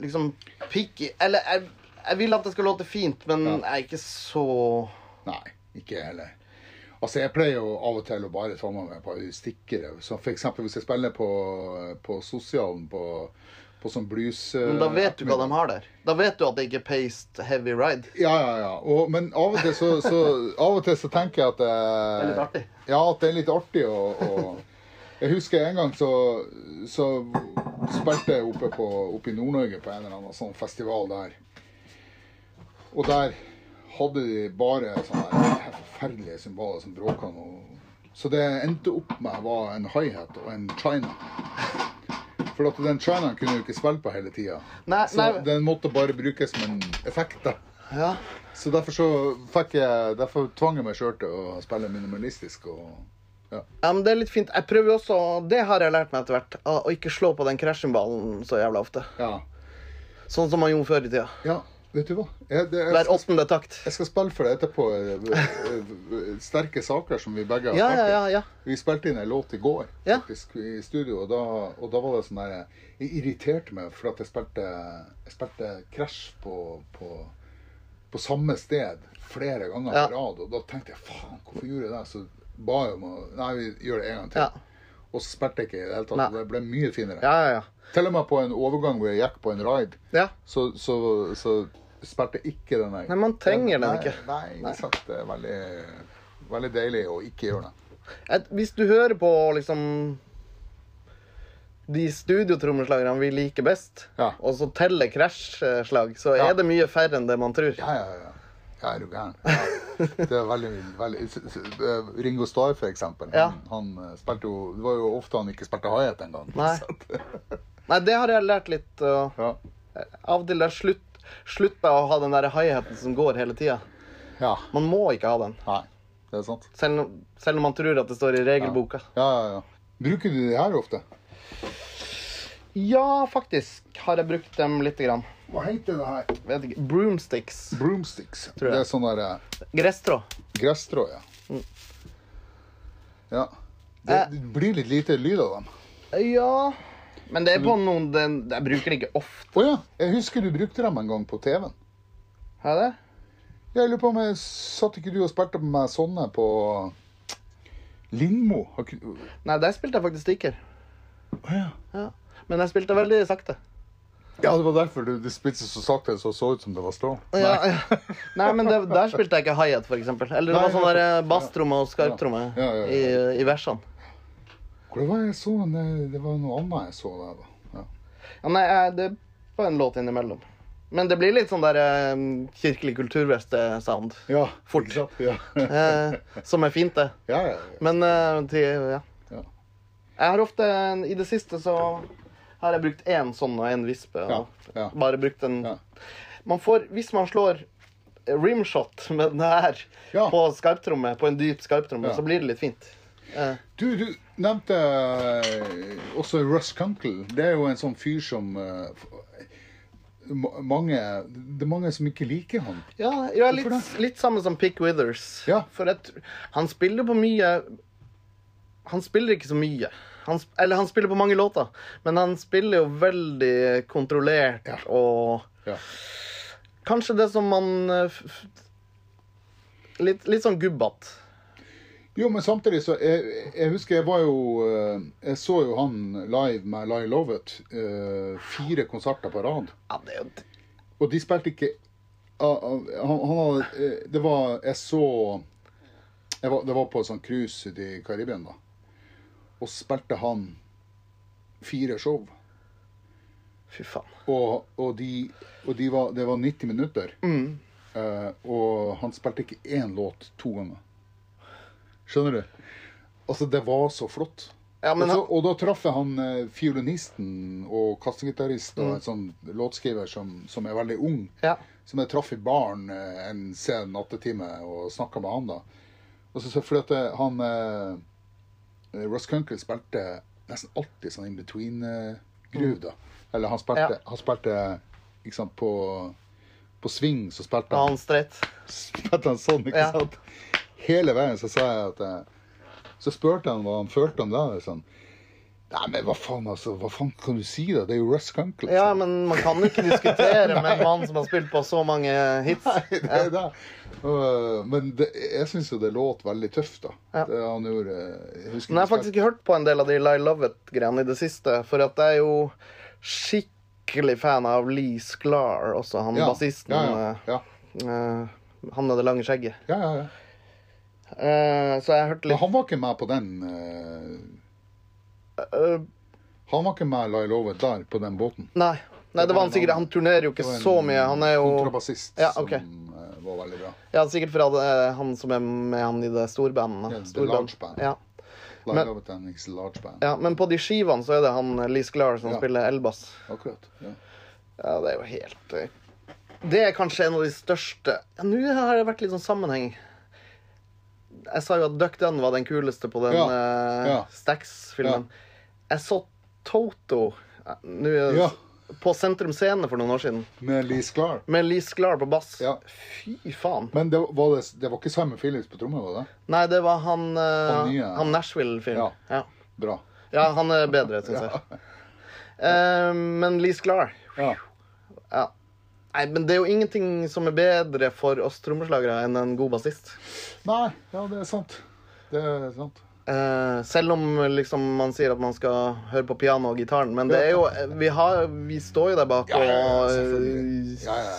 Speaker 2: liksom picky. Eller jeg, jeg vil at det skal låte fint, men
Speaker 1: Ja.
Speaker 2: jeg er ikke så
Speaker 1: Nei, ikke jeg heller. Altså, jeg pleier jo av og til å bare ta med meg et par stikkere. Så for eksempel hvis jeg spiller på, eh, på sosialen på, på sånn blues... eh,
Speaker 2: Men da vet du hva de har der. Da vet du at det ikke er paste heavy ride.
Speaker 1: Ja, ja, ja. Og, men av og, til så, så, av og til så tenker jeg at Det
Speaker 2: Det er litt artig.
Speaker 1: Ja, at det er litt artig å... å- jeg husker en gang så, så spilte jeg oppe, på, oppe i Nord-Norge på en eller annen sånn festival der. Og der hadde de bare sånne her forferdelige symboler som bråka noe. Så det endte opp med var en hi-hat og en china. For at den chinaen kunne du ikke spille på hele tida.
Speaker 2: Nei,
Speaker 1: Så
Speaker 2: nei.
Speaker 1: den måtte bare brukes som en effekt. da.
Speaker 2: Ja.
Speaker 1: eh, Så derfor så fikk jeg, derfor tvang jeg meg sjøl til å spille minimalistisk. og ja.
Speaker 2: ja, men det er litt fint. Jeg prøver jo også, det har jeg lært meg etter hvert, å å ikke slå på den krasjsymbolen så jævla ofte.
Speaker 1: Ja.
Speaker 2: Sånn som man gjorde før i tida.
Speaker 1: ja, vet du hva? Jeg, det, jeg,
Speaker 2: Hver åttende takt.
Speaker 1: Jeg skal spille for deg etterpå. eh, eh, Sterke saker som vi begge har
Speaker 2: Ja,
Speaker 1: snakket.
Speaker 2: ja, ja, ja.
Speaker 1: Vi spilte inn en låt i går
Speaker 2: Ja.
Speaker 1: faktisk, i studio, og da, og da var det sånn der Jeg irriterte meg for at jeg spilte, jeg spilte Crash på, på, på samme sted flere ganger
Speaker 2: Ja.
Speaker 1: på rad, og da tenkte jeg faen, hvorfor gjorde jeg det? Så ba jeg om å Nei, vi gjør det en gang til.
Speaker 2: Ja.
Speaker 1: Og så spilte jeg ikke i det hele tatt.
Speaker 2: Nei.
Speaker 1: og Det ble mye finere.
Speaker 2: Ja, ja, ja.
Speaker 1: Til og med på en overgang hvor jeg gikk på en ride,
Speaker 2: ja.
Speaker 1: så, så, så spilte jeg ikke den der.
Speaker 2: Nei, man trenger den ikke.
Speaker 1: Nei, nei, ikke sant. Det er veldig, veldig deilig å ikke gjøre det.
Speaker 2: Et, hvis du hører på liksom de studiotrommeslagerne vi liker best,
Speaker 1: Ja.
Speaker 2: og så teller krasjslag, så
Speaker 1: Ja.
Speaker 2: er det mye færre enn det man tror.
Speaker 1: Ja, ja, ja. Ja, er du gæren? Ja. Det er veldig, veldig s- s- eh, Ringo Starr, for eksempel.
Speaker 2: Ja.
Speaker 1: Han, han eh, spilte jo Det var jo ofte han ikke spilte hi-hat engang.
Speaker 2: Nei.
Speaker 1: Så at-
Speaker 2: Nei, det har jeg lært litt. Og
Speaker 1: Ja.
Speaker 2: av og til der slutt, slutta å ha den der hi-haten som går hele tida.
Speaker 1: ja.
Speaker 2: Man må ikke ha den,
Speaker 1: Nei. Det er sant.
Speaker 2: selv, om- selv om man tror at det står i regelboka.
Speaker 1: Ja, ja, ja. Bruker du de her ofte?
Speaker 2: Ja, faktisk har jeg brukt dem lite grann.
Speaker 1: Hva heter det her?
Speaker 2: Vet ikke. Broomsticks.
Speaker 1: Broomsticks.
Speaker 2: Tror jeg.
Speaker 1: Det er sånn der eh,
Speaker 2: Gresstrå.
Speaker 1: Gresstrå, ja. Ja. Det, det blir litt lite lyd av dem.
Speaker 2: Ja Men det er på noen den, Jeg bruker det ikke ofte.
Speaker 1: Å ja, jeg husker du brukte dem en gang på TV-en.
Speaker 2: Er det?
Speaker 1: Jeg lurer på om jeg Satt ikke du og spilte med sånne på Lindmo? Har ikke- Å
Speaker 2: Nei, der spilte jeg faktisk stikker.
Speaker 1: ja.
Speaker 2: Ja. Men jeg spilte veldig sakte.
Speaker 1: ja, det var derfor du, du spilte så sakte så det så ut som det var strå.
Speaker 2: Ja, ja. Nei, men det, der spilte jeg ikke hi-hat, for eksempel. Eller det
Speaker 1: Nei,
Speaker 2: var sånn der
Speaker 1: ja.
Speaker 2: eh, basstromme og skarptromme
Speaker 1: Ja, ja, ja, ja.
Speaker 2: I, i versene.
Speaker 1: Hvor var jeg så det, det var noe annet jeg så der, da. Ja.
Speaker 2: Ja, nei, jeg- det var en låt innimellom. Men det blir litt sånn der eh, kirkelig kulturveste-sound.
Speaker 1: ja
Speaker 2: Fort.
Speaker 1: ikke sant? Ja. ja,
Speaker 2: Eh, som er fint, det.
Speaker 1: ja, ja.
Speaker 2: Men eh, til, ja.
Speaker 1: Ja.
Speaker 2: Jeg har ofte I det siste så har jeg brukt én sånn og én vispe. Og
Speaker 1: Ja, ja.
Speaker 2: Bare brukt en
Speaker 1: Ja.
Speaker 2: Man får Hvis man slår rimshot med den her
Speaker 1: Ja.
Speaker 2: på skarptromme, på en dyp skarptromme,
Speaker 1: Ja.
Speaker 2: så blir det litt fint. Eh,
Speaker 1: Du, du nevnte eh, også Russ Kunkel. Det er jo en sånn fyr som eh, f- ma- mange, Det er mange som ikke liker han.
Speaker 2: ja, ja litt,
Speaker 1: Hvorfor
Speaker 2: litt samme som Pick Withers.
Speaker 1: Ja.
Speaker 2: For jeg tr- han spiller på mye Han spiller ikke så mye. Han, sp- eller han spiller på mange låter, men han spiller jo veldig kontrollert
Speaker 1: Ja.
Speaker 2: og
Speaker 1: Ja.
Speaker 2: Kanskje det som man eh, f- f- Litt, litt sånn gubbete.
Speaker 1: Jo, men samtidig så Jeg, jeg husker jeg var jo eh, Jeg så jo han live med Lyle Lovett. eh, fire konserter på rad.
Speaker 2: Ja, det er jo t-
Speaker 1: Og de spilte ikke ah, ah, han, han hadde, eh, Det var Jeg så jeg var, Det var på et sånt cruise ute i Karibia, da. Og spilte han fire show.
Speaker 2: Fy faen.
Speaker 1: Og, og, de, og de var, det var 90 minutter. Eh, og han spilte ikke én låt to ganger. Skjønner du? Altså, det var så flott.
Speaker 2: Ja, men
Speaker 1: og, så,
Speaker 2: han-
Speaker 1: og da traff jeg han eh, fiolinisten og kassegitarist og en sånn låtskriver som, som er veldig ung.
Speaker 2: Ja.
Speaker 1: Som jeg traff i baren eh, en sen nattetime og snakka med han, da. Og så, så fordi at eh, han eh, Russ Kunkel spilte nesten alltid sånn in between-groove, da. Eller han
Speaker 2: Ja.
Speaker 1: spilte, han spilte ikke sant, på, på swing, så spilte
Speaker 2: Var
Speaker 1: han,
Speaker 2: han streit?
Speaker 1: spilte han sånn, ikke
Speaker 2: Ja.
Speaker 1: sant? Hele veien så sa jeg at eh, Så spurte han hva han følte om det. og Sånn. Nei, men hva faen, altså? Hva faen kan du si, da? Det er jo Russ Kunkel. altså."
Speaker 2: Ja,
Speaker 1: sa han.
Speaker 2: men man kan ikke diskutere med en mann som har spilt på så mange hits.
Speaker 1: Nei, det er det. Og, men det, jeg syns jo det låt veldig tøft, da.
Speaker 2: Ja.
Speaker 1: Det han gjorde jeg husker
Speaker 2: Men jeg har
Speaker 1: ikke
Speaker 2: faktisk ikke hørt på en del av de Lie Lovett-greiene i det siste, for at jeg er jo skikkelig fan av Lee Sklar, også han
Speaker 1: Ja,
Speaker 2: bassisten.
Speaker 1: ja, ja,
Speaker 2: eh, han med det lange skjegget.
Speaker 1: ja, ja, ja.
Speaker 2: Eh, så jeg har hørt
Speaker 1: Men
Speaker 2: litt
Speaker 1: han var ikke med på den eh,
Speaker 2: eh,
Speaker 1: Han var ikke med Lyle Over der, på den båten.
Speaker 2: Nei. Nei, det var han sikkert. Han turnerer jo ikke
Speaker 1: Det var en
Speaker 2: så mye. Han er jo
Speaker 1: Kontrabassist
Speaker 2: Ja, ok.
Speaker 1: som eh, var veldig bra.
Speaker 2: Ja, sikkert fra det, eh, han som er med han i det storbandene.
Speaker 1: Ja, The
Speaker 2: Storband.
Speaker 1: Large Band.
Speaker 2: Ja.
Speaker 1: Lyle
Speaker 2: Men-
Speaker 1: Over and His Large Band.
Speaker 2: ja, men på de skivene så er det han eh, Lee Sklar som
Speaker 1: Ja.
Speaker 2: spiller elbass.
Speaker 1: Akkurat. Ja.
Speaker 2: Ja, det er jo helt eh, Det er kanskje en av de største Ja, nå har det vært litt sånn sammenheng. Jeg sa jo at Duck Dunn var den kuleste på den
Speaker 1: Ja.
Speaker 2: eh,
Speaker 1: Ja.
Speaker 2: Stax-filmen. Jeg så Toto eh, nå er det-
Speaker 1: Ja.
Speaker 2: på Sentrum Scene for noen år siden,
Speaker 1: Med Lee Sklar.
Speaker 2: med Lee Sklar på bass.
Speaker 1: Ja.
Speaker 2: Fy faen.
Speaker 1: Men det var, det, det var ikke Simon Phillips på trommer, var det?
Speaker 2: Nei, det var han, eh,
Speaker 1: Han nye.
Speaker 2: han Nashville-fyren.
Speaker 1: Ja.
Speaker 2: Ja.
Speaker 1: Bra.
Speaker 2: Ja. han er bedre, syns jeg. Eh, men Lee Sklar
Speaker 1: Ja.
Speaker 2: ja. Nei, men det er jo ingenting som er bedre for oss trommeslagere enn en god bassist.
Speaker 1: Nei, ja, det er sant. Det er sant.
Speaker 2: Eh, selv om liksom, man sier at man skal høre på piano og gitaren, men det er jo eh, Vi, har, vi står jo der bak
Speaker 1: Ja, ja, ja,
Speaker 2: og eh,
Speaker 1: selvfølgelig. Ja, ja, ja, ja,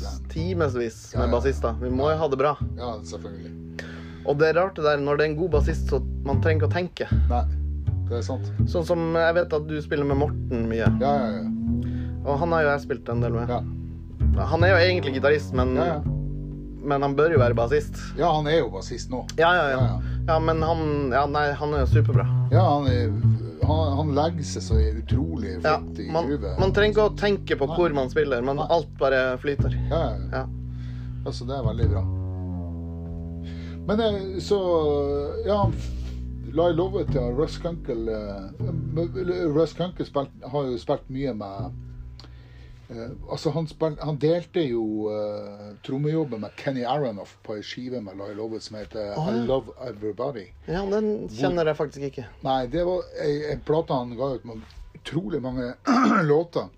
Speaker 1: ja.
Speaker 2: timevis
Speaker 1: Ja,
Speaker 2: med
Speaker 1: ja.
Speaker 2: bassister. Vi må jo ha det bra.
Speaker 1: Ja, selvfølgelig.
Speaker 2: Og det er rart det der når det er en god bassist, så man trenger ikke å tenke.
Speaker 1: Nei, det er sant.
Speaker 2: Sånn som jeg vet at du spiller med Morten
Speaker 1: Ja,
Speaker 2: mye,
Speaker 1: ja, ja.
Speaker 2: og han har jo jeg spilt en del med.
Speaker 1: Ja,
Speaker 2: Han er jo egentlig gitarist, men,
Speaker 1: ja, ja.
Speaker 2: men han bør jo være bassist.
Speaker 1: ja han er jo bassist nå.
Speaker 2: Ja, ja, ja.
Speaker 1: Ja,
Speaker 2: Ja, men han Ja, nei, han er jo superbra.
Speaker 1: Ja, han, er, han, han legger seg så utrolig
Speaker 2: Ja,
Speaker 1: flott i
Speaker 2: man,
Speaker 1: gruvet.
Speaker 2: man trenger ikke å tenke på hvor man spiller, men alt bare flyter.
Speaker 1: Ja, ja.
Speaker 2: Ja.
Speaker 1: Altså, det er veldig bra. Men eh, så Ja, la jeg love til Russ Kunkel eh, Russ Kunkel spilt, har jo spilt mye med eh, Altså, han, spil- han delte jo uh, trommejobben med Kenny Aronoff på ei skive med Lyle Lovett som heter
Speaker 2: Å,
Speaker 1: I
Speaker 2: ja.
Speaker 1: Love Everybody.
Speaker 2: Ja, den kjenner jeg faktisk ikke.
Speaker 1: Nei, det var ei, ei plate han ga ut med utrolig mange låter.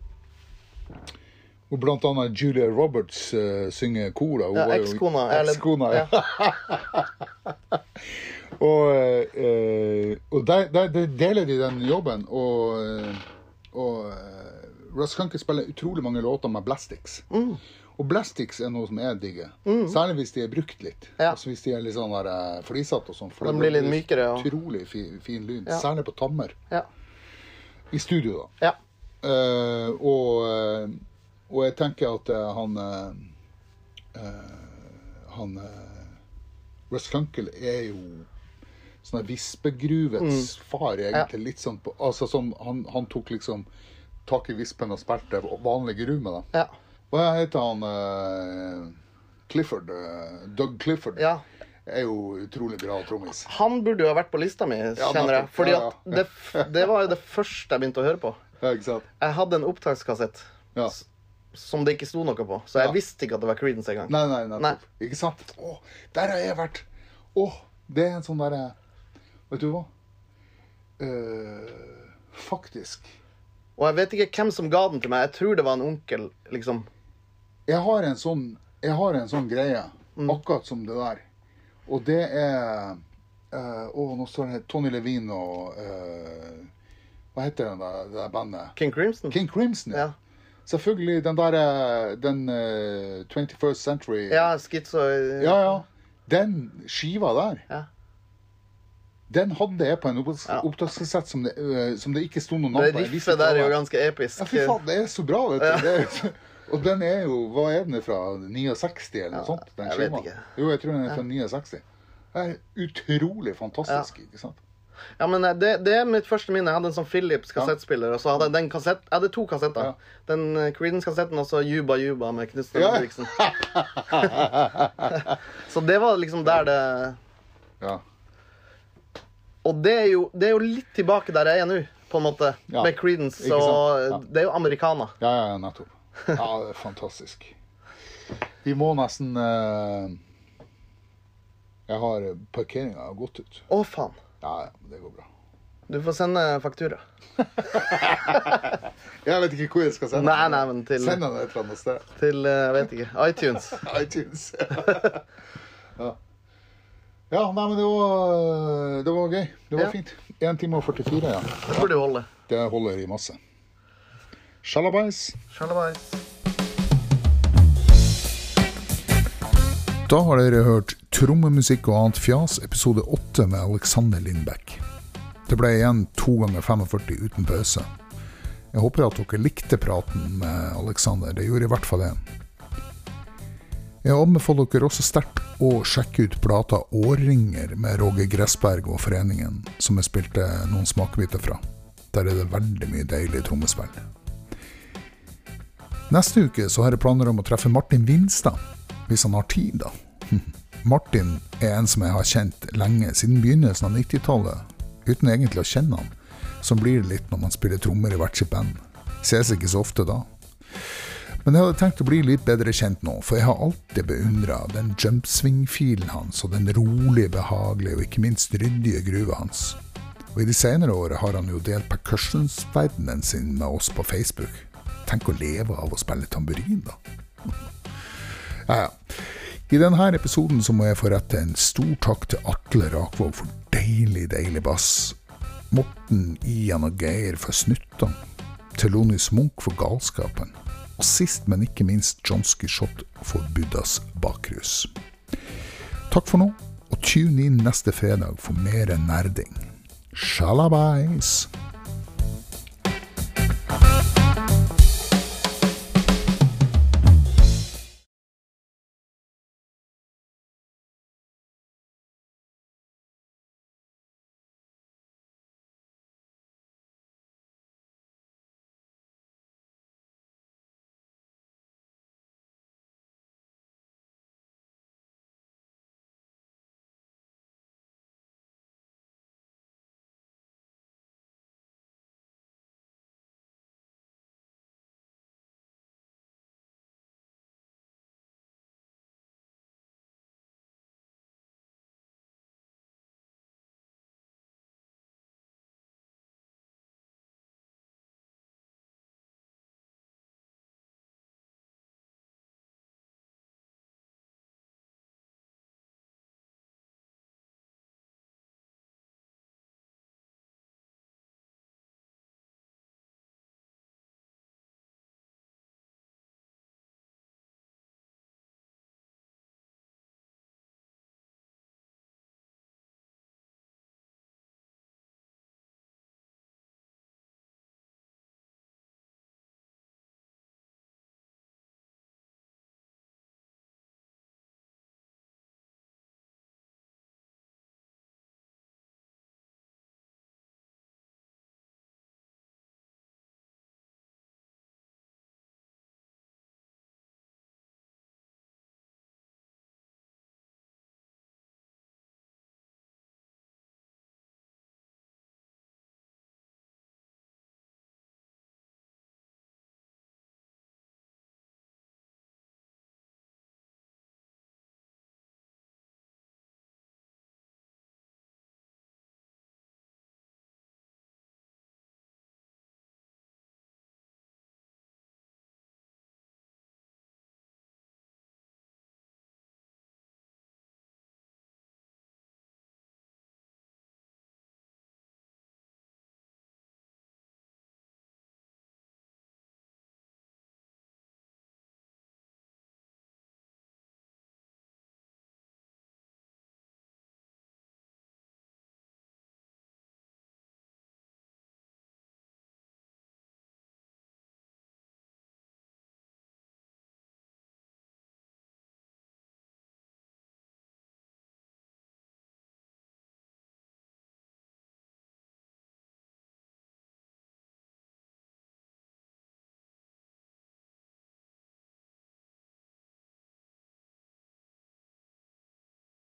Speaker 1: Hvor blant annet Julia Roberts eh, synger kora. Hun
Speaker 2: Ja,
Speaker 1: var jo-
Speaker 2: Ekskona. eller-
Speaker 1: Ekskona, ja. Og, eh, og der, der, der deler de den jobben. Og, eh, og eh, Russ Kanke spiller utrolig mange låter med Blastix.
Speaker 2: Mm.
Speaker 1: Og Blastix er noe som jeg digger. Særlig hvis de er brukt litt.
Speaker 2: Ja.
Speaker 1: Altså Hvis de er litt sånn der, eh, flisete og sånn. For
Speaker 2: De
Speaker 1: det
Speaker 2: blir litt mykere, og-
Speaker 1: Utrolig fin, fin lyd.
Speaker 2: Ja.
Speaker 1: Særlig på tammer.
Speaker 2: Ja.
Speaker 1: I studio, da.
Speaker 2: ja.
Speaker 1: Eh, og, eh, og jeg tenker at eh, han eh, eh, Han eh, Russ Kunkel er jo sånn her
Speaker 2: Mm.
Speaker 1: vispegruvets far, egentlig. Litt sånn på, altså sånn, han, han tok liksom tak i vispen og spilte vanlig gruve med dem.
Speaker 2: ja.
Speaker 1: Hva heter han eh, Clifford? eh, Doug Clifford.
Speaker 2: ja.
Speaker 1: Er jo utrolig bra trommis.
Speaker 2: Han burde jo ha vært på lista mi, kjenner jeg.
Speaker 1: nettopp.
Speaker 2: Fordi
Speaker 1: Ja,
Speaker 2: at det, f- det var jo det første jeg begynte å høre på.
Speaker 1: Ja, ikke sant?
Speaker 2: Jeg hadde en opptakskassett
Speaker 1: Ja.
Speaker 2: s- som det ikke sto noe på, så jeg
Speaker 1: Ja.
Speaker 2: visste ikke at det var Creedence engang.
Speaker 1: Nei, nei, nettopp. Ikke sant? Å, der har jeg vært! Å, det er en sånn derre Vet du hva? Eh, faktisk.
Speaker 2: Og jeg vet ikke hvem som ga den til meg. Jeg tror det var en onkel, liksom.
Speaker 1: Jeg har en sånn, jeg har en sånn greie, akkurat som det der. Og det er eh, Å, nå står det her Tony Levine og eh, Hva heter den der, det der bandet?
Speaker 2: King Crimson.
Speaker 1: King Crimson, ja.
Speaker 2: Ja.
Speaker 1: Selvfølgelig. Den derre Den eh, 21st Century
Speaker 2: ja, Schizo
Speaker 1: ja, ja. Den skiva der
Speaker 2: Ja.
Speaker 1: Den hadde jeg på en opptaks-
Speaker 2: Ja.
Speaker 1: opptakskassett som, det, øh, som det ikke sto noe navn
Speaker 2: Det
Speaker 1: på. Jeg visste
Speaker 2: riffet der er
Speaker 1: ikke
Speaker 2: jo
Speaker 1: hva det var.
Speaker 2: ganske episk.
Speaker 1: Ja, fy faen, det er så bra, vet du. Det er, så- og den er jo Hva er den fra? 69, eller noe sånt? Den
Speaker 2: jeg vet
Speaker 1: skiva.
Speaker 2: ikke.
Speaker 1: Jo, jeg tror den er fra 69. Det er utrolig fantastisk, ikke sant?
Speaker 2: Ja, men eh, det, det er mitt første minne. Jeg hadde en sånn Philips kassettspiller. Og så hadde jeg den kassett... Jeg hadde to kassetter. Den eh, Creedence-kassetten og så Juba Juba med Knutsen
Speaker 1: Ja.
Speaker 2: Ludvigsen. så det var liksom der det
Speaker 1: Ja.
Speaker 2: Og det er jo, det er jo litt tilbake der jeg er nå, på en måte.
Speaker 1: Ja.
Speaker 2: Med Creedence.
Speaker 1: Ikke
Speaker 2: Og
Speaker 1: sant? Ja.
Speaker 2: eh, det er jo americana.
Speaker 1: Ja, ja, ja, nettopp. Ja, det er fantastisk. Vi må nesten eh, Jeg har parkeringa gått ut.
Speaker 2: Å, faen.
Speaker 1: Ja, ja, det går bra.
Speaker 2: Du får sende faktura.
Speaker 1: Jeg vet ikke hvor jeg skal sende
Speaker 2: Nei, nei, men til,
Speaker 1: Send den et eller annet sted.
Speaker 2: til eh, jeg vet ikke, iTunes.
Speaker 1: iTunes. ja. ja, nei, men det var, det var gøy. Det var
Speaker 2: Ja.
Speaker 1: fint. 1 time og 44, ja.
Speaker 2: Det burde jo holde.
Speaker 1: Det holder i masse. Sjalabais.
Speaker 2: Sjalabais.
Speaker 4: Da har dere hørt Trommemusikk og annet fjas, episode 8 med Alexander Lindbekk. Det ble igjen 2 ganger 45 uten pause. Jeg håper at dere likte praten med Alexander, det gjorde i hvert fall jeg. Jeg anbefaler dere også sterkt å sjekke ut plata Årringer med Roger Gressberg og Foreningen, som jeg spilte noen smakebiter fra. Der er det veldig mye deilig trommespill. Neste uke så har jeg planer om å treffe Martin Vinstad, hvis han har tid, da. Martin er en som jeg har kjent lenge, siden begynnelsen av 90-tallet, uten egentlig å kjenne han. Sånn blir det litt når man spiller trommer i hvert sitt band. Ses ikke så ofte da. Men jeg hadde tenkt å bli litt bedre kjent nå, for jeg har alltid beundra den jumpswing-filen hans, og den rolige, behagelige og ikke minst ryddige gruva hans. Og i de senere årene har han jo delt percussions-verdenen sin med oss på Facebook. Tenk å leve av å spille tamburin, da. Ja, ja. I denne episoden så må jeg få rette en stor takk til Atle Rakvåg for deilig, deilig bass. Morten, Ian og Geir for snuttene. Thelonious Munch for galskapen. Og sist, men ikke minst, John Skishot for Buddhas bakrus. Takk for nå, og tune inn neste fredag for mer nerding. Shalabais!